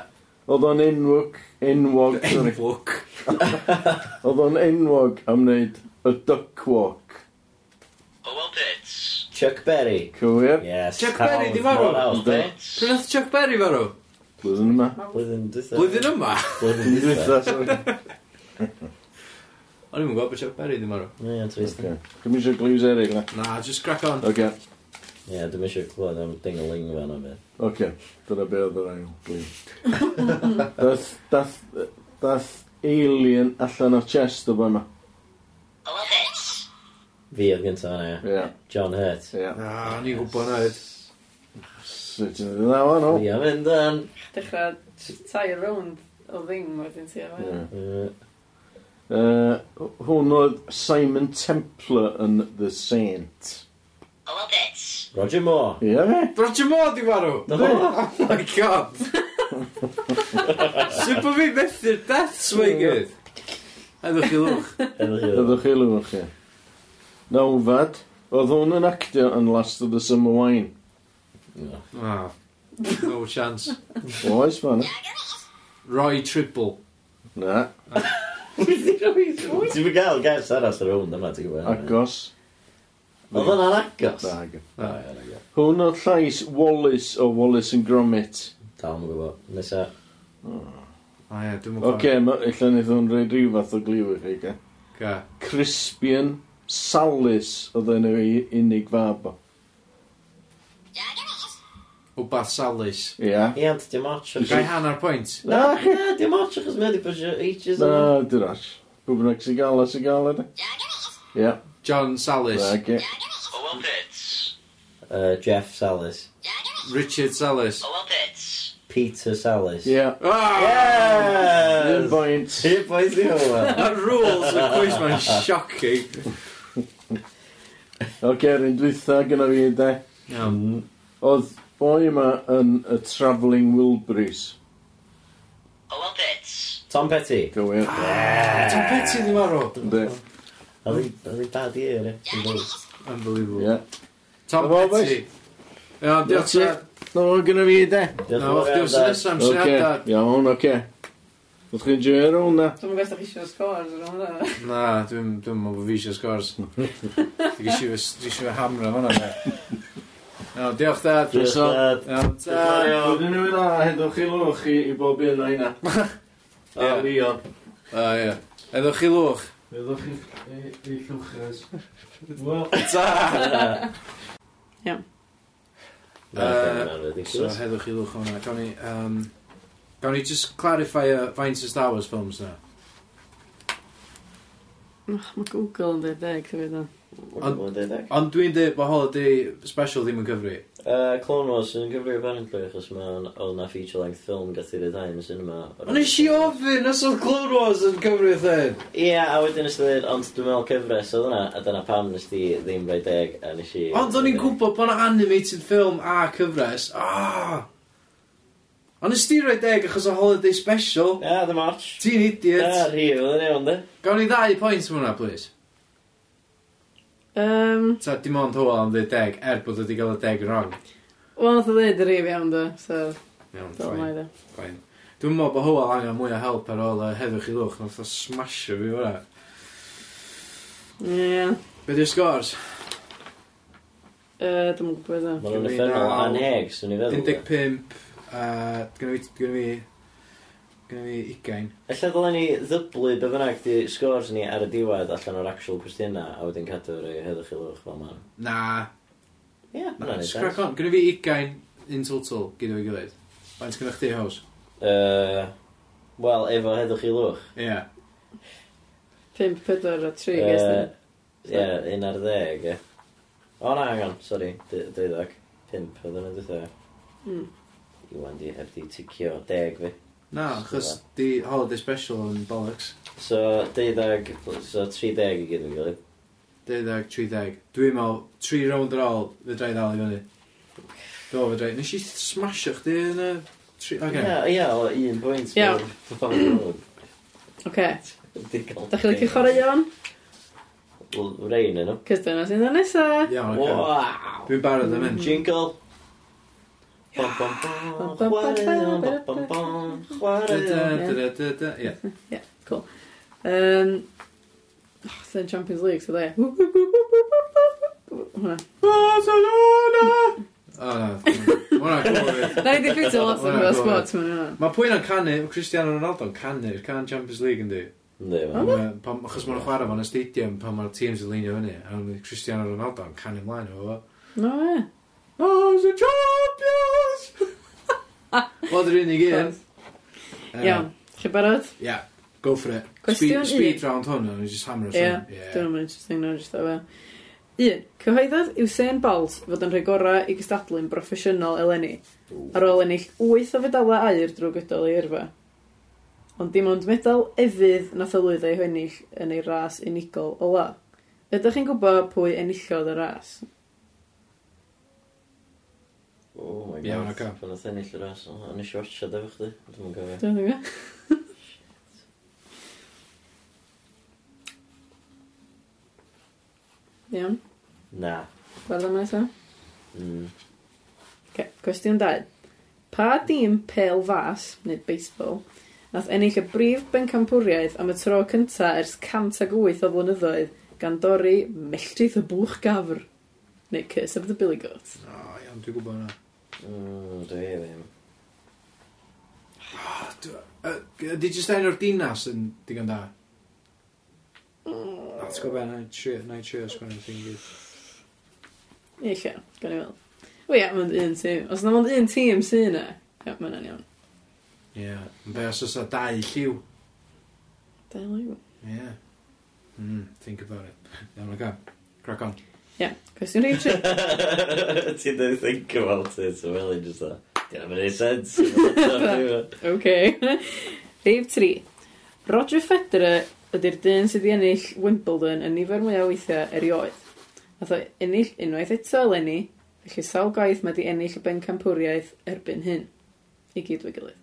[SPEAKER 4] Oedd o'n enwog, enwog, sorry.
[SPEAKER 3] enflwc.
[SPEAKER 4] Oedd o'n enwog am wneud y duck walk.
[SPEAKER 2] Chuck Berry.
[SPEAKER 4] Cywir,
[SPEAKER 2] Yes.
[SPEAKER 3] Chuck Berry, di farw? Pryd nath Chuck Berry farw?
[SPEAKER 4] blwyddyn yma.
[SPEAKER 2] Blwyddyn dwytha.
[SPEAKER 3] Blwyddyn yma?
[SPEAKER 2] Blwyddyn
[SPEAKER 4] Dwi'n
[SPEAKER 2] dwytha.
[SPEAKER 4] dweitha, sorry.
[SPEAKER 3] O'n i'n gwybod bod Chuck Berry ddim farw.
[SPEAKER 2] Ie, yn trist.
[SPEAKER 4] Okay. Cym eisiau glyws eraill, na.
[SPEAKER 3] Na, just crack on.
[SPEAKER 4] Oce,
[SPEAKER 2] Ie, dwi'n eisiau clywed am ding-a-ling fan o'n beth.
[SPEAKER 4] oce. Dyna be oedd yr ail glyw. Dath, dath, dath alien allan o'r chest o yma.
[SPEAKER 2] Fi oedd gyntaf yna, ie.
[SPEAKER 4] Ie,
[SPEAKER 2] John Hurt.
[SPEAKER 4] ie.
[SPEAKER 3] Na, o'n i'n gwybod na hyd.
[SPEAKER 4] Sut yn dda fan o?
[SPEAKER 2] Fi am mynd yn.
[SPEAKER 1] Dechrau tai rownd o ddim wedyn ti ar
[SPEAKER 4] Ie.
[SPEAKER 1] fan.
[SPEAKER 2] Yy,
[SPEAKER 4] Yy, Hwn oedd Simon Templar yn The Saint.
[SPEAKER 2] Roger Moore.
[SPEAKER 4] Ie fe?
[SPEAKER 3] Roger Moore di farw!
[SPEAKER 2] Do.
[SPEAKER 3] Oh my god! Sut bod fi methu'r deaths mae gyd? Edwch chi lwch.
[SPEAKER 2] Edwch i lwch.
[SPEAKER 4] Ydych chi lwch chi. Nawfad, oedd hwn yn actio yn Last of the Summer Wine.
[SPEAKER 3] Na. No chance.
[SPEAKER 4] Oes, fan.
[SPEAKER 3] Roy Tribble.
[SPEAKER 4] Na,
[SPEAKER 2] Ti'n fi gael gais aros ar hwn yma, ti'n gwybod?
[SPEAKER 4] agos.
[SPEAKER 2] Oedd hwnna'n agos?
[SPEAKER 4] Na, agos.
[SPEAKER 2] O, ie, yn agos.
[SPEAKER 4] Hwn oedd llais Wallace o Wallace and Gromit.
[SPEAKER 2] Dal yn gwybod. Nesa.
[SPEAKER 3] O Ah, ie, dwi'n
[SPEAKER 4] Oce, okay, illa wneud hwn rhaid rhyw fath o gliw i chi, ge.
[SPEAKER 3] Ga.
[SPEAKER 4] Crispian Salis oedd enw i unig fab o.
[SPEAKER 3] Wbath salus.
[SPEAKER 4] Ia.
[SPEAKER 2] Ie, ond dim och.
[SPEAKER 3] Gai hanner pwynt.
[SPEAKER 2] Na, na, dim och, achos mae wedi bwysio ages
[SPEAKER 4] Na,
[SPEAKER 2] yma.
[SPEAKER 4] dwi'n all. Gwbnag sy'n gael a sy'n gael yna. Ia,
[SPEAKER 3] John Sallis.
[SPEAKER 4] na, ge.
[SPEAKER 2] Yy, Jeff Salis.
[SPEAKER 3] Richard Sallis.
[SPEAKER 2] Peter Salis.
[SPEAKER 4] Ia.
[SPEAKER 3] Ah!
[SPEAKER 4] Un
[SPEAKER 2] Yes!
[SPEAKER 4] bwynt.
[SPEAKER 2] Hit boys i hwnna.
[SPEAKER 3] The rules of quiz ma'n shocking.
[SPEAKER 4] Oce, rhaid dwytha gyda fi, de.
[SPEAKER 3] Iawn.
[SPEAKER 4] Oedd boi yma yn y Travelling Wilburys.
[SPEAKER 2] Tom Petty.
[SPEAKER 4] Gywir. Ah.
[SPEAKER 3] Tom Petty ddim arw.
[SPEAKER 4] Ynddi.
[SPEAKER 2] Oedd hi bad i yr, ie.
[SPEAKER 3] Unbelievable.
[SPEAKER 4] Ie.
[SPEAKER 3] Tom
[SPEAKER 4] Dyma
[SPEAKER 3] Petty. Iawn, diolch
[SPEAKER 4] That's
[SPEAKER 3] ti'n...
[SPEAKER 4] it. No, gyda fi, de.
[SPEAKER 3] Na, o'ch diolch yn nesaf am
[SPEAKER 4] Oce,
[SPEAKER 3] syniadad.
[SPEAKER 4] iawn, oce. Oedd chi'n joio'r hwn, na?
[SPEAKER 1] Dwi'n gwybod chi eisiau scores yn hwnna.
[SPEAKER 3] Na, dwi'n dwi'n mwyn bod fi eisiau scores. Dwi'n eisiau fy hamra fan'na. de. Iawn, diolch dad.
[SPEAKER 4] Diolch.
[SPEAKER 3] Iawn, ta.
[SPEAKER 4] Dwi'n mynd a hedwch chi lwch i, i bob un o'ina. A
[SPEAKER 3] Ie.
[SPEAKER 4] Leon.
[SPEAKER 3] O ie. Edwch chi lwch.
[SPEAKER 4] Hedwch chi i, i llwchres. Wel,
[SPEAKER 3] Ta!
[SPEAKER 1] Iawn.
[SPEAKER 3] So, heddwch chi lwch hwnna. Gawn ni... Um, gawn ni just clarify uh, faint o Star Wars films na.
[SPEAKER 1] Mae Google yn dweud deg, ti'n gwybod.
[SPEAKER 3] Ond dwi'n dweud bod holiday special ddim yn cyfri.
[SPEAKER 2] Uh, Clone Wars yn gyfri apparently achos mae'n oedd na feature length film gath i ryddhau yn y cinema.
[SPEAKER 3] Ond nes i ofyn os oedd Clone Wars yn cyfri o thyn.
[SPEAKER 2] Ie, a wedyn ys dweud, ond dwi'n meddwl cyfres oedd yna, a dyna pam nes di ddim rhaid deg, a nes i...
[SPEAKER 3] Ond o'n i'n gwybod bod yna animated film a cyfres. Ah! Ond nes ti roi deg achos o holiday special.
[SPEAKER 2] Ie, The March.
[SPEAKER 3] Ti'n
[SPEAKER 2] Da,
[SPEAKER 3] idiot.
[SPEAKER 2] rhi, oedd yn iawn, de.
[SPEAKER 3] Gawn ni ddau pwynt am hwnna, please.
[SPEAKER 1] Um,
[SPEAKER 3] Ta, dim ond hwyl am ddweud deg, er bod wedi gael y deg yn wrong.
[SPEAKER 1] Wel, nath o ddweud yr if iawn, do. So,
[SPEAKER 3] Iawn,
[SPEAKER 1] dyna
[SPEAKER 3] fine.
[SPEAKER 1] mae do.
[SPEAKER 3] Fine. Dwi'n meddwl bod Hywel angen mwy o help ar ôl y heddwch i lwch, nath o smasho fi fyna.
[SPEAKER 1] Ie.
[SPEAKER 3] Be di'r sgwrs?
[SPEAKER 1] Yy, Dwi'm yn gwybod dda.
[SPEAKER 2] Mae'n
[SPEAKER 3] Gymru
[SPEAKER 2] effernol
[SPEAKER 3] naw.
[SPEAKER 2] anheg, swn i feddwl.
[SPEAKER 3] 15, a gynnu fi, gynnu fi, gynnu fi 20.
[SPEAKER 2] Alla ddylen ni ddyblu be bynnag di sgwrs ni ar y diwedd allan o'r actual cwestiynau a wedyn cadw rei heddwch i lwch fel ma'n.
[SPEAKER 3] Na,
[SPEAKER 2] Ie, mae'n anodd.
[SPEAKER 3] Scrack on, gynnu fi 20 in total gyda fi gilydd. Ond gyda chdi haws.
[SPEAKER 2] Yy, Wel, efo heddwch i lwch.
[SPEAKER 3] Ie. Yeah.
[SPEAKER 1] 5, 4 a 3,
[SPEAKER 2] Yy,
[SPEAKER 1] ges
[SPEAKER 2] Ie, un ar ddeg, ie. O na, angen, sori, d- deuddag. Pimp, oedd yn y dweud.
[SPEAKER 1] Mm.
[SPEAKER 2] Iwan di heb di ticio deg fi.
[SPEAKER 3] Na, achos di holiday special yn bollocks.
[SPEAKER 2] So, deuddag, so tri deg i gyd yn gilydd.
[SPEAKER 3] 12, 30. Dwi'n meddwl, 3 round ar ôl, fe drai ddal i fyny. Do, fe drai. Nes i smasho chdi yn y... Tri...
[SPEAKER 2] Ie,
[SPEAKER 3] Okay.
[SPEAKER 2] ie, o, un pwynt.
[SPEAKER 1] Ie.
[SPEAKER 2] Iawn.
[SPEAKER 1] Oce. Da chi'n licio chwarae iawn?
[SPEAKER 2] Rein yn nhw.
[SPEAKER 1] Cys dyna sy'n dda nesa.
[SPEAKER 3] Iawn, oce.
[SPEAKER 2] Wow!
[SPEAKER 3] Dwi'n barod am hyn.
[SPEAKER 2] Jingle. Bom, bom, bom, chwarae on, bom, bom, bom,
[SPEAKER 3] Da,
[SPEAKER 2] chwarae
[SPEAKER 3] da,
[SPEAKER 2] on.
[SPEAKER 3] da, da, da, da. Ie.
[SPEAKER 1] Cool. Um, oh, Sa'n Champions League, so dde. Hwna.
[SPEAKER 3] Barcelona! O, na. Mwna gwybod
[SPEAKER 1] Na i di ffitio lot yn
[SPEAKER 3] Hwnna,
[SPEAKER 1] gwybod
[SPEAKER 3] go on.
[SPEAKER 1] sports mewn hwnna.
[SPEAKER 3] Mae pwy'n canu, Cristiano Ronaldo'n canu'r can Champions League yn di.
[SPEAKER 2] Yndi, wel.
[SPEAKER 3] Pan- pan- Achos mae'n chwarae fo'n y stadium pan mae'r teams yn leinio fyny. A mae Cristiano Ronaldo yn canu mlaen o fo.
[SPEAKER 1] No, e.
[SPEAKER 3] Oh, the champions! Wel, dy'r unig un. Yy,
[SPEAKER 1] Iawn. Chi barod?
[SPEAKER 3] Ia, go for it.
[SPEAKER 1] Cwestiwn
[SPEAKER 3] Speed, speed
[SPEAKER 1] un.
[SPEAKER 3] round hwn, o'n i just hammer us
[SPEAKER 1] Ie,
[SPEAKER 3] in.
[SPEAKER 1] Dwi'n mynd interesting nawr, jyst o fe. Un. Cyhoeddodd Usain Bolt fod yn rhoi gorau i gystadlu'n broffesiynol eleni ar ôl ennill 8 o fedalau aur drwy gydol ei yrfa. Ond dim ond medal efydd nath y lwyddo ei hennill yn ei ras unigol ola. Ydych chi'n gwybod pwy enillodd y ras?
[SPEAKER 2] Oh my god.
[SPEAKER 3] Iawn, ocê.
[SPEAKER 2] Pan oedd ennill y ras, o, o'n i eisiau watchad efo chdi. Dwi'n mwyn gofio.
[SPEAKER 1] Dwi'n gwybod. Iawn,
[SPEAKER 2] Na.
[SPEAKER 1] gweld am nesaf.
[SPEAKER 2] Mm.
[SPEAKER 1] Okay, cwestiwn 2. Pa dîm pel fas, neu baseball, nath ennill y brif bencampwriaeth am y tro cynta ers 108 o flynyddoedd gan dorri melltith y bwch gafr, neu Curse of the Billy Goat.
[SPEAKER 3] O, iawn, dwi'n gwybod hwnna.
[SPEAKER 2] Mm, dwi ddim.
[SPEAKER 3] O, dwi- yy, Ydy jyst enw'r dinas yn digon da?
[SPEAKER 1] Mm.
[SPEAKER 3] O, ti'n gwybod hwnna, na i trio sgwennw'r thing i gyd.
[SPEAKER 1] Eilla, gan i weld. O ia, mae'n un tîm. Os na mae'n un tîm sy yna, ia, mae'n an iawn.
[SPEAKER 3] Ie, yn be os oes na dau lliw.
[SPEAKER 1] Da iawn. Ie.
[SPEAKER 3] Ie. Mm, think about it. Iawn, oce. Crack on.
[SPEAKER 1] Ia, cwestiwn rhywbeth tri.
[SPEAKER 2] Ti'n dweud think about it, so well, just that. Dyn nhw'n gwneud sense. Ie,
[SPEAKER 1] OK. Rhif 3. Roger Federer ydy'r dyn sydd wedi ennill Wimbledon yn nifer mwyaf o weithiau erioed. Nath o ennill unwaith eto eleni, felly sawl gwaith mae wedi ennill y bencampwriaeth erbyn hyn. I gyd fy gilydd.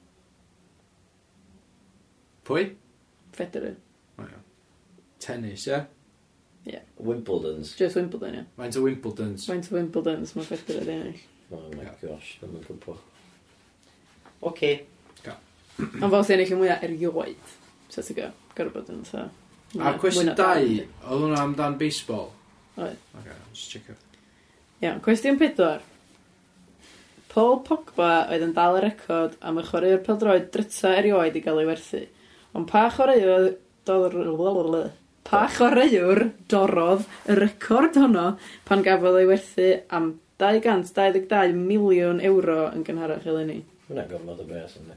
[SPEAKER 3] Pwy?
[SPEAKER 1] Federer.
[SPEAKER 3] O, iawn. Tennis, ie?
[SPEAKER 2] Wimbledon's.
[SPEAKER 1] Just Wimbledon, ia.
[SPEAKER 3] Faint o Wimbledons?
[SPEAKER 1] Faint o Wimbledons mae Federer wedi ennill.
[SPEAKER 2] Oh my
[SPEAKER 3] Ie.
[SPEAKER 2] gosh, dwi'n mynd gwybod. Oce.
[SPEAKER 1] Ond fel sy'n ennill y mwyaf erioed. So ti'n go, gorau bod yn sa.
[SPEAKER 3] A cwestiwn dau, oedd hwnna amdan baseball?
[SPEAKER 1] Oedd.
[SPEAKER 3] Oce, just check it.
[SPEAKER 1] Iawn, cwestiwn pedwar. Paul Pogba oedd yn dal y record am y chwaraewr peldroed dryta erioed i gael ei werthu. Ond pa chwaraewr... dor- Pa chwaraewr dorodd y record honno pan gafodd ei werthu am 222 miliwn euro yn gynharach eleni.
[SPEAKER 2] Mae'n gormod o bres yn di.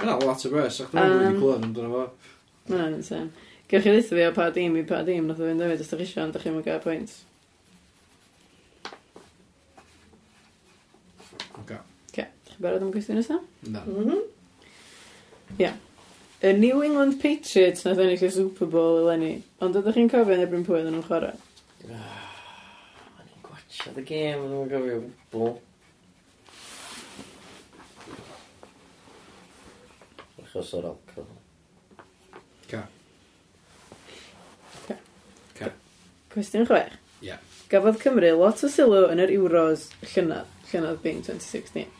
[SPEAKER 3] Mae'n lot o bres, ac dwi'n
[SPEAKER 1] Yym.
[SPEAKER 3] wedi clywed amdano fo.
[SPEAKER 1] Mae'n insane. Gewch chi ddeithio fi o pa dim i pa dim, nath o fynd hefyd, os da chi eisiau, ond da chi'n mynd gael pwynt.
[SPEAKER 3] Oce.
[SPEAKER 1] Chi'n barod am gwestiwn nesaf?
[SPEAKER 3] Na.
[SPEAKER 1] Y New England Patriots nath ennill y Super Bowl eleni, ond ydych chi'n cofio yn erbyn pwy oedden nhw'n chwarae?
[SPEAKER 2] Mae'n i'n gwachio the game, dwi'n mynd gofio bwl. Achos o'r alcohol.
[SPEAKER 3] Ca.
[SPEAKER 1] Ca.
[SPEAKER 3] Ca.
[SPEAKER 1] Cwestiwn chwech.
[SPEAKER 3] Ie.
[SPEAKER 1] Gafodd Cymru lot o sylw yn yr Euros llynydd, llynydd Bing 2016.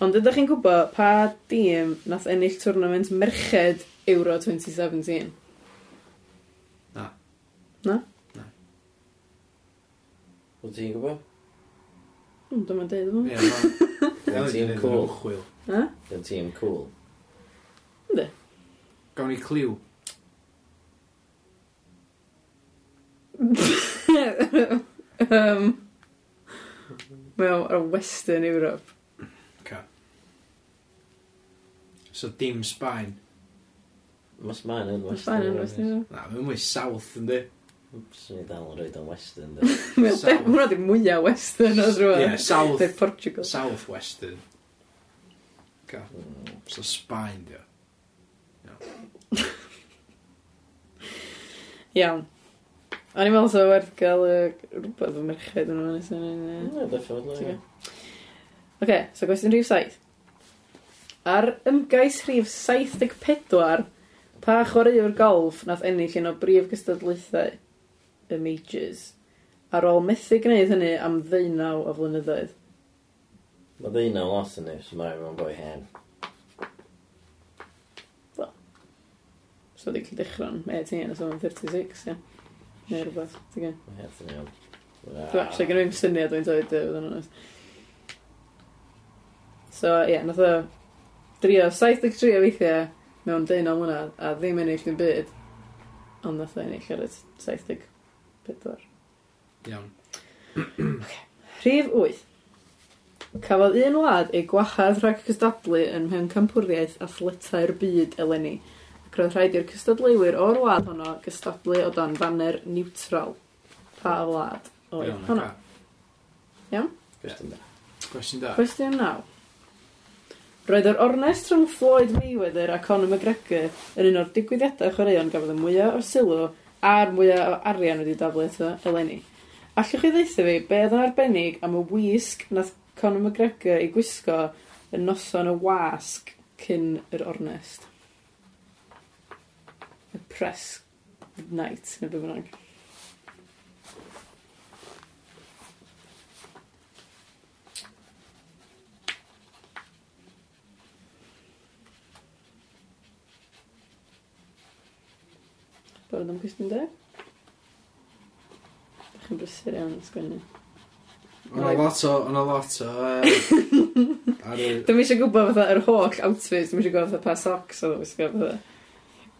[SPEAKER 1] Ond ydych chi'n gwybod pa dîm nath ennill twrnament merched Euro 2017?
[SPEAKER 3] Na.
[SPEAKER 1] Na?
[SPEAKER 3] Na.
[SPEAKER 2] Wyt ti'n gwybod?
[SPEAKER 1] Hmm, Dyma deud yma.
[SPEAKER 3] Ie, ma- Elin
[SPEAKER 2] Ti'n
[SPEAKER 3] yn neud
[SPEAKER 2] cool.
[SPEAKER 3] yn ymchwil.
[SPEAKER 1] Ha?
[SPEAKER 2] Ydyn ti'n cool.
[SPEAKER 3] Gawn ni cliw.
[SPEAKER 1] um, Mae o ar Western Europe.
[SPEAKER 3] Ca. So dim Sbaen.
[SPEAKER 2] Mas mae'n yn
[SPEAKER 1] Mae'n
[SPEAKER 2] western.
[SPEAKER 1] ffain yn Western Europe.
[SPEAKER 3] Na, mae'n mwy South yndi.
[SPEAKER 2] Swn i dal yn rhaid o'n western. de.
[SPEAKER 1] Mae o
[SPEAKER 3] South.
[SPEAKER 1] de- hwnna di mwyaf Western o drwy.
[SPEAKER 3] Ie, South.
[SPEAKER 1] Deu Portugal.
[SPEAKER 3] South Western. Ca.
[SPEAKER 2] Mm.
[SPEAKER 3] So Sbaen, dio.
[SPEAKER 1] Iawn. O'n i'n meddwl sa werth gael yy, rhywbeth o merched yn ymwneud sy'n...
[SPEAKER 2] Ie, definitely.
[SPEAKER 1] Ti'n Ok, so gwestiwn rhif 7. Ar ymgais rhif 74, pa chwaraewr golf nath ennill un o brif gystadlaethau y majors? Ar ôl methu gwneud hynny am ddeunaw o flynyddoedd.
[SPEAKER 2] Mae ddeun am lot yn eich, mae'n rhan boi hen.
[SPEAKER 1] So wedi cael dechrau'n 18 os o'n 36, ie. Neu rhywbeth, ti'n gwybod.
[SPEAKER 2] Mae'n heth yn iawn.
[SPEAKER 1] Dwi'n actually gen i'n syniad dwi'n dweud dweud yn honest. So, ie, yeah, nath o drio 73 o weithiau mewn deunaw mlynedd a ddim ennill yn byd. Ond nath o ennill ar y 74.
[SPEAKER 3] Iawn.
[SPEAKER 1] Rhif 8. Cafodd un wlad ei gwahardd rhag cystadlu yn mhen campwriaeth athletau'r byd eleni. Ac roedd rhaid i'r cystadleuwyr o'r wlad honno gystadlu o dan faner niwtral. Pa wlad oedd
[SPEAKER 3] Iawn,
[SPEAKER 1] honno?
[SPEAKER 3] ca.
[SPEAKER 2] Gwestiwn da.
[SPEAKER 3] Cwestiwn da.
[SPEAKER 1] Cwestiwn naw. Roedd yr ornest rhwng Floyd Mayweather a Conor McGregor yn un o'r digwyddiadau chwaraeon gafodd y mwyaf o sylw a'r mwyaf o arian wedi daflu eto eleni. Allwch chi ddeitha fi be oedd yn arbennig am y wisg nath Conor McGregor ei gwisgo yn noson y wasg cyn yr ornest? Y press night, neu be bynnag. Bod am cwestiwn deg? Dach chi'n brysur iawn yn sgwennu.
[SPEAKER 3] O'na lot o, o'na lot o... yy, Ar y...
[SPEAKER 1] Dwi'n eisiau gwybod fatha yr holl outfits, dwi'n eisiau gwybod fatha pa socks oedd o'n wisgo fatha.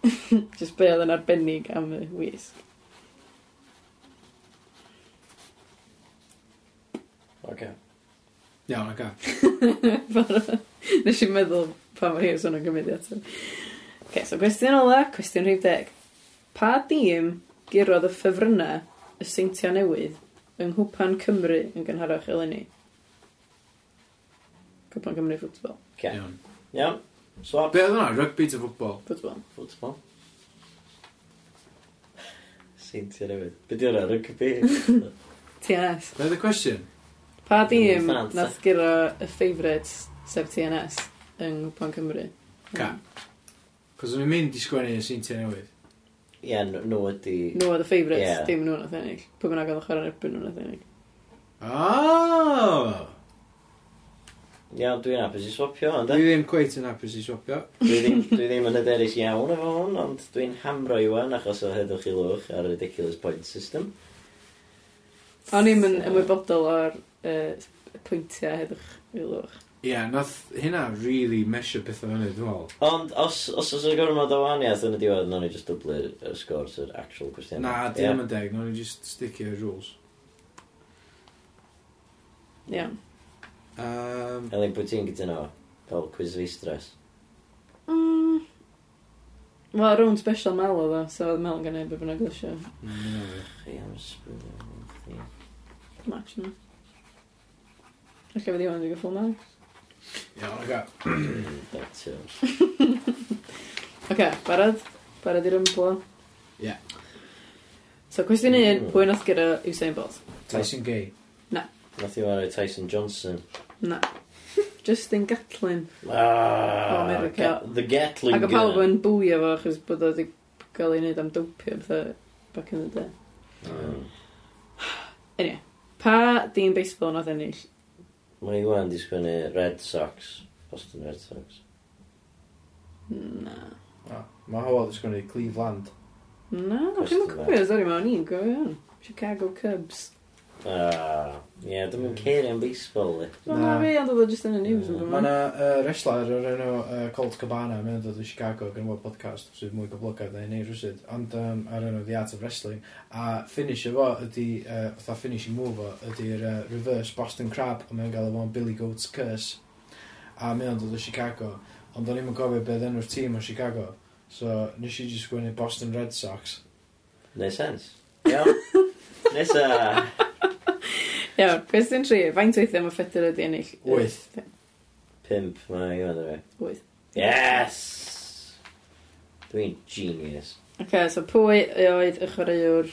[SPEAKER 1] Just be oedd yn arbennig am y wisg.
[SPEAKER 2] Oce.
[SPEAKER 3] Iawn, ca.
[SPEAKER 1] Nes i'n meddwl pa mae'r hir sôn o'n gymryd i ato. Okay, so gwestiwn ola, cwestiwn rhif deg. Pa dîm girodd y ffefrynnau y seintiau newydd yng Nghwpan Cymru yn gynharach eleni? Cwpan Cymru ffwtbol.
[SPEAKER 2] Oce.
[SPEAKER 3] Iawn.
[SPEAKER 2] Iawn. Swap.
[SPEAKER 3] Be oedd hwnna? Rugby to football.
[SPEAKER 1] Ffwtbol.
[SPEAKER 2] Football. Seinti ar efyd. Be di hwnna, rygbi?
[SPEAKER 1] TNS.
[SPEAKER 3] Be oedd y cwestiwn?
[SPEAKER 1] Pa dîm
[SPEAKER 2] Fans,
[SPEAKER 1] nath giro y favourites sef TNS yng Nghwpan Cymru?
[SPEAKER 3] Ca. Cos o'n i'n mynd i sgwennu yn Seintiau Newydd.
[SPEAKER 2] Ie, n- nhw ydi...
[SPEAKER 1] Nhw oedd y favourites,
[SPEAKER 2] Ie.
[SPEAKER 1] dim nhw nath ennill. Pwy bynnag oedd y chwarae erbyn nhw nath ennill.
[SPEAKER 3] Oh!
[SPEAKER 2] Iawn, dwi'n apus i swapio, ond
[SPEAKER 3] Dwi ddim cweit yn hapus i swapio.
[SPEAKER 2] Dwi ddim, dwi ddim yn hyderus iawn efo hwn, ond dwi'n hamro i wan achos o heddwch i lwch ar y ridiculous point system.
[SPEAKER 1] O'n i'm yn ymwybodol o'r uh, pwyntiau heddwch i lwch.
[SPEAKER 3] Ie, yeah, nath hynna really mesio beth o'n hynny, dwi'n meddwl.
[SPEAKER 2] Ond os, os oes y gormod o waniaeth yn y diwedd, nawn ni just dwblu'r y sgwrs yr actual cwestiwn.
[SPEAKER 3] Na, di ddim yn deg, nawn ni just sticio i'r rules.
[SPEAKER 1] Iawn.
[SPEAKER 3] Um,
[SPEAKER 2] Elin, pwy ti'n gytuno fo? Fel quiz fi stress.
[SPEAKER 1] Mm. Wel, rown special Mel oedd o, so oedd Mel yn gwneud beth bynnag ddysio.
[SPEAKER 2] Chi am ysbryd.
[SPEAKER 1] Dim ots yna. Alla fe ddim yn ddigon ffwl Mel.
[SPEAKER 3] Iawn, aga.
[SPEAKER 1] Ok, barod? Barod i'r ymblo?
[SPEAKER 3] Ie.
[SPEAKER 1] So, cwestiwn un,
[SPEAKER 2] Mm.
[SPEAKER 1] pwy nath gyda Usain Bolt?
[SPEAKER 3] Tyson Gay.
[SPEAKER 2] Nath i wario Tyson Johnson.
[SPEAKER 1] Na. Justin Gatlin.
[SPEAKER 2] Ah,
[SPEAKER 1] O, America.
[SPEAKER 2] Ga- The Gatling
[SPEAKER 1] Ac o
[SPEAKER 2] Gun.
[SPEAKER 1] pawb yn bwio fo, achos bod o wedi cael ei wneud am dopio bethau back in the day.
[SPEAKER 2] Mm.
[SPEAKER 1] Anyway, pa dîm baseball nath ennill?
[SPEAKER 2] Mae Iwan di sgwennu Red Sox. Boston Red Sox.
[SPEAKER 1] Na.
[SPEAKER 3] Mae Howell ddysg gwneud Cleveland.
[SPEAKER 1] Na,
[SPEAKER 2] Cwestiwn
[SPEAKER 1] chi'n mynd
[SPEAKER 2] dda.
[SPEAKER 1] cofio, sori ma, o'n i'n gofio hwn. Chicago Cubs.
[SPEAKER 2] Ah, Ie, dwi'n
[SPEAKER 1] Mm.
[SPEAKER 2] mynd ceir am baseball, li.
[SPEAKER 1] Wel, na
[SPEAKER 3] Na.
[SPEAKER 1] fi, ond oedd o jyst yn y news yn
[SPEAKER 3] Mae yna uh, wrestler o'r enw uh, Colt Cabana, mae'n dod o Chicago gan fod podcast sydd mwy goblogaidd na hynny rwysyd, ond um, ar enw The Art of Wrestling, a finish efo ydy, uh, fatha finishing move o, ydy'r uh, reverse Boston Crab, a mae'n gael efo'n Billy Goat's Curse, a mae'n dod o Chicago, ond o'n i'm yn gofio beth enw'r tîm o Chicago, so nes i just gwneud Boston Red Sox.
[SPEAKER 2] Neu sens. Iawn. Nesa.
[SPEAKER 1] Iawn, cwestiwn 3. Faint weithiau mae Federer wedi ennill?
[SPEAKER 3] Wyth.
[SPEAKER 2] Pimp, mae i fan
[SPEAKER 1] Wyth.
[SPEAKER 2] Yes! Dwi'n genius.
[SPEAKER 1] Ok, so pwy oedd y chwaraewr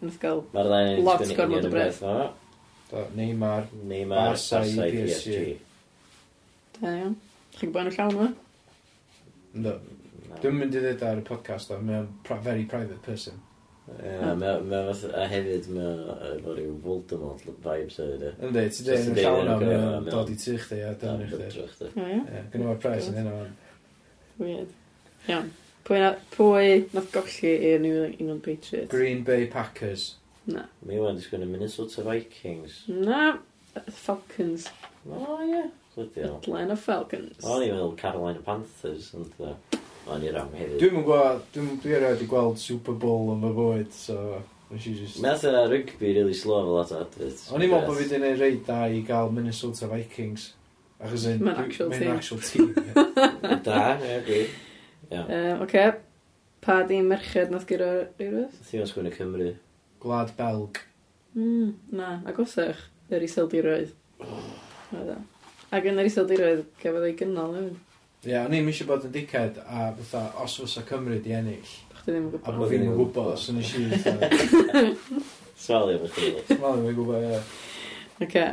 [SPEAKER 1] wnaeth gael...
[SPEAKER 2] Mae'r ddau yn
[SPEAKER 1] Lot
[SPEAKER 2] sgwini
[SPEAKER 1] gormod
[SPEAKER 2] union
[SPEAKER 1] o
[SPEAKER 2] y
[SPEAKER 1] braidd.
[SPEAKER 2] beth yma.
[SPEAKER 3] Do, Neymar,
[SPEAKER 2] Neymar,
[SPEAKER 3] Barca i
[SPEAKER 2] Barca i
[SPEAKER 3] PSG.
[SPEAKER 2] PSG.
[SPEAKER 1] Da iawn. Chi'n gwybod yn y llawn yma?
[SPEAKER 3] no.
[SPEAKER 2] Na.
[SPEAKER 3] Dwi'n mynd i ddweud ar y podcast o, mae'n pri very private person.
[SPEAKER 2] Ie, mae- mae fath- A hefyd mae efo rhyw Voldemort vibes hefyd e.
[SPEAKER 3] Ynddi,
[SPEAKER 2] Os
[SPEAKER 3] ti'n dweud
[SPEAKER 2] ti'n
[SPEAKER 3] yn y llawn o,
[SPEAKER 2] deud yn y
[SPEAKER 3] mae'n
[SPEAKER 2] cyfrol,
[SPEAKER 3] dod i tu chdi a
[SPEAKER 2] Na,
[SPEAKER 3] dyn i chdi.
[SPEAKER 2] bedrwch, de.
[SPEAKER 1] Da iawn.
[SPEAKER 3] Ie, Gynna mae'r pres yn hynna fan.
[SPEAKER 1] Weird. Iawn. Pwy, na, pwy nath golli i'r New England Patriots?
[SPEAKER 3] Green Bay Packers.
[SPEAKER 1] Na.
[SPEAKER 2] Mi wan sgwini Minnesota Vikings.
[SPEAKER 1] Na. Falcons.
[SPEAKER 2] O ie. Bloody hell.
[SPEAKER 1] Atlanta Falcons.
[SPEAKER 2] O'n i'n meddwl Carolina Panthers, ond yy, o'n i'n rhan hefyd.
[SPEAKER 3] Dwi'n mynd gweld, dwi'n dwi erioed i gweld Super Bowl yn fy bwyd, so... Nes i just...
[SPEAKER 2] Mae atho rygbi really slow fel at adverts.
[SPEAKER 3] O'n i'n meddwl bod fi wedi gwneud reit da i gael Minnesota Vikings. Achos yn...
[SPEAKER 1] Mae'n actual
[SPEAKER 3] mae'n
[SPEAKER 1] team.
[SPEAKER 3] actual team.
[SPEAKER 2] Da, ie, gwi. Iawn.
[SPEAKER 1] Um, Oce. Pa di merched nath gyda rhywbeth?
[SPEAKER 2] Thi o'n sgwini Cymru.
[SPEAKER 3] Gwlad Belg.
[SPEAKER 1] Mm, na. Agosach. Yr iseldiroedd. Oedd o. Ac yn yr iseldiroedd, cafodd ei gynnal hefyd.
[SPEAKER 3] Ie, yeah, o'n i'n eisiau bod yn dicad a fatha, os fysa Cymru di ennill,
[SPEAKER 1] Bach ti ddim yn
[SPEAKER 3] a
[SPEAKER 1] gwybod.
[SPEAKER 3] bod fi'n yn gwybod, so nes i fatha,
[SPEAKER 2] Sali o'n chdi.
[SPEAKER 3] Wel, fi'n gwybod, ie.
[SPEAKER 1] Oce.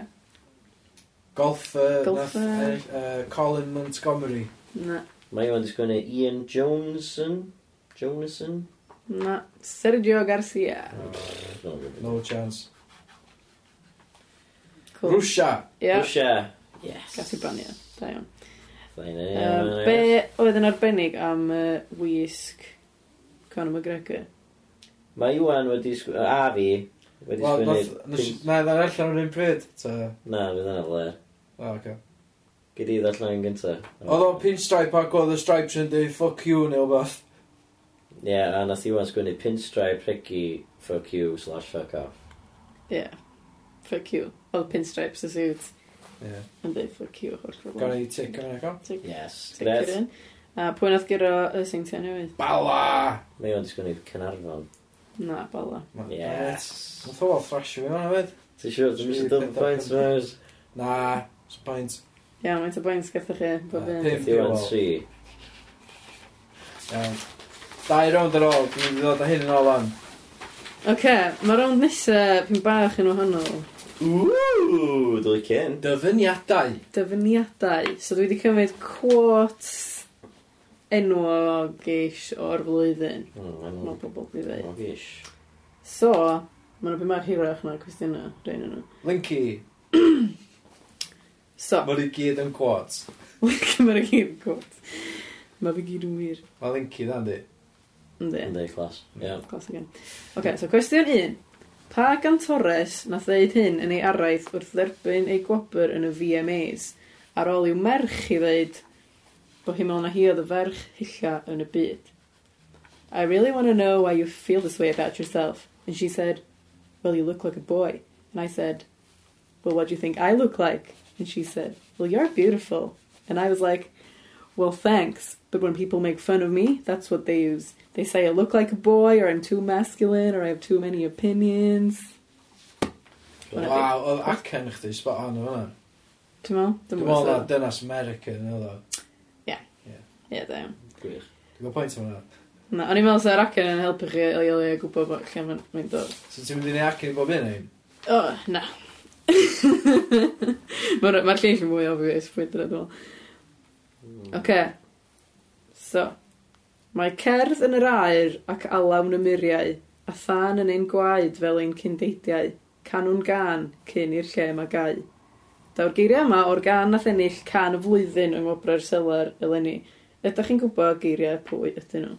[SPEAKER 3] Golfer, nath,
[SPEAKER 1] Golfer.
[SPEAKER 3] uh, uh, Colin Montgomery.
[SPEAKER 1] Na.
[SPEAKER 2] Mae o'n sgwini Ian Joneson? Joneson?
[SPEAKER 1] Na. Sergio Garcia.
[SPEAKER 3] No chance.
[SPEAKER 1] Cool.
[SPEAKER 3] Rwsia!
[SPEAKER 1] Ia.
[SPEAKER 2] Rwsia. Yes.
[SPEAKER 1] Gatti Bania. Da iawn.
[SPEAKER 2] Fain,
[SPEAKER 1] Yy,
[SPEAKER 2] ie,
[SPEAKER 1] Be
[SPEAKER 2] ie.
[SPEAKER 1] oedd yn arbennig am uh, wisg Conor McGregor?
[SPEAKER 2] Mae Iwan wedi sgwini... A fi. Wedi
[SPEAKER 3] Wel,
[SPEAKER 2] sgwini...
[SPEAKER 3] nath-
[SPEAKER 2] pump-
[SPEAKER 3] nes- na, ddau allan o'r un pryd. Ta,
[SPEAKER 2] Na, fydd yna fle.
[SPEAKER 3] o, oce.
[SPEAKER 2] Gyd i ddallan yn gynta.
[SPEAKER 3] Ah, Oedd o'n pinstripe ac oedd y stripes yn dweud fuck you neu beth.
[SPEAKER 2] Ie, a nath Iwan sgwini pinstripe regi fuck you slash fuck off.
[SPEAKER 1] Ie. Yeah. Fuck you. Oedd pinstripes y suit
[SPEAKER 3] Ie.
[SPEAKER 1] yn dweud fuck you. o'r cyflwr.
[SPEAKER 3] Gawn i tic yn eich o.
[SPEAKER 1] Tic-
[SPEAKER 2] Yes.
[SPEAKER 1] tic
[SPEAKER 2] Gret.
[SPEAKER 1] yr un. A pwy nath gyro y seintiau newydd?
[SPEAKER 3] Bala!
[SPEAKER 2] Mae o'n sgwini Cynarfon.
[SPEAKER 1] Na, bala.
[SPEAKER 3] Ma-
[SPEAKER 2] Yes.
[SPEAKER 3] Nath o'n thrasio fi fan hefyd.
[SPEAKER 2] Ti'n siŵr, dwi'n mysio double points fawr.
[SPEAKER 3] Na, spaint.
[SPEAKER 1] Iawn, mae'n ta bwynt gathoch chi bob
[SPEAKER 3] Na,
[SPEAKER 1] un.
[SPEAKER 3] pum.
[SPEAKER 2] Nath Iwan tri.
[SPEAKER 3] Iawn. Dau rownd ar ôl, dwi'n mynd i ddod â hyn yn ôl am.
[SPEAKER 1] Ok, mae rownd nesaf pyn bach yn wahanol.
[SPEAKER 2] Ww, dwi'n cyn.
[SPEAKER 3] Dyfyniadau.
[SPEAKER 1] Dyfyniadau. So dwi wedi cymryd quotes enwog ish o'r flwyddyn.
[SPEAKER 2] Mm.
[SPEAKER 1] Mae pobl wedi dweud.
[SPEAKER 2] Mogish.
[SPEAKER 1] So, maen nhw'n byd mor hirach na'r cwestiynau, rhain nhw.
[SPEAKER 3] Linky,
[SPEAKER 1] So,
[SPEAKER 3] mae'r i gyd yn quads.
[SPEAKER 1] mae'r gyd yn gwrt. Mae fi gyd yn wir.
[SPEAKER 3] Mae Linky dda'n di.
[SPEAKER 1] Ynddi,
[SPEAKER 2] Ynddi, clas. Iawn.
[SPEAKER 1] glas again. Ok, so cwestiwn un. Pa gan Torres na ddeud hyn yn ei araith wrth dderbyn ei gwobr yn y VMAs ar ôl i'w merch i ddeud bod hi'n meddwl na hi oedd y ferch hilla yn y byd? I really want to know why you feel this way about yourself. And she said, well, you look like a boy. And I said, well, what do you think I look like? And she said, well, you're beautiful. And I was like, well, thanks. But when people make fun of me, that's what they use. They say I look like a boy, or I'm too masculine, or I have too many opinions. Wel,
[SPEAKER 3] Waw, oedd acen chdi spot on o hwnna.
[SPEAKER 1] Ti'n meddwl? Dwi'n
[SPEAKER 3] Dwi'n
[SPEAKER 1] meddwl
[SPEAKER 3] meddwl na
[SPEAKER 1] so.
[SPEAKER 3] dynas America yn oedd o.
[SPEAKER 1] Ie, da iawn.
[SPEAKER 2] Gwych.
[SPEAKER 3] Dwi'n gwybod pwynt am hwnna.
[SPEAKER 1] Na, o'n i'n meddwl sa'r acen yn helpu chi i o'i gwybod bod lle mae'n mynd dod.
[SPEAKER 3] So ti'n mynd i ni acen i bob un ein?
[SPEAKER 1] O, na. Mae'r ma lleill yn mwy obvious pwynt yna, dwi'n meddwl. Oce. So. Mae cerdd yn yr aer ac alawn y muriau, a thân yn ein gwaed fel ein cyndeidiau, canwn gan cyn i'r lle mae gau. Daw'r geiriau yma o'r gan nath ennill can y flwyddyn yng Ngobrau'r Selar eleni. Ydych chi'n gwybod geiriau pwy ydyn nhw?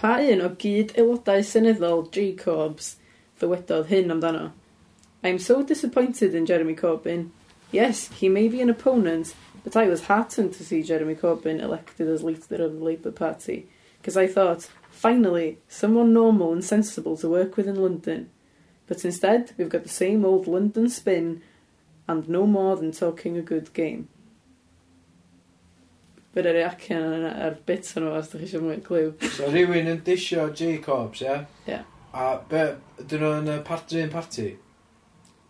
[SPEAKER 1] Pa un o gyd aelodau seneddol J. Corbs ddywedodd hyn amdano? I'm so disappointed in Jeremy Corbyn. Yes, he may be an opponent, but I was heartened to see Jeremy Corbyn elected as leader of the Labour Party, because I thought, finally, someone normal and sensible to work with in London. But instead, we've got the same old London spin and no more than talking a good game. Bydd yr acen yna ar bit yna os ydych chi eisiau mwy o glyw.
[SPEAKER 3] So rhywun yn disio Jacobs, ie?
[SPEAKER 1] Ie.
[SPEAKER 3] A be, dyn nhw'n y part- yr un party?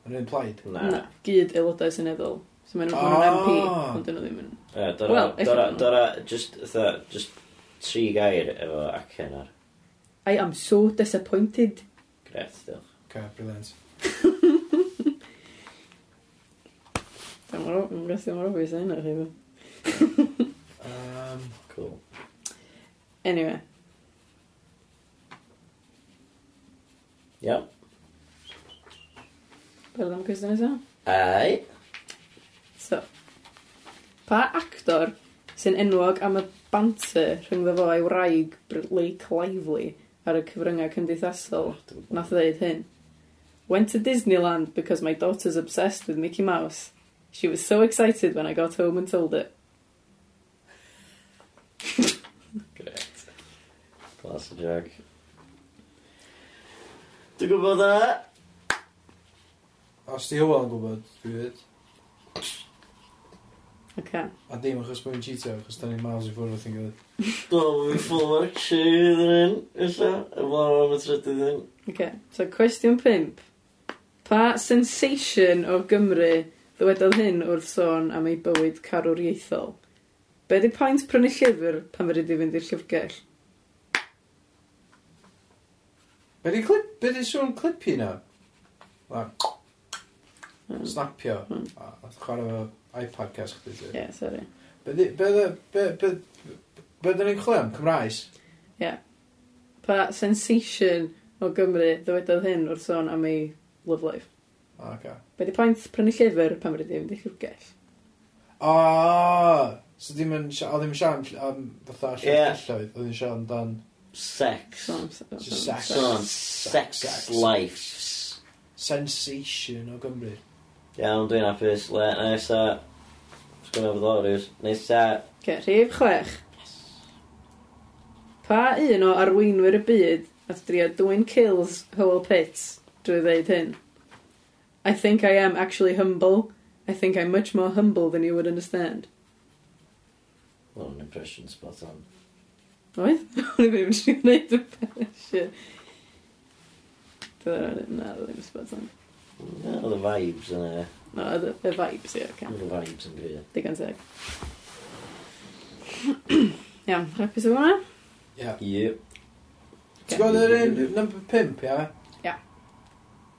[SPEAKER 3] Yr un plaid?
[SPEAKER 2] Na.
[SPEAKER 1] Na, gyd aelodau seneddol. So mae'n oh.
[SPEAKER 3] Ah.
[SPEAKER 1] MP, ond dyn nhw ddim yn...
[SPEAKER 2] Ie,
[SPEAKER 1] Wel,
[SPEAKER 2] Dora,
[SPEAKER 1] ella
[SPEAKER 2] dora,
[SPEAKER 1] bo' nhw.
[SPEAKER 2] dora, just, tha, just e, tri gair efo acen ar.
[SPEAKER 1] I am so disappointed.
[SPEAKER 2] Gret, diolch.
[SPEAKER 3] Okay, brilliant.
[SPEAKER 1] Dwi'n gwestiwn mor obvious yna, chi fe.
[SPEAKER 3] Um,
[SPEAKER 2] Cool.
[SPEAKER 1] Anyway,
[SPEAKER 2] Iawn.
[SPEAKER 1] beth am cwestiwn nesaf?
[SPEAKER 2] Ai.
[SPEAKER 1] So, pa actor sy'n enwog am y banter rhyngddo fo a'i wraig Br- Blake Lively ar y cyfryngau cymdeithasol nath ddeud hyn? Went to Disneyland because my daughter's obsessed with Mickey Mouse. She was so excited when I got home and told her.
[SPEAKER 2] Gret. Glas y jog. Dwi'n gwybod yna.
[SPEAKER 3] os di hwyl yn gwybod, dwi fyd.
[SPEAKER 1] Okay.
[SPEAKER 3] A dim achos bod fi'n cheatio, achos da ni'n miles i ffwrdd wrth yn gilydd.
[SPEAKER 2] Dwi'n mynd full of action iddyn nhw'n, illa. Ymlaen am y trydydd yn.
[SPEAKER 1] Okay. So, cwestiwn 5. Pa sensation o Gymru ddywedodd hyn wrth sôn am ei bywyd carwriaethol? Be di paent prynu llyfr pan fyrdd i fynd i'r llyfrgell?
[SPEAKER 3] Be di clip, be di sŵn clipi na? Na, snapio.
[SPEAKER 1] Mm.
[SPEAKER 3] A a chwarae fo iPad cas chdi ti.
[SPEAKER 1] Ie, sori.
[SPEAKER 3] Be di, be di, be, be, be da ni'n chlem, Cymraes?
[SPEAKER 1] Pa sensation o Gymru ddywedodd hyn wrth sôn am ei love life?
[SPEAKER 3] O, oce.
[SPEAKER 1] Be di paent prynu llyfr pan fyrdd i fynd i'r llyfrgell?
[SPEAKER 3] O, so dim yn, sia- o ddim yn siarad am fatha
[SPEAKER 2] Ie.
[SPEAKER 3] llyfrgelloedd, oedd yn siarad amdan
[SPEAKER 2] Sex.
[SPEAKER 1] Sôn am se-
[SPEAKER 3] Just
[SPEAKER 1] sôn am-
[SPEAKER 3] sex.
[SPEAKER 2] Son.
[SPEAKER 3] Sex.
[SPEAKER 2] Sex lives.
[SPEAKER 3] sensation o Gymru.
[SPEAKER 2] Iawn, dwi'n hapus. Le, nesa. Sgwyn efo ddoriws. Nesa.
[SPEAKER 1] Oce, rhif chwech. Pa un o arweinwyr y byd at drio dwyn kills Howell Pitts drwy ddeud hyn? I think I am actually humble. I think I'm much more humble than you would understand.
[SPEAKER 2] Wel, an impression spot on.
[SPEAKER 1] Oedd? O'n i ddim yn siŵr gwneud y pethau. Dwi'n rhaid, na, oedd ddim spot on.
[SPEAKER 2] Na, oedd y vibes yna.
[SPEAKER 1] No, oedd y- y vibes, ie, oce.
[SPEAKER 2] Oedd y vibes yn gyd.
[SPEAKER 1] Digon teg. Iawn, hapus efo hwnna?
[SPEAKER 3] Ie.
[SPEAKER 2] Yep.
[SPEAKER 3] Ti'n gwybod yr un number 5, ia?
[SPEAKER 1] Ie.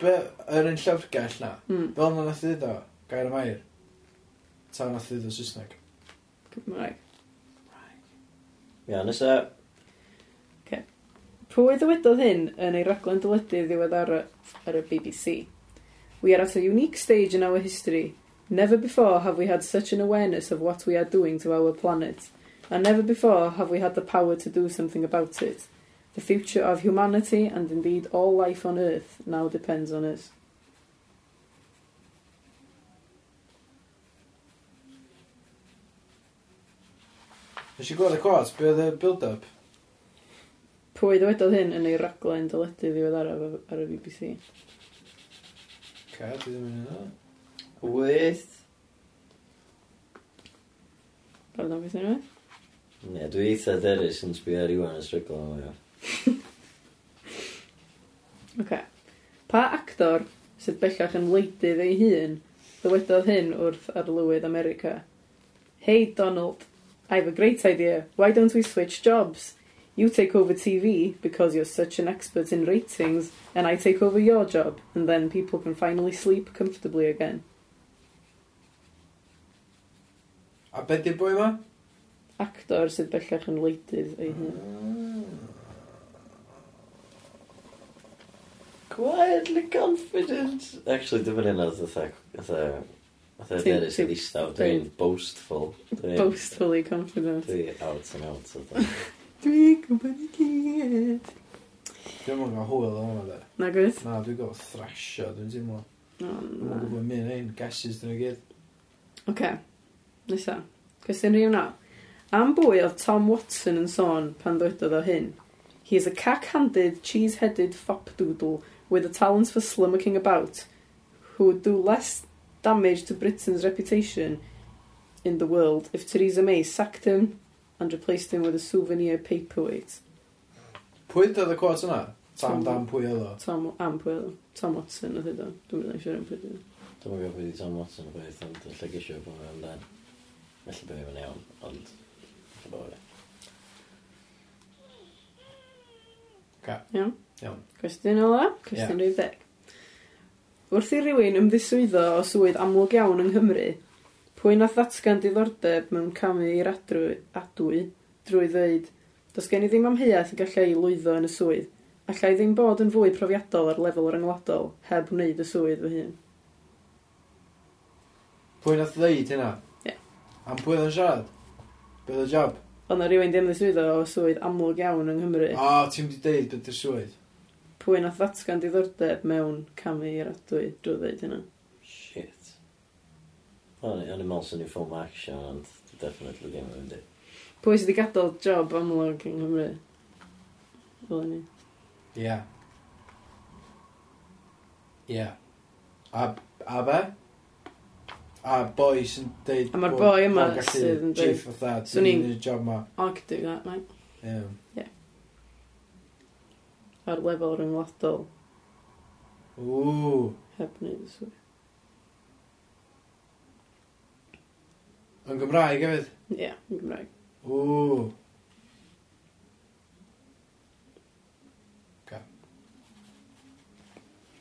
[SPEAKER 3] Be, yr un llyfrgell na,
[SPEAKER 1] Mm,
[SPEAKER 3] fel na nath ddod o, gair am air, ta nath ddod o Saesneg.
[SPEAKER 1] Cymraeg.
[SPEAKER 2] Iawn, nesa.
[SPEAKER 1] Pwy ddywedodd hyn yn ei raglen dyledu ddiweddar ar y BBC? We are at a unique stage in our history. Never before have we had such an awareness of what we are doing to our planet. And never before have we had the power to do something about it. The future of humanity and indeed all life on Earth now depends on us.
[SPEAKER 3] Nes i gweld y quotes, be oedd y build-up?
[SPEAKER 1] Pwy ddywedodd hyn yn ei raglen dyledu ddiweddar ar y BBC?
[SPEAKER 3] Ca, dwi ddim yn yna.
[SPEAKER 2] Wyth.
[SPEAKER 1] Barod am beth unwaith?
[SPEAKER 2] Ne, dwi eitha derus yn sbio ar Iwan yn stryglo am hynny.
[SPEAKER 1] Ok. Pa actor sydd bellach yn wleidydd ei hun ddywedodd hyn wrth arlywydd America? Hey Donald, I've a great idea. Why don't we switch jobs? You take over TV because you're such an expert in ratings, and I take over your job, and then people can finally sleep comfortably again.
[SPEAKER 3] A be di boi ma?
[SPEAKER 1] Actor sydd bellach yn wleidydd ei hun.
[SPEAKER 3] Mm,
[SPEAKER 2] Quietly confident. Actually, dim yn un oedd fatha... fatha- Fatha
[SPEAKER 1] Ti-
[SPEAKER 2] derus yn
[SPEAKER 1] ti-
[SPEAKER 2] eistaf. Dwi'n boastful. Dwi'n-
[SPEAKER 1] Boastfully confident.
[SPEAKER 2] Dwi out and out. fatha.
[SPEAKER 1] Dwi'n gwybod i gyd.
[SPEAKER 3] Dwi'n mwyn gael hwyl o'n hwnna de.
[SPEAKER 1] Na gwyd?
[SPEAKER 3] Na, dwi'n gael thrasio, dwi'n teimlo.
[SPEAKER 1] O,
[SPEAKER 3] Dwi'n
[SPEAKER 1] na.
[SPEAKER 3] mwyn gwybod mi'n ein, gases dyn nhw gyd.
[SPEAKER 1] Oce, nesa. Cwestiwn rhywun naw. Am bwy oedd Tom Watson yn sôn pan ddwedodd o hyn? He is a cack-handed, cheese-headed fop-doodle with a talent for slummocking about who would do less damage to Britain's reputation in the world if Theresa May sacked him and replaced him with a souvenir paperweight.
[SPEAKER 3] Pwy dod y cwat yna? Tam
[SPEAKER 1] Tom.
[SPEAKER 3] dan pwy oedd o.
[SPEAKER 1] Tom, am pwy oedd o? Tom Watson oedd e, hyn o. Dwi'n mynd i'n siŵr am pwy oedd e. o.
[SPEAKER 2] Dwi'n gwybod beth i Tom Watson yn gweithio, ond dwi'n llygisio bod yn amdan. Felly bydd yn iawn, ond... falle bo' fi.
[SPEAKER 1] Iawn?
[SPEAKER 3] Iawn.
[SPEAKER 1] Cwestiwn ola? Cwestiwn yeah. deg. Wrth i rywun ymddiswyddo o swydd amlwg iawn yng Nghymru, pwy nath ddatgan diddordeb mewn camu i'r adrwy, adwy drwy ddeud, does gen i ddim amheuaeth y gallai i lwyddo yn y swydd, allai ddim bod yn fwy profiadol ar lefel yr yngwladol heb wneud y swydd fy hun.
[SPEAKER 3] Pwy nath ddeud hynna?
[SPEAKER 1] Ie.
[SPEAKER 3] Am pwy oedd yn siarad? Be oedd y job?
[SPEAKER 1] Ond na rywun di ymddiswyddo o swydd amlwg iawn yng Nghymru,
[SPEAKER 3] O, ti'n di deud beth yw'r swydd.
[SPEAKER 1] pwy nath ddatgan diddordeb mewn camu i'r adwy drwy ddeud hynna.
[SPEAKER 2] Shit. O'n i- o'n i'n meddwl sy'n i ffilm action, ond definitely ddim yn mynd i.
[SPEAKER 1] Pwy sydd wedi gadael job amlwg yng Nghymru? Fel ni.
[SPEAKER 3] Ie. Ie. A, a be? A boi sy'n deud...
[SPEAKER 1] A ma'r
[SPEAKER 3] bod-
[SPEAKER 1] boi yma
[SPEAKER 3] ma'n gallu
[SPEAKER 1] sydd yn
[SPEAKER 3] chief o thad,
[SPEAKER 1] Swn
[SPEAKER 3] sy'n
[SPEAKER 1] i'n-
[SPEAKER 3] i'n y job ma.
[SPEAKER 1] I could do that, mate.
[SPEAKER 3] Ie.
[SPEAKER 1] Ar lefel ryngwladol,
[SPEAKER 3] Ww.
[SPEAKER 1] heb wneud y swydd.
[SPEAKER 3] Yn Gymraeg hefyd?
[SPEAKER 1] Ie, yeah, yn Gymraeg.
[SPEAKER 3] Ww.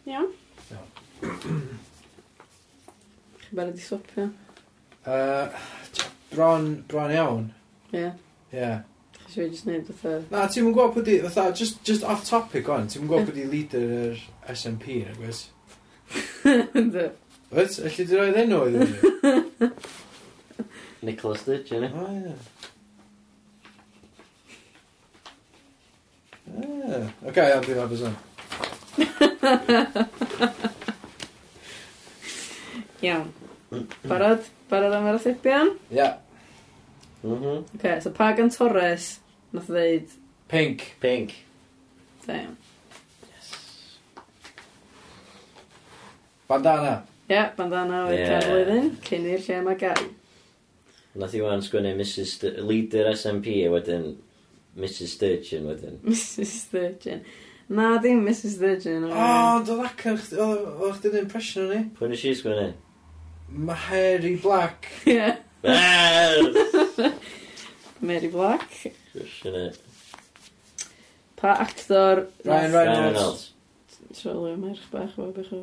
[SPEAKER 1] Iawn?
[SPEAKER 3] Iawn.
[SPEAKER 1] Chi'n barod i swopio?
[SPEAKER 3] Uh, bron, bron iawn.
[SPEAKER 1] Ie. Yeah.
[SPEAKER 3] Ie. Yeah.
[SPEAKER 1] Chi'n siŵr jyst wneud fatha...
[SPEAKER 3] Na, ti'n mwyn gwybod pwydi, fatha, just, just off topic on, ti'n mwyn gwybod pwydi leader yr SNP, na gwrs?
[SPEAKER 1] Ynddo.
[SPEAKER 3] Wyt, allu di roed enw iddyn nhw?
[SPEAKER 2] Nicholas Stitch, yna?
[SPEAKER 3] O, ie. Ie. Ah, Oce, iawn, dwi'n hapus o'n.
[SPEAKER 1] Iawn. Barod? Barod am yr atebion?
[SPEAKER 3] Ie.
[SPEAKER 2] Mhm.
[SPEAKER 1] Oce, okay, so Pagan Torres nath ddeud...
[SPEAKER 3] Pink.
[SPEAKER 2] Pink.
[SPEAKER 1] Da iawn.
[SPEAKER 2] Yes.
[SPEAKER 3] Bandana.
[SPEAKER 1] Ie, yeah, bandana o'r
[SPEAKER 2] Ie.
[SPEAKER 1] yeah. blwyddyn, cyn i'r lle mae gai.
[SPEAKER 2] Nath i wan sgwennu Mrs... St Leader SNP a wedyn Mrs Sturgeon wedyn.
[SPEAKER 1] Mrs Sturgeon. Na, dim Mrs Sturgeon.
[SPEAKER 2] Mm.
[SPEAKER 3] O,
[SPEAKER 1] O,
[SPEAKER 3] ond oedd acan, chdi- oedd oedd chdi'n impression o'n ni?
[SPEAKER 2] Pwy nes i sgwennu?
[SPEAKER 3] Maheri Black.
[SPEAKER 1] Ie.
[SPEAKER 2] Yes!
[SPEAKER 1] Mary Black.
[SPEAKER 2] Sgwennu.
[SPEAKER 1] Pa actor... nath-
[SPEAKER 3] Ryan Reynolds.
[SPEAKER 2] Ryan Reynolds.
[SPEAKER 1] Trolio merch bach o bych o.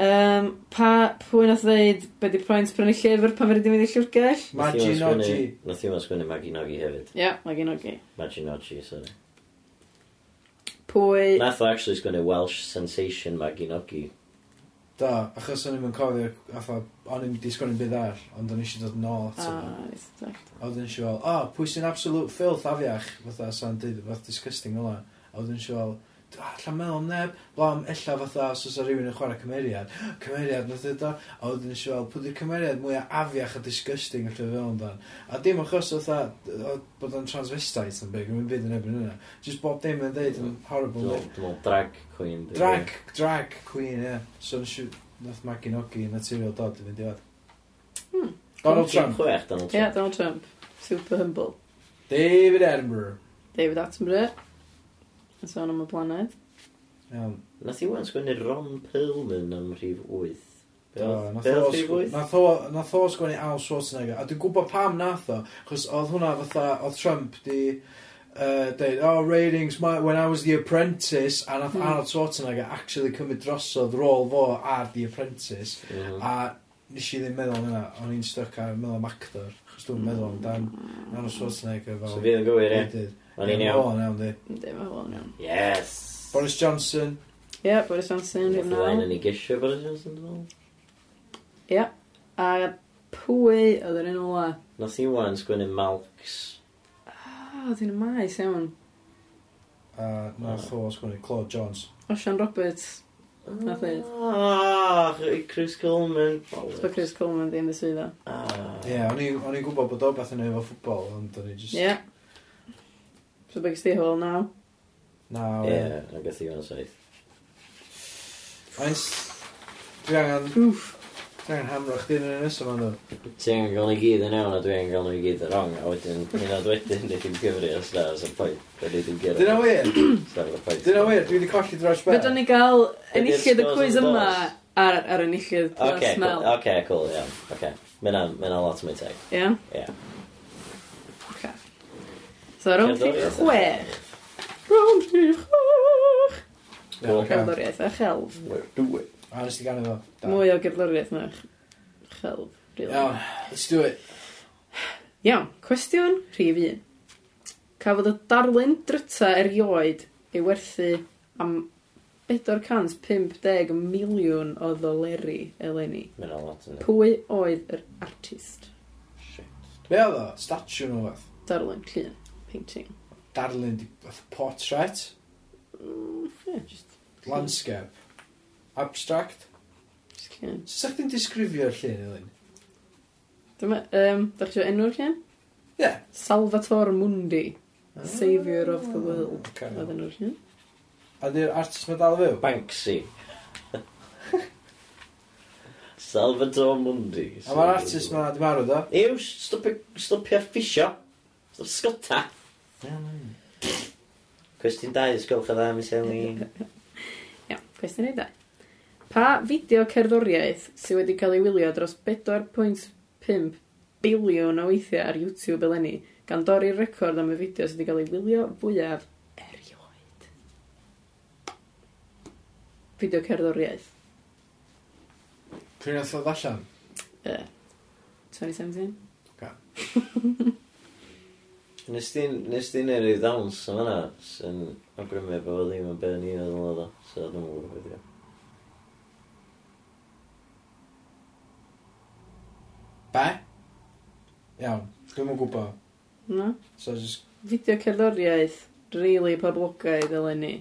[SPEAKER 1] Um, pa, pwy nath ddeud, be di pwynt prynu llyfr pan fyrdd i mynd i llyfrgell?
[SPEAKER 2] Nath i wan
[SPEAKER 3] Maggi Nogi.
[SPEAKER 2] sgwennu- Nath i wan sgwennu Maggie Nogi hefyd.
[SPEAKER 1] Ie, mae gen ogi.
[SPEAKER 2] Maggie Nogi, sorry.
[SPEAKER 1] Pwy...
[SPEAKER 2] Nath o actually sgwennu Welsh Sensation Maggie Nogi.
[SPEAKER 3] Da, achos o'n i'n mynd cofio, fatha, o'n i'n disgwyl yn bydd ar, ond o'n eisiau dod nôl ato. fo.
[SPEAKER 1] Ah, it's that.
[SPEAKER 3] A wedyn si fel, o, oh, pwy sy'n absolute filth afiach, fatha, sa'n dweud, fatha, disgusting fel 'na. A wedyn si fel, allan meddwl am neb, blom, ella fatha, os oes 'na rhywun yn chwarae cymeriad, cymeriad, nath ddod o. A wedyn si fel, pwy di'r cymeriad mwyaf afiach a disgusting allai fel amdan. A dim achos fatha, o- bod o'n transvestite yn byg, yn byd yn ebyn yna. Just bob dim yn dweud yn horrible.
[SPEAKER 2] Dwi'n
[SPEAKER 3] No.
[SPEAKER 2] meddwl drag queen. dwi'n
[SPEAKER 3] Drag, drag queen, ie. So nes i, nath Maginogi, Material Dodd, i fynd i fad.
[SPEAKER 1] Hmm.
[SPEAKER 3] Donald
[SPEAKER 2] Trump.
[SPEAKER 3] Trump.
[SPEAKER 2] Chwech, Donald
[SPEAKER 1] Ie,
[SPEAKER 2] Trump.
[SPEAKER 1] Donald Trump. Super humble.
[SPEAKER 3] David Attenborough.
[SPEAKER 1] David Attenborough. Yn sôn am y blaned.
[SPEAKER 3] Iawn.
[SPEAKER 2] Nath i wan sgwennu Ron Perlman am rhif 8. Be
[SPEAKER 3] Do,
[SPEAKER 2] oedd
[SPEAKER 3] Oh, nath
[SPEAKER 2] be
[SPEAKER 3] o
[SPEAKER 2] oedd rhif
[SPEAKER 3] sg-
[SPEAKER 2] 8?
[SPEAKER 3] Nath o- nath o sgwennu Al Schwarzenegger A dwi'n gwybod pam nath o Chos oedd hwnna fatha Oedd Trump di uh, Deud Oh ratings my, When I was the apprentice A nath
[SPEAKER 1] Hmm.
[SPEAKER 3] Arnold Schwarzenegger Actually cymryd drosodd rôl fo Ar the apprentice
[SPEAKER 2] Hmm. Mhm.
[SPEAKER 3] A nes i ddim meddwl am hynna O'n i'n stuck ar meddwl am actor Chos dwi'n meddwl am dan Arnold Schwarzenegger fel
[SPEAKER 2] So fi yn gywir, ie.
[SPEAKER 3] leader.
[SPEAKER 2] O'n i'n
[SPEAKER 3] Ah, Ie,
[SPEAKER 2] iawn.
[SPEAKER 3] o, iawn, di.
[SPEAKER 1] Ynddi, mae hwn iawn.
[SPEAKER 2] Yes!
[SPEAKER 3] Boris Johnson
[SPEAKER 1] Ie, Boris Johnson, rhywun
[SPEAKER 2] Nath i wan
[SPEAKER 1] nawr.
[SPEAKER 2] yn ei gisio Boris Johnson, dwi'n meddwl.
[SPEAKER 1] Ie. A pwy oedd yr un ola?
[SPEAKER 2] Nath i wan sgwennu Malks.
[SPEAKER 1] Ah, O, dyn y maes iawn.
[SPEAKER 3] A nath
[SPEAKER 2] Hmm.
[SPEAKER 3] o sgwini Claude Jones.
[SPEAKER 1] Osian Roberts, Na pryd.
[SPEAKER 2] Ah, Chris Coleman.
[SPEAKER 1] bod Chris Coleman ddim y swyddo.
[SPEAKER 2] Ah.
[SPEAKER 3] Ie, o'n i- o'n i'n gwybod bod o beth yn ei efo ffwbol, ond o'n i just...
[SPEAKER 1] Ie. So beth gysdi hwyl naw?
[SPEAKER 3] Na,
[SPEAKER 2] Ie,
[SPEAKER 3] o'n
[SPEAKER 2] yn gath i fan saith.
[SPEAKER 3] Mae'n... s- Dwi angen...
[SPEAKER 1] Wff.
[SPEAKER 3] Dwi angen hamro chdi yn y nesaf ond o.
[SPEAKER 2] Ti angen gael nhw i gyd yn iawn a dwi angen gael nhw i gyd yn wrong a wedyn hynna wedyn ni ddim gyfri ar stars a pwynt. Da ni ddim gyfri
[SPEAKER 3] Dyna wir,
[SPEAKER 2] stars a pwynt.
[SPEAKER 3] dyna wir, dwi wedi colli dros be.
[SPEAKER 1] Fydwn ni gael
[SPEAKER 2] Be' 'di'r
[SPEAKER 1] enillydd y
[SPEAKER 2] scores
[SPEAKER 1] cwys
[SPEAKER 2] yn
[SPEAKER 1] yma
[SPEAKER 2] balls?
[SPEAKER 1] ar, ar enillydd plus
[SPEAKER 2] Okay, cool, Uh,
[SPEAKER 1] Mel.
[SPEAKER 2] okay, cool, iawn. Okay. Mae'n mae'n lot mwy teg.
[SPEAKER 1] Ie?
[SPEAKER 2] Ie.
[SPEAKER 1] Ocê. So rownd i
[SPEAKER 2] Cerddoriaeth a
[SPEAKER 1] chwech. Rownd i chwech.
[SPEAKER 3] Ie, ocê.
[SPEAKER 1] Gerddoriaeth a chelf.
[SPEAKER 4] Do it.
[SPEAKER 3] A nes ti gan iddo. Da.
[SPEAKER 1] Mwy o gerddoriaeth na ch- chelf. rili.
[SPEAKER 3] Iawn, let's do it.
[SPEAKER 1] Iawn, cwestiwn rhif un. Cafodd y darlun dryta erioed ei werthu am 450 miliwn o ddoleri eleni.
[SPEAKER 2] Mae'n lot yn
[SPEAKER 1] Pwy oedd yr artist?
[SPEAKER 3] Be oedd o? Statue nhw fath.
[SPEAKER 1] Darlun Llun, painting.
[SPEAKER 3] Darlun, di- fath portrait,
[SPEAKER 1] Mm, yeah, just,
[SPEAKER 3] landscape, abstract.
[SPEAKER 1] just llun.
[SPEAKER 3] Sa'ch ti'n disgrifio'r llun, Elin?
[SPEAKER 1] Dyma, um, da chi eisiau enw'r llun?
[SPEAKER 3] Ie.
[SPEAKER 1] Salvatore Mundi, saviour of the world.
[SPEAKER 3] Ocê.
[SPEAKER 1] Oedd e. enw'r llun?
[SPEAKER 3] A di'r artist mae dal fyw?
[SPEAKER 2] Banksy. Salvador Mundi.
[SPEAKER 3] A mae'r artist mae di marw, do?
[SPEAKER 2] Ew, stopio, stopio ffisio. Stop sgota. Cwestiwn dau, sgolch o dda, mis Elin.
[SPEAKER 1] Ia, cwestiwn ei dau. Pa fideo cerddoriaeth sydd wedi cael ei wylio dros 4.5 biliwn o weithiau ar YouTube eleni gan dorri'r record am y fideo sydd wedi cael ei wylio fwyaf erioed? Fideo cerddoriaeth.
[SPEAKER 3] Pryd nath o allan?
[SPEAKER 1] Uh, 2017?
[SPEAKER 2] Nes ti'n nes ti'n neud ryw dawns yn fanna sy'n awgrymu bod o ddim yn be ni oedd yn lodo. So dwi'n mwyn gwybod beth yw.
[SPEAKER 3] Be? Iawn, dwi'm yn gwybod.
[SPEAKER 1] No?
[SPEAKER 3] So just...
[SPEAKER 1] Fideo cerddoriaeth rili poblogaidd eleni.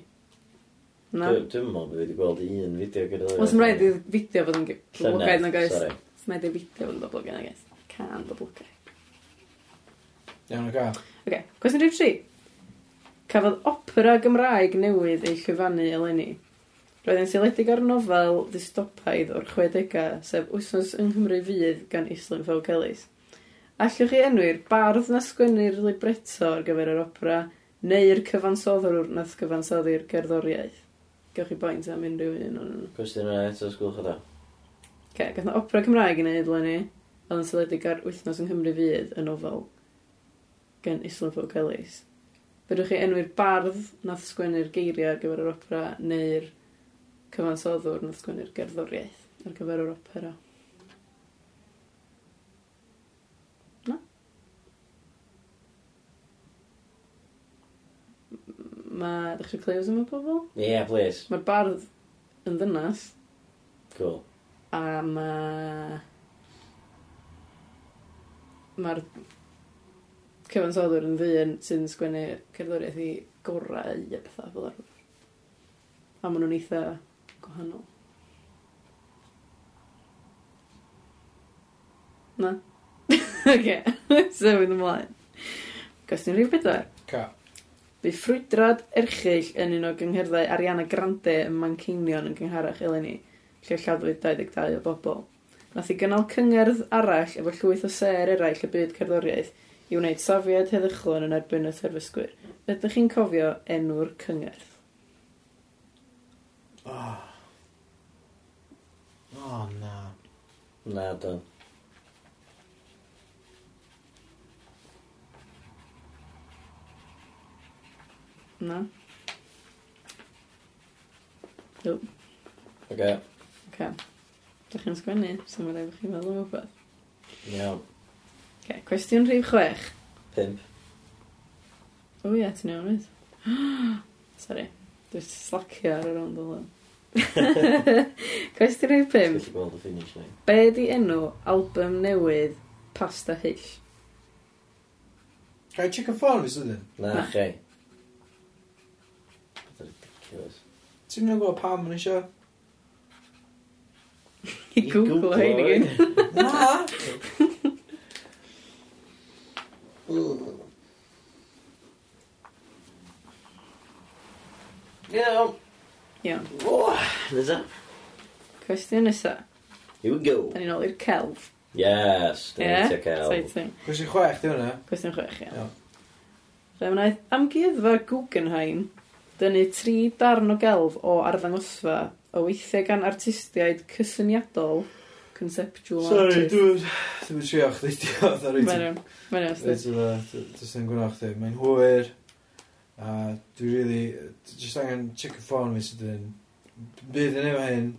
[SPEAKER 1] Na?
[SPEAKER 2] Dwi- Dwi'n mwyn bod wedi gweld un fideo gyda
[SPEAKER 1] Os ym rhaid i'r fideo fod yn ge-
[SPEAKER 2] Llynedd,
[SPEAKER 1] poblogaidd na gais.
[SPEAKER 2] sorry.
[SPEAKER 1] Os ym rhaid i'r fideo fod yn poblogaidd na gais. Can poblogaidd.
[SPEAKER 3] Iawn o gael.
[SPEAKER 1] Ok, cwestiwn rhif 3. Cafodd opera Gymraeg newydd ei llyfannu eleni. Roedd yn seiledig ar nofel ddistopaidd o'r 60au, sef Wsos yng Nghymru Fydd gan Islyn Fawg Elis. Allwch chi enwi'r bardd na sgwennu'r libretto ar gyfer yr opera, neu'r cyfansoddwr na cyfansoddi'r gerddoriaeth. Gewch chi boint am unrhyw un o'n nhw.
[SPEAKER 2] Cwestiwn yna eto, sgolch o dda.
[SPEAKER 1] Okay, gath na opera Cymraeg yn ei ddlen ni, oedd yn seledig ar wythnos yng Nghymru Fydd y nofel gan Isla Fog Ellis. Fedrwch chi enwi'r bardd nath sgwennu'r geiriau ar gyfer yr opera neu'r cyfansoddwr nath sgwennu'r gerddoriaeth ar gyfer yr opera. Na? M- Mae, ddech chi'n clews yma pobl?
[SPEAKER 2] Yeah, please.
[SPEAKER 1] Mae'r bardd yn ddynas.
[SPEAKER 2] Cool.
[SPEAKER 1] A ma... Mae'r cyfansoddwr yn ddyn sy'n sgwennu cerddoriaeth i gorau a pethau fel arfer. A maen nhw'n eitha gwahanol. Na? Oce, so fydd ymlaen. Gwestiwn rhif bedwar.
[SPEAKER 3] Ca.
[SPEAKER 1] Bu ffrwydrad erchill yn un o gyngherddau Ariana Grande yn Manceinion yn gyngharach eleni, lle lladdwyd 22 o bobl. Nath i gynnal cyngerdd arall efo llwyth o ser eraill y byd cerddoriaeth i wneud safiad heddychlon yn erbyn y terfysgwyr. Ydych chi'n cofio enw'r cyngerdd?
[SPEAKER 3] Oh. Oh, na.
[SPEAKER 2] Na, dyn.
[SPEAKER 1] Na?
[SPEAKER 2] Oce.
[SPEAKER 1] Oce. Ydych chi'n sgwennu? So mae'n rhaid i chi feddwl am rhywbeth.
[SPEAKER 2] Iawn.
[SPEAKER 1] Oce, cwestiwn rhif chwech.
[SPEAKER 2] Pimp.
[SPEAKER 1] O ie, ti'n iawn wyth. Sorry. Dwi'n slacio ar y rownd o lan. Cwestiwn rhif 5.
[SPEAKER 2] Ti'n gallu gweld y finish ni.
[SPEAKER 1] Be di enw album newydd Pasta Hyll?
[SPEAKER 3] Gael chicken ffôn fi sydyn.
[SPEAKER 2] Na, chi. That's ridiculous.
[SPEAKER 3] Ti'n mynd gwybod pam yn eisiau?
[SPEAKER 1] I Google hyn i gyn.
[SPEAKER 3] Na!
[SPEAKER 2] Yeah.
[SPEAKER 1] Iawn.
[SPEAKER 2] Is
[SPEAKER 3] e?
[SPEAKER 2] that?
[SPEAKER 1] Cwestiwn nesa.
[SPEAKER 2] Here we go.
[SPEAKER 1] Da ni'n ôl i'r celf.
[SPEAKER 2] Yes,
[SPEAKER 1] Ie?
[SPEAKER 2] dwi'n cael.
[SPEAKER 1] Exciting.
[SPEAKER 3] Gwrs i chwech, di hwnna?
[SPEAKER 1] Cwestiwn chwech, ia.
[SPEAKER 3] Iawn.
[SPEAKER 1] Fe wnaeth amgueddfa Guggenheim dynnu tri darn o gelf o arddangosfa o weithiau gan artistiaid cysyniadol, conceptual
[SPEAKER 3] Sorry,
[SPEAKER 1] artist.
[SPEAKER 3] dwi'n... Dwi'n trio chdi, diolch. Sorry,
[SPEAKER 1] Mae'n
[SPEAKER 3] ti'n
[SPEAKER 1] iawn, mae'n iawn,
[SPEAKER 3] Dwi'n
[SPEAKER 1] Steve.
[SPEAKER 3] yn gwneud chdi. Mae'n hwyr. A dwi really... dwi Just angen check y ffôn fi sydd yn... Bydd yn efo hyn.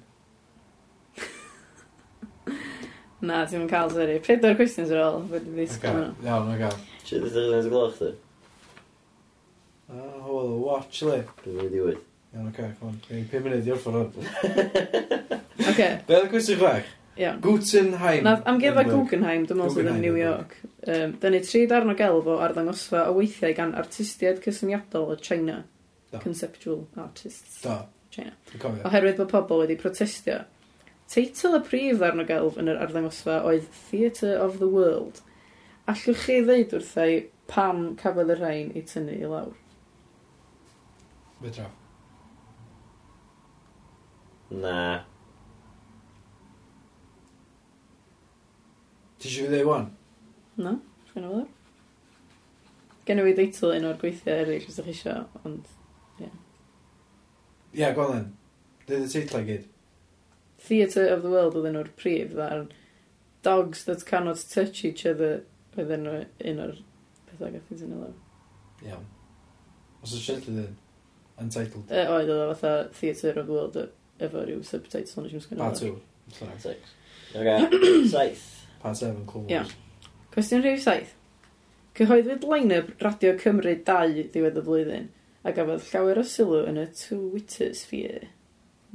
[SPEAKER 1] Na, ti'n mynd cael, sori. Pedwar cwestiwn sy'n ôl, fe dwi'n
[SPEAKER 3] Ocê,
[SPEAKER 1] ddisgwyl.
[SPEAKER 3] Iawn, o'r gael.
[SPEAKER 2] Sut ydych chi'n gwneud gloch ti?
[SPEAKER 3] Ah, hwyl, watch, le.
[SPEAKER 2] Dwi'n mynd i wyth.
[SPEAKER 3] Iawn, o'r gael, come on. Gwneud 5 munud i orffan hwn.
[SPEAKER 1] Oce,
[SPEAKER 3] Be oedd y cwestiwn chwech?
[SPEAKER 1] iawn.
[SPEAKER 3] Gutenheim.
[SPEAKER 1] Nath amgueddfa
[SPEAKER 3] Edinburgh.
[SPEAKER 1] Guggenheim, dwi'n meddwl sydd yn
[SPEAKER 3] Guggenheim,
[SPEAKER 1] New York,
[SPEAKER 3] Edinburgh.
[SPEAKER 1] um, dynnu tri darn o gelf o arddangosfa o weithiau gan artistiaid cysyniadol o China,
[SPEAKER 3] Do.
[SPEAKER 1] conceptual artists.
[SPEAKER 3] Do.
[SPEAKER 1] China.
[SPEAKER 3] Dwi'n cofio.
[SPEAKER 1] Oherwydd bod pobl wedi protestio. Teitl y prif ddarn o gelf yn yr arddangosfa oedd Theatre of the World. Allwch chi ddeud wrthau pam cafodd y rhain i tynnu i lawr?
[SPEAKER 3] Fedra.
[SPEAKER 2] Na.
[SPEAKER 3] Ti eisiau fi ddeud wan?
[SPEAKER 1] Na? Chi'n gwybod? Gen i fi deitl un o'r gweithiau eraill os ydych chi isio, ond
[SPEAKER 3] Ie, yeah, gwan then. Dweud y teitlau gyd.
[SPEAKER 1] Theatre of the World oedd enw'r prif ddarn. Dogs that cannot touch each other oedd enw un o'r pethau gath i tynnu i lawr.
[SPEAKER 3] Iawn. Os oes siarad ydyn. Untitled.
[SPEAKER 1] E, oedd oedd o fatha Theatre of the World e- efo rhyw subtitle nes i'n sgwneud.
[SPEAKER 3] Part 2. Sorry.
[SPEAKER 2] Six. Okay. Saith.
[SPEAKER 3] Part 7, Cool Wars.
[SPEAKER 1] Iawn. Cwestiwn rhif saith. Cyhoeddwyd line-up Radio Cymru 2 ddiwedd y flwyddyn a gafodd llawer o sylw yn y Twitter sphere,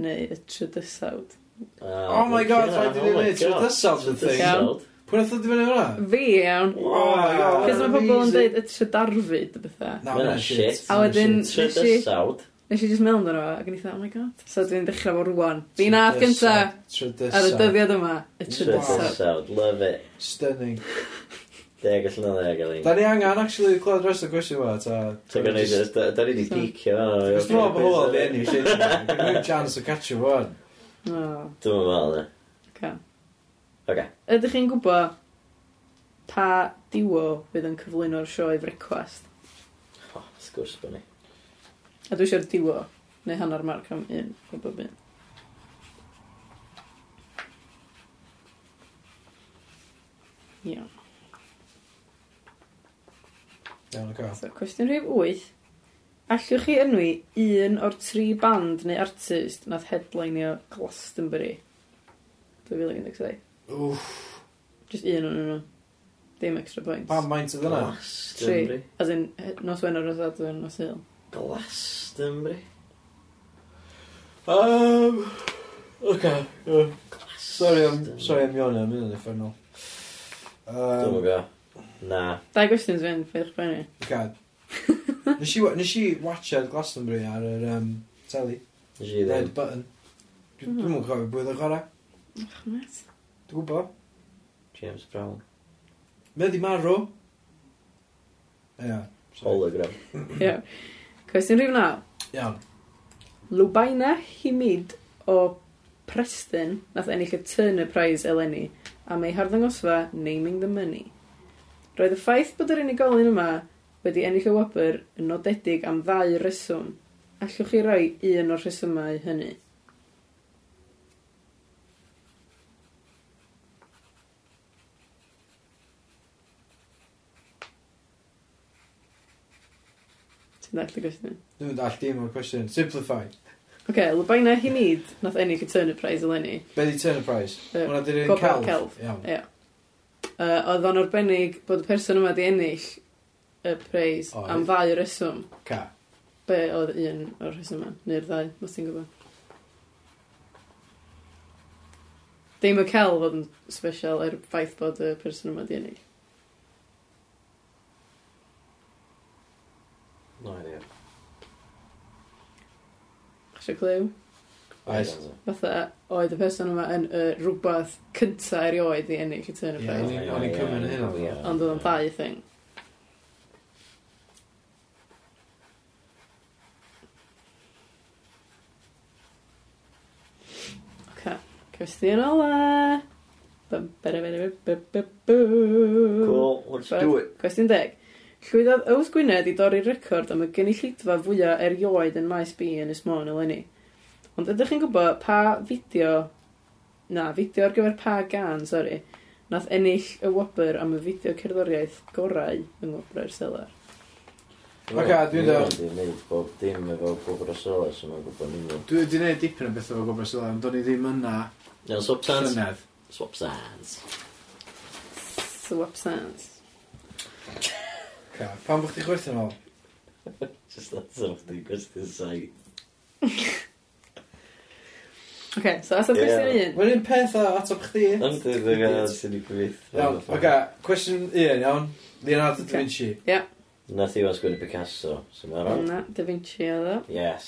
[SPEAKER 1] neu y trydysawd.
[SPEAKER 2] Ah,
[SPEAKER 3] Oh my god, rhaid i ni wneud trwy'r dysawd yn thing.
[SPEAKER 1] Iawn.
[SPEAKER 3] Pwy nath oedd i fyny hwnna?
[SPEAKER 1] Fi iawn,
[SPEAKER 3] Oh my god.
[SPEAKER 1] cos mae pobl yn
[SPEAKER 3] amazing.
[SPEAKER 1] dweud y trydarfyd y bethau.
[SPEAKER 3] Na,
[SPEAKER 2] Mae
[SPEAKER 3] mae'n
[SPEAKER 2] hwnna'n
[SPEAKER 3] shit.
[SPEAKER 2] shit.
[SPEAKER 1] A wedyn,
[SPEAKER 3] Shit.
[SPEAKER 1] nes i,
[SPEAKER 2] Trydysawd.
[SPEAKER 1] nes i just meddwl amdano fo, ac o'n i thought, oh my god. So dwi'n dechrau fo rwan. Fi nath gynta
[SPEAKER 3] Trydysawd.
[SPEAKER 1] ar y
[SPEAKER 3] Trydysawd.
[SPEAKER 1] dyddiad yma, y trydysawd.
[SPEAKER 2] Trydysawd. Love it.
[SPEAKER 3] Stunning.
[SPEAKER 2] Deg allan o ddeg alin.
[SPEAKER 3] Da ni angen, actually, clywed rest o'r gwestiwn yma, ta...
[SPEAKER 2] So gan i
[SPEAKER 3] Just-
[SPEAKER 2] ddweud, da ni wedi dicio.
[SPEAKER 3] Os dwi'n meddwl bod hwyl di enw i shit. Gwneud chance o catch o fod.
[SPEAKER 1] Oh,
[SPEAKER 2] Dwi'n meddwl, ne.
[SPEAKER 1] okay.
[SPEAKER 2] Oce.
[SPEAKER 1] Ydych chi'n gwybod pa diwo fydd yn cyflwyno'r sioe frecwast?
[SPEAKER 2] Oh, sgwrs bod ni.
[SPEAKER 1] A dwi eisiau'r diwo, neu hanner marc am un, o bob un. Iawn.
[SPEAKER 3] Iawn, o'r cael.
[SPEAKER 1] So, cwestiwn rhif 8. Allwch chi enwi un o'r tri band neu artist nath headlineio Glastonbury 2017?
[SPEAKER 3] Wff,
[SPEAKER 1] Just un o'n nhw. Dim extra points.
[SPEAKER 3] pam maint oedd yna?
[SPEAKER 1] Tri.
[SPEAKER 2] Glastonbury.
[SPEAKER 1] As in, he- nos Wener o Sadwrn nos Hill.
[SPEAKER 2] Glastonbury.
[SPEAKER 3] Um, oce. ie. Sorry am,
[SPEAKER 2] Glastonbury.
[SPEAKER 3] sorry am Iona, mynd yn effernol.
[SPEAKER 2] Dwi'n
[SPEAKER 3] Um,
[SPEAKER 2] go. Na.
[SPEAKER 1] Dau gwestiwn sy'n fynd, fyddwch benni.
[SPEAKER 3] God. Nes i, wa- nes i watchad Glastonbury ar yr um, teli.
[SPEAKER 2] Nes i
[SPEAKER 3] Red
[SPEAKER 2] ddim.
[SPEAKER 3] button. Dwi-
[SPEAKER 1] Hmm.
[SPEAKER 3] Dwi'm yn cofio bwyd o'r chwarae.
[SPEAKER 1] Chmet.
[SPEAKER 3] Dwi'n gwybod.
[SPEAKER 2] James Brown.
[SPEAKER 3] Medd i marw. Ia. sorry.
[SPEAKER 2] Hologram.
[SPEAKER 1] Ie. Cwestiwn rhif 9.
[SPEAKER 3] Iawn.
[SPEAKER 1] Lwbaina Himid o Preston nath ennill y Turner Prize eleni am ei harddangosfa Naming the Money. Roedd y ffaith bod yr unigolyn yma wedi ennill y wobr yn nodedig am ddau reswm. Allwch chi roi un o'r rhesymau hynny. Ti'n dall y gwestiwn?
[SPEAKER 3] Dwi'n all dim o'r cwestiwn. Simplify.
[SPEAKER 1] Ok, Lubaina Himid nath ennill y Turner Prize eleni.
[SPEAKER 3] Be di turn y price?
[SPEAKER 1] Yy,
[SPEAKER 3] Hwna di'r un
[SPEAKER 1] Gobar
[SPEAKER 3] celf.
[SPEAKER 1] celf.
[SPEAKER 3] Iawn.
[SPEAKER 1] Ie. Uh, oedd o'n arbennig bod y person yma di ennill y preis
[SPEAKER 3] Oedd.
[SPEAKER 1] am ddau o reswm.
[SPEAKER 3] Ca.
[SPEAKER 1] Be oedd un o'r reswm yma? Neu'r ddau, os ti'n gwybod? Dim y cel fod yn special er ffaith bod y person yma di ennill. Eisiau clyw?
[SPEAKER 3] Oes.
[SPEAKER 1] Fatha, oedd y person yma yn y rhywbeth cynta erioed i ennill y turn
[SPEAKER 3] Ie,
[SPEAKER 1] prize.
[SPEAKER 3] o'n i'n- o'n i'n cymryd hynna.
[SPEAKER 1] Ond oedd o'n dau thing. Oce, cwestiwn ola. Bum, bada, bada, bu, bu, bu, bu.
[SPEAKER 2] Cool, let's
[SPEAKER 1] But-
[SPEAKER 2] do it.
[SPEAKER 1] Cwestiwn deg. Llwyddodd Ewes Gwynedd i dorri'r record am y gynulleidfa fwyaf erioed yn maes B yn Ysmôn eleni. Ond ydych chi'n gwybod pa fideo... Na, fideo ar gyfer pa gan, sori. Nath ennill y wobr am y fideo cerddoriaeth gorau yng Ngwbrau'r Selar.
[SPEAKER 3] Ocê, dwi'n dod.
[SPEAKER 2] Dwi'n gwneud bob dim efo gwybod o sôl, so mae'n gwybod ni'n gwybod.
[SPEAKER 3] Dwi wedi gwneud dipyn o beth efo gwybod sydd am, do'n i ddim yna
[SPEAKER 2] Iawn, swap sands.
[SPEAKER 3] llynedd.
[SPEAKER 2] Swap sands.
[SPEAKER 1] Swap sands.
[SPEAKER 3] Ca, Pan bych chi'n chwerthu'n ôl?
[SPEAKER 2] Just that's off the question side.
[SPEAKER 1] Oce, okay, so ateb
[SPEAKER 2] Ie.
[SPEAKER 1] cwestiwn un.
[SPEAKER 3] Mae'n un peth a ateb chdi.
[SPEAKER 2] Ond dwi'n gwneud sy'n i gwyth.
[SPEAKER 3] Iawn, oce, cwestiwn un, iawn. Leonardo da Vinci.
[SPEAKER 2] Nath i was gwneud Picasso, so mae'n rhaid.
[SPEAKER 1] Na, Da Vinci oedd o.
[SPEAKER 2] Yes.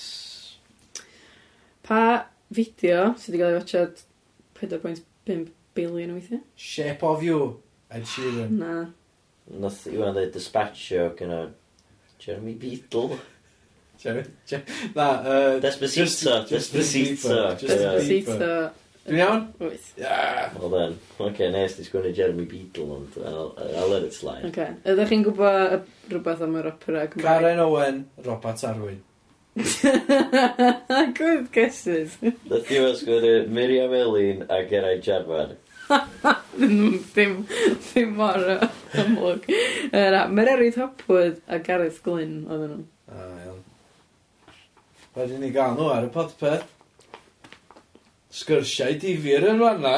[SPEAKER 1] Pa fideo sydd wedi cael ei watchad 4.5 biliwn o weithiau?
[SPEAKER 3] Shape of You, Ed Sheeran.
[SPEAKER 1] Na.
[SPEAKER 2] Nath i wan dweud Dispatcho gyda Jeremy Beadle.
[SPEAKER 3] Jerry- Je- Na, uh,
[SPEAKER 2] Despacito, Despacito.
[SPEAKER 3] Just-
[SPEAKER 1] Despacito.
[SPEAKER 3] Dwi'n iawn?
[SPEAKER 1] Wyth.
[SPEAKER 3] Ia.
[SPEAKER 2] Well then, okay, nes, dwi'n gwneud Jeremy Beadle, ond I'll, I'll let it slide.
[SPEAKER 1] Oce. Ydych chi'n gwybod y- rhywbeth am yr opera Cymraeg?
[SPEAKER 3] Karen Owen, Robert Arwyn.
[SPEAKER 1] Good guesses.
[SPEAKER 2] Nath i was gwneud Miriam Elin a Geraint Jarfan.
[SPEAKER 1] Ddim, ddim, ddim mor yy, amlwg. Yy, Na, Mererid Hopwood a Gareth Glyn oedden nhw.
[SPEAKER 3] A, Ah, iawn. Wedyn ni gael nhw ar y podpeth. Sgyrsiau difyr yn fanna.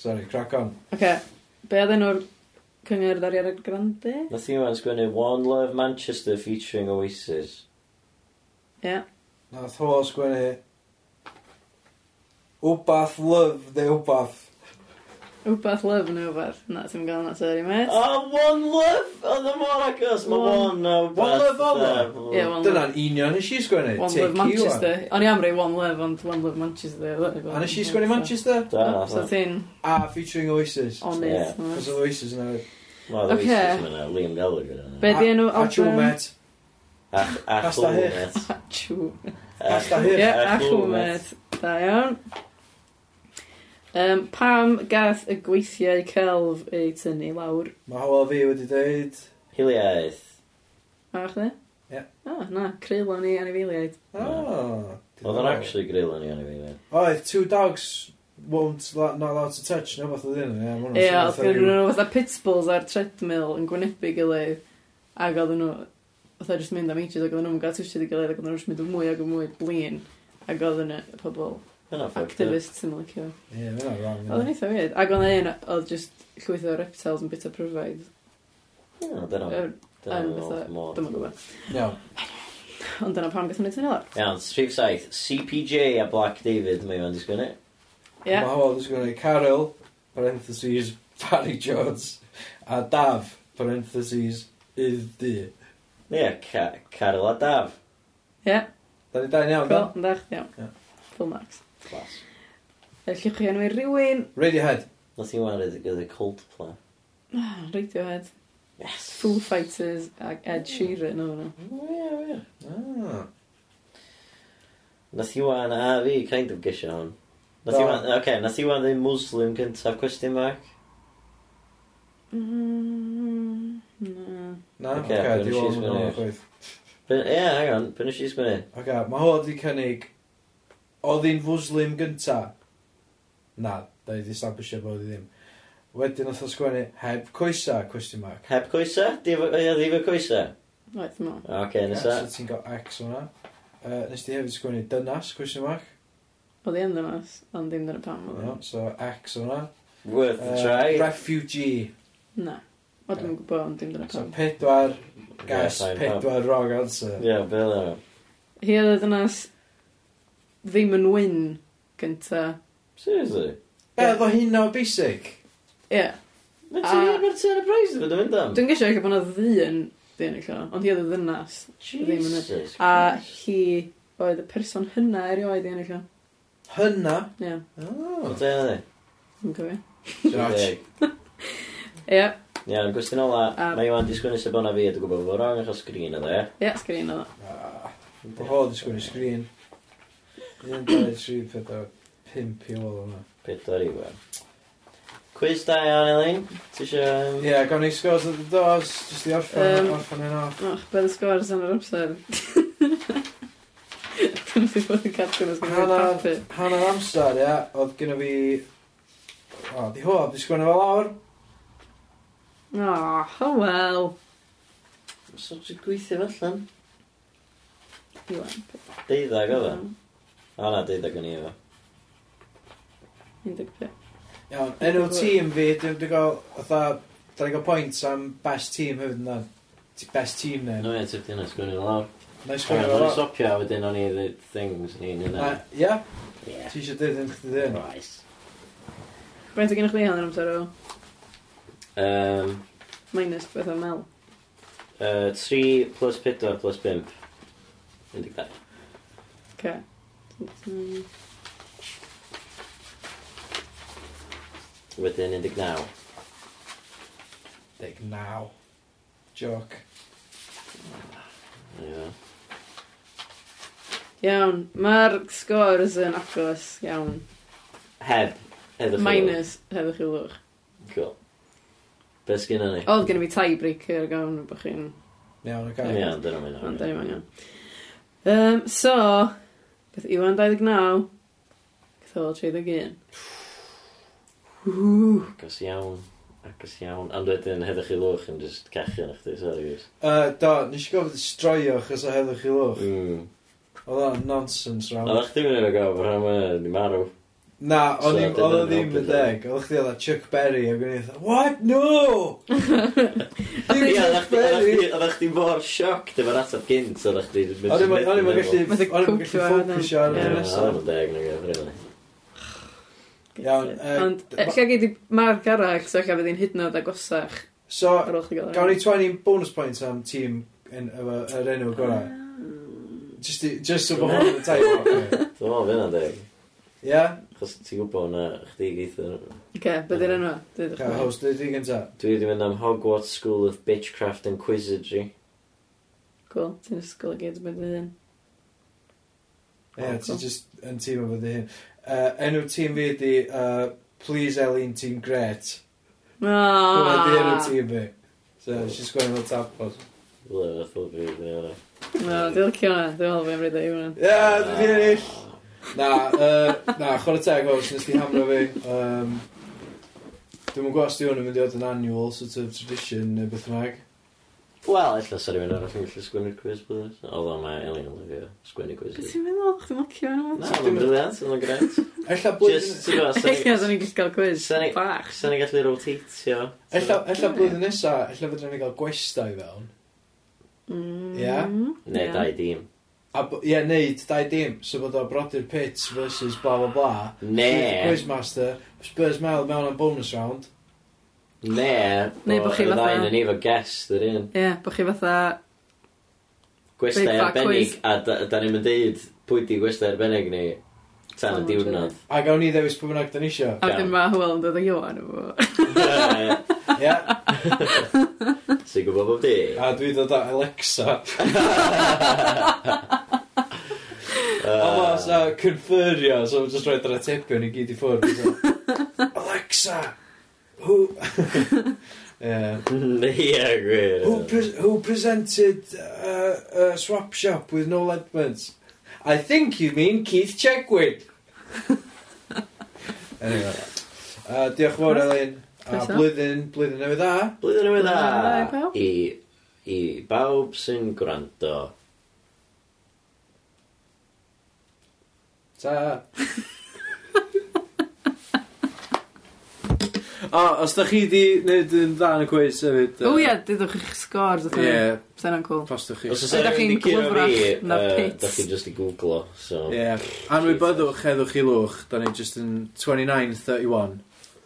[SPEAKER 3] Sorry, crack on.
[SPEAKER 1] Oce, be oedden nhw'r cyngor ar y grande?
[SPEAKER 2] Nath i wan sgwneud One Love Manchester featuring Oasis.
[SPEAKER 1] Ie.
[SPEAKER 3] Nath ho sgwennu... Wbath love, neu wbath.
[SPEAKER 1] Wbath lyf neu wbath. Na, ti'n gael na, sorry, mate.
[SPEAKER 2] Oh, One Love! Oedd y mor agos, mae
[SPEAKER 1] One-
[SPEAKER 2] One Love.
[SPEAKER 3] One Love oedd
[SPEAKER 1] Ie, One Love.
[SPEAKER 3] Dyna'n union nes i sgwennu.
[SPEAKER 1] One
[SPEAKER 3] Take
[SPEAKER 1] Love
[SPEAKER 3] you
[SPEAKER 1] Manchester. O'n i am rei One Love, ond One Love Manchester.
[SPEAKER 3] on. A nes i sgwennu Manchester.
[SPEAKER 2] Da,
[SPEAKER 1] So ti'n
[SPEAKER 3] A featuring Oasis.
[SPEAKER 1] on
[SPEAKER 2] Ie.
[SPEAKER 1] it. ma.
[SPEAKER 3] Cos oedd Oasis yna.
[SPEAKER 2] Wel,
[SPEAKER 1] Ocê.
[SPEAKER 2] okay. Oasis mae'n Liam Gallagher yna.
[SPEAKER 1] Be di enw
[SPEAKER 3] A
[SPEAKER 1] album?
[SPEAKER 3] Chumet.
[SPEAKER 2] A
[SPEAKER 3] Pasta
[SPEAKER 2] Chlomet.
[SPEAKER 1] Achw.
[SPEAKER 3] Pasta hyn.
[SPEAKER 1] Ie, a chwmed. Da iawn. Um, pam gath y gweithiau celf ei tynnu lawr?
[SPEAKER 3] Mae Howell fi wedi dweud.
[SPEAKER 2] Hiliaeth.
[SPEAKER 1] A chdi?
[SPEAKER 3] Ie.
[SPEAKER 1] O, na, creulon ni anifeiliaid.
[SPEAKER 3] Oh.
[SPEAKER 2] Oedd o'n actually grill yn i o'n i fi.
[SPEAKER 3] Oedd, two dogs won't la- not allowed to touch. No, fath oedd hyn. Ie, ma' hwnna'n
[SPEAKER 1] Ie,
[SPEAKER 3] swnio
[SPEAKER 1] oedd
[SPEAKER 3] fatha
[SPEAKER 1] gen
[SPEAKER 3] ryw-
[SPEAKER 1] nhw fatha pitbulls ar treadmill yn gwynebu gilydd. Ac oedd nhw, fatha jyst mynd am ages, ac oedd nhw'n gael twysio i gilydd, ac oedd nhw'n jyst mynd yn mwy ac yn mwy blin. Ac oedd yna pobl
[SPEAKER 2] Yna ffordd.
[SPEAKER 1] activists yn licio.
[SPEAKER 3] Ie, ma' hwnna'n wrong.
[SPEAKER 1] Oedd yn
[SPEAKER 3] yna.
[SPEAKER 1] eitha weird. Ac oedd yna un oedd jyst llwyth o reptiles yn bit o pryfaidd.
[SPEAKER 2] Dyna, dyna.
[SPEAKER 1] Yr- yn fatha- Dwi'm yn gwybod.
[SPEAKER 3] Iawn.
[SPEAKER 1] Ond dyna pam gath nhw'n ei tynnu lawr.
[SPEAKER 2] Iawn, Strif Saith, CPJ a Black David, mae o'n disgwyl ni.
[SPEAKER 1] Ie.
[SPEAKER 3] Mae Howell wedi gwneud Carol, parentheses, Barry Jones, a Daf, parentheses, Ydd Di.
[SPEAKER 2] Ie, Ca- Carol a Daf.
[SPEAKER 1] Ie,
[SPEAKER 3] Da ni da'n
[SPEAKER 1] cool,
[SPEAKER 3] iawn, da?
[SPEAKER 1] yn dach, iawn.
[SPEAKER 3] Ie.
[SPEAKER 1] Full marks.
[SPEAKER 2] Clas.
[SPEAKER 1] Allwch chi enw i rywun,
[SPEAKER 3] Radiohead.
[SPEAKER 2] Nath i wared gyda Coldplay.
[SPEAKER 1] Ah, Radiohead,
[SPEAKER 2] Yes.
[SPEAKER 1] Foo Fighters ac Ed Sheeran o'n nhw.
[SPEAKER 2] Ie, ie.
[SPEAKER 3] Ah.
[SPEAKER 2] Nath i wan a fi, kind of gysio hwn. Nath i
[SPEAKER 3] Do.
[SPEAKER 2] wan, oce, nath i wan ddim Muslim gyntaf, cwestiwn mark.
[SPEAKER 1] Mm, na.
[SPEAKER 3] Na,
[SPEAKER 2] Ocê,
[SPEAKER 3] oce,
[SPEAKER 2] dwi'n
[SPEAKER 3] di
[SPEAKER 2] siŵr
[SPEAKER 3] weld
[SPEAKER 2] sgwennu.
[SPEAKER 3] hwnna'n chwyth.
[SPEAKER 2] Be- Ie, hang on, byn nes i sgwini.
[SPEAKER 3] Oce, mae hwn wedi cynnig... Oedd hi'n fwslim gynta? Na, da i di stablisio bod hi ddim. Wedyn oedd o sgwennu heb coesa, question mark.
[SPEAKER 2] Heb coesa? Di efo- Ie, di efo coesa?
[SPEAKER 1] Right, ddim ond.
[SPEAKER 2] Oce,
[SPEAKER 3] So
[SPEAKER 2] nesa.
[SPEAKER 3] ti'n gael X o'na. Uh, nes di hefyd sgwennu dynas, question mark.
[SPEAKER 1] Oedd i yn ddynas, ond ddim dyna pam.
[SPEAKER 2] Hmm.
[SPEAKER 3] No, so X o'na.
[SPEAKER 2] Worth
[SPEAKER 3] Uh,
[SPEAKER 2] a try.
[SPEAKER 3] refugee.
[SPEAKER 1] Na. O, dwi'n gwybod, ond ddim dyna
[SPEAKER 3] So
[SPEAKER 1] pam.
[SPEAKER 3] pedwar, gas,
[SPEAKER 2] Hmm. fine,
[SPEAKER 3] pedwar wrong answer.
[SPEAKER 2] Ie, be dda.
[SPEAKER 1] Hi oedd y dynas ddim yn wyn gynta.
[SPEAKER 2] Seriously?
[SPEAKER 3] Be, Efo hyn o basic.
[SPEAKER 1] Ie.
[SPEAKER 2] Mae'n
[SPEAKER 1] A-
[SPEAKER 2] ti'n y prize ddim yn mynd am?
[SPEAKER 1] Dwi'n gesio eich bod yna ddyn, ddyn eich o, ond hi oedd y ddynas. ddim yn-
[SPEAKER 2] Jesus.
[SPEAKER 1] A hi oedd y person hynna erioed i ennill o.
[SPEAKER 3] Hynna.
[SPEAKER 1] Ie,
[SPEAKER 3] Oh.
[SPEAKER 2] Ond yna ni.
[SPEAKER 1] yn gofio.
[SPEAKER 3] Josh.
[SPEAKER 1] Ie,
[SPEAKER 2] Iawn, gwestiwn ola.
[SPEAKER 1] A-
[SPEAKER 2] Mae Iwan di sgwini sef bona fi, dwi'n gwybod bod rong achos e. sgrin o dde.
[SPEAKER 1] ie, sgrin o.
[SPEAKER 3] Ah, Bod sgwini sgrin. 1, 2, 3, 4, 5 i ôl yna.
[SPEAKER 2] Pedwar Iwan. Cwiz da iawn, Elin. Ti eisiau...
[SPEAKER 3] Ie, gawn ni scores at the doors, jyst i orffan,
[SPEAKER 1] Yym.
[SPEAKER 3] orffan yn off.
[SPEAKER 1] Och, beth y sgwrs yn yr amser. Dwi'n fi bod yn cadw'n ysgrifennu
[SPEAKER 3] Hanna,
[SPEAKER 1] papur.
[SPEAKER 3] hanna'r amser, ia, oedd gynna fi... O, di hwb, di sgwini fel lawr.
[SPEAKER 1] Oh, oh well.
[SPEAKER 2] So, ti'n gweithio fellan?
[SPEAKER 1] Iwan.
[SPEAKER 2] Deuddag oedd o. O na, deuddag o'n i efo.
[SPEAKER 1] 15.
[SPEAKER 3] Iawn, enw tîm fi, dwi'n dwi'n gael, fatha, dwi'n gael points am best tîm hefyd yna. Ti- Best tîm neu.
[SPEAKER 2] No, ie, ti'n dyna sgwini lawr.
[SPEAKER 3] Na i sgwini
[SPEAKER 2] Dwi'n
[SPEAKER 3] fel
[SPEAKER 2] rhaid
[SPEAKER 3] lawr.
[SPEAKER 2] stopio, a wedyn o'n i ddweud things ni'n hynna.
[SPEAKER 3] Na, Ia,
[SPEAKER 2] Ie.
[SPEAKER 3] ti eisiau dweud yn chdi ddyn.
[SPEAKER 2] Nice.
[SPEAKER 1] Faint o gennych chi hanner amser o?
[SPEAKER 2] Um,
[SPEAKER 1] Minus beth o mel.
[SPEAKER 2] uh, 3 plus 4 plus 5. 12.
[SPEAKER 1] Okay. Mm,
[SPEAKER 2] Wedyn 19.
[SPEAKER 3] Deg naw. Joc.
[SPEAKER 2] Ie.
[SPEAKER 1] Iawn, mae'r scores yn agos iawn.
[SPEAKER 2] Heb. Heddwch i
[SPEAKER 1] Minus heddwch chi lwch.
[SPEAKER 2] fod. Cool. Be sgyn ni?
[SPEAKER 1] Oedd gen i fi tiebreaker gawn o bych chi'n...
[SPEAKER 3] Iawn, o'r
[SPEAKER 2] Ie,
[SPEAKER 3] gael.
[SPEAKER 2] ond dyna mi
[SPEAKER 1] Ond
[SPEAKER 2] nawr.
[SPEAKER 1] da ni'n iawn. Um, so, beth Iwan 29, Cthol 31. Whw.
[SPEAKER 2] Agos iawn. Agos iawn. Ond wedyn heddwch i lwch yn just cachu na chdi, sorry guys.
[SPEAKER 3] Yy, Do, nes i gofod stroio chos o heddwch i lwch.
[SPEAKER 2] Mm.
[SPEAKER 3] Oedd o'n nonsense
[SPEAKER 2] A
[SPEAKER 3] round.
[SPEAKER 2] ddech chi'n mynd i'r gof, rhan mae'n ni marw.
[SPEAKER 3] Na, o'n i-
[SPEAKER 2] So, dyna
[SPEAKER 3] oedd o
[SPEAKER 2] yn
[SPEAKER 3] ddim
[SPEAKER 2] helpu,
[SPEAKER 3] yn deg. Oedd chdi oedd Chuck Berry ac o'n i oedd, what, no! Dim
[SPEAKER 2] Ie,
[SPEAKER 3] Chuck Berry!
[SPEAKER 2] oeddech chdi mor sioc efo'r ateb gynt, oeddech chdi...
[SPEAKER 3] O'n i'n o'n i'm yn gallu
[SPEAKER 1] Methu
[SPEAKER 3] o'n i'm yn gallu
[SPEAKER 1] cwpio ar hynna.
[SPEAKER 3] ffocysio
[SPEAKER 2] Ie,
[SPEAKER 3] ar
[SPEAKER 1] Ie,
[SPEAKER 3] y
[SPEAKER 2] oedd
[SPEAKER 3] nesaf.
[SPEAKER 2] yn deg na gael, rili.
[SPEAKER 3] Iawn, yy,
[SPEAKER 1] Ond,
[SPEAKER 3] d-
[SPEAKER 1] uh, lle gei di marc arall, so lle fydd hi'n hydnod agosach
[SPEAKER 3] So,
[SPEAKER 1] ar ôl chi gael.
[SPEAKER 3] gawn ni 20 bonus points am tîm yn efo- yr enw gorau. Just i- just so bod hwn yn y taith.
[SPEAKER 2] Dwi'n meddwl fyna deg.
[SPEAKER 3] Ie?
[SPEAKER 2] Chos ti'n gwybod na chdi geitha...
[SPEAKER 1] Oce, beth yw'r enw? Dydych
[SPEAKER 3] Gael
[SPEAKER 1] chi.
[SPEAKER 3] host, dwi di gynta.
[SPEAKER 2] Dwi wedi mynd am Hogwarts School of Bitchcraft and Quizzardry.
[SPEAKER 1] Cool, ti'n ysgol i gyd beth yw'r hyn.
[SPEAKER 3] Ie,
[SPEAKER 1] Oh,
[SPEAKER 3] ti
[SPEAKER 1] cool.
[SPEAKER 3] just yn tîm efo dy hun. Yy, Enw tîm fi di Please Elin Team Great.
[SPEAKER 1] Ah.
[SPEAKER 3] Hwna di enw
[SPEAKER 1] Aaaa!
[SPEAKER 3] tîm fi. So, nes i sgwennu fel tapos.
[SPEAKER 2] Dwi'n meddwl fi wedi yna.
[SPEAKER 1] No, dwi'n licio hwnna, dwi'n meddwl fi'n rhaid i hwnna.
[SPEAKER 3] Ie,
[SPEAKER 2] Ah.
[SPEAKER 3] dwi di ennill! Na, uh, na, chwarae teg os nes di hamro fi. Um, Dwi'n mwyn gwybod os di hwn yn mynd i fod yn annual sort of tradition neu beth yma.
[SPEAKER 2] Wel, illa sori mynd arall yn gallu sgwynnu'r quiz bydd ys. Oedd o'n mae Elin yn lyfio sgwynnu quiz.
[SPEAKER 1] Beth ti'n meddwl? Chdi'n licio hwnna?
[SPEAKER 2] Na, mae'n briliant, mae'n greit.
[SPEAKER 3] Ella blwyddyn...
[SPEAKER 2] Just, ti'n
[SPEAKER 1] Ella,
[SPEAKER 2] gwybod,
[SPEAKER 1] dwi'n gallu cael quiz
[SPEAKER 2] Sani-
[SPEAKER 1] bach.
[SPEAKER 2] sa'n ni gallu rotatio.
[SPEAKER 3] Ella, ella blwyddyn nesa, ella fydden ni gael gwestai fewn.
[SPEAKER 1] Mm,
[SPEAKER 3] Ie?
[SPEAKER 2] Ne,
[SPEAKER 1] ie.
[SPEAKER 2] dau dîm.
[SPEAKER 3] A, b- ie, neud, dau dim, so bod o brodyr pits versus bla bla bla.
[SPEAKER 2] Ne,
[SPEAKER 3] Quizmaster, Spurs Mel mewn am bonus round.
[SPEAKER 2] ne,
[SPEAKER 1] Neu bo' chi
[SPEAKER 2] y
[SPEAKER 1] fatha-
[SPEAKER 2] ddain yn efo guest yr un.
[SPEAKER 1] Ie, bod chi fatha...
[SPEAKER 2] Gwestai
[SPEAKER 1] Big fat
[SPEAKER 2] arbennig,
[SPEAKER 1] quiz.
[SPEAKER 2] a da da ni'n mynd deud pwy di gwestai arbennig ni tan y
[SPEAKER 1] Someone
[SPEAKER 2] diwrnod.
[SPEAKER 3] A gawn ni ddewis pwy bynnag dan isio.
[SPEAKER 1] A dim ma hwyl yn dod o Iwan efo.
[SPEAKER 2] Ie,
[SPEAKER 3] Ie.
[SPEAKER 2] Ti'n gwybod bob di?
[SPEAKER 3] A dwi ddod â Alexa. A ma, sa, conferio, so just roed ar y tepion i gyd i ffwrdd. So. Alexa! Who... yeah.
[SPEAKER 2] Ie, gwir.
[SPEAKER 3] Who, pre- who presented uh, a swap shop with no ligaments? I think you mean Keith Chegwin. anyway. Uh, diolch yn fawr, Elin. A
[SPEAKER 1] Croeso.
[SPEAKER 3] blwyddyn, blwyddyn newydd dda.
[SPEAKER 2] Blwyddyn newydd
[SPEAKER 1] Blwyddyn newydd
[SPEAKER 2] dda
[SPEAKER 1] pawb.
[SPEAKER 2] i, i bawb sy'n gwrando.
[SPEAKER 3] Ta. o, os da chi di wneud yn dda yn y cwiz hefyd...
[SPEAKER 1] O ie, dydwch chi'ch scores o
[SPEAKER 3] Ie,
[SPEAKER 1] thyn. Sa'n yn cool.
[SPEAKER 3] postwch chi.
[SPEAKER 2] Os oes
[SPEAKER 1] Ydych
[SPEAKER 2] e'n
[SPEAKER 1] chi'n
[SPEAKER 2] mynd i curo
[SPEAKER 1] glyfrach
[SPEAKER 2] fi,
[SPEAKER 1] na
[SPEAKER 2] yy,
[SPEAKER 1] pit?
[SPEAKER 2] dach chi'n just i googlo. So.
[SPEAKER 3] Ie, anwybyddwch heddwch i lwch, da ni just yn 29-31.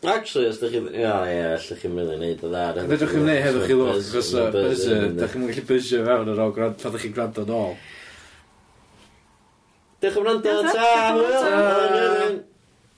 [SPEAKER 2] Actually, os dych chi'n... Ia, ie, allwch chi'n rili neud o dda.
[SPEAKER 3] Fedrwch chi'n gwneud heddwch i lwch, chos uh,
[SPEAKER 2] Buzz
[SPEAKER 3] buzzer,
[SPEAKER 2] in
[SPEAKER 3] da chi'n gallu buzzer fewn ar ôl gwrando, pan da chi'n gwrando yn ôl.
[SPEAKER 2] Diolch am wrando.
[SPEAKER 1] Ia, ta.
[SPEAKER 2] Ta. Hwyl.
[SPEAKER 1] Ta.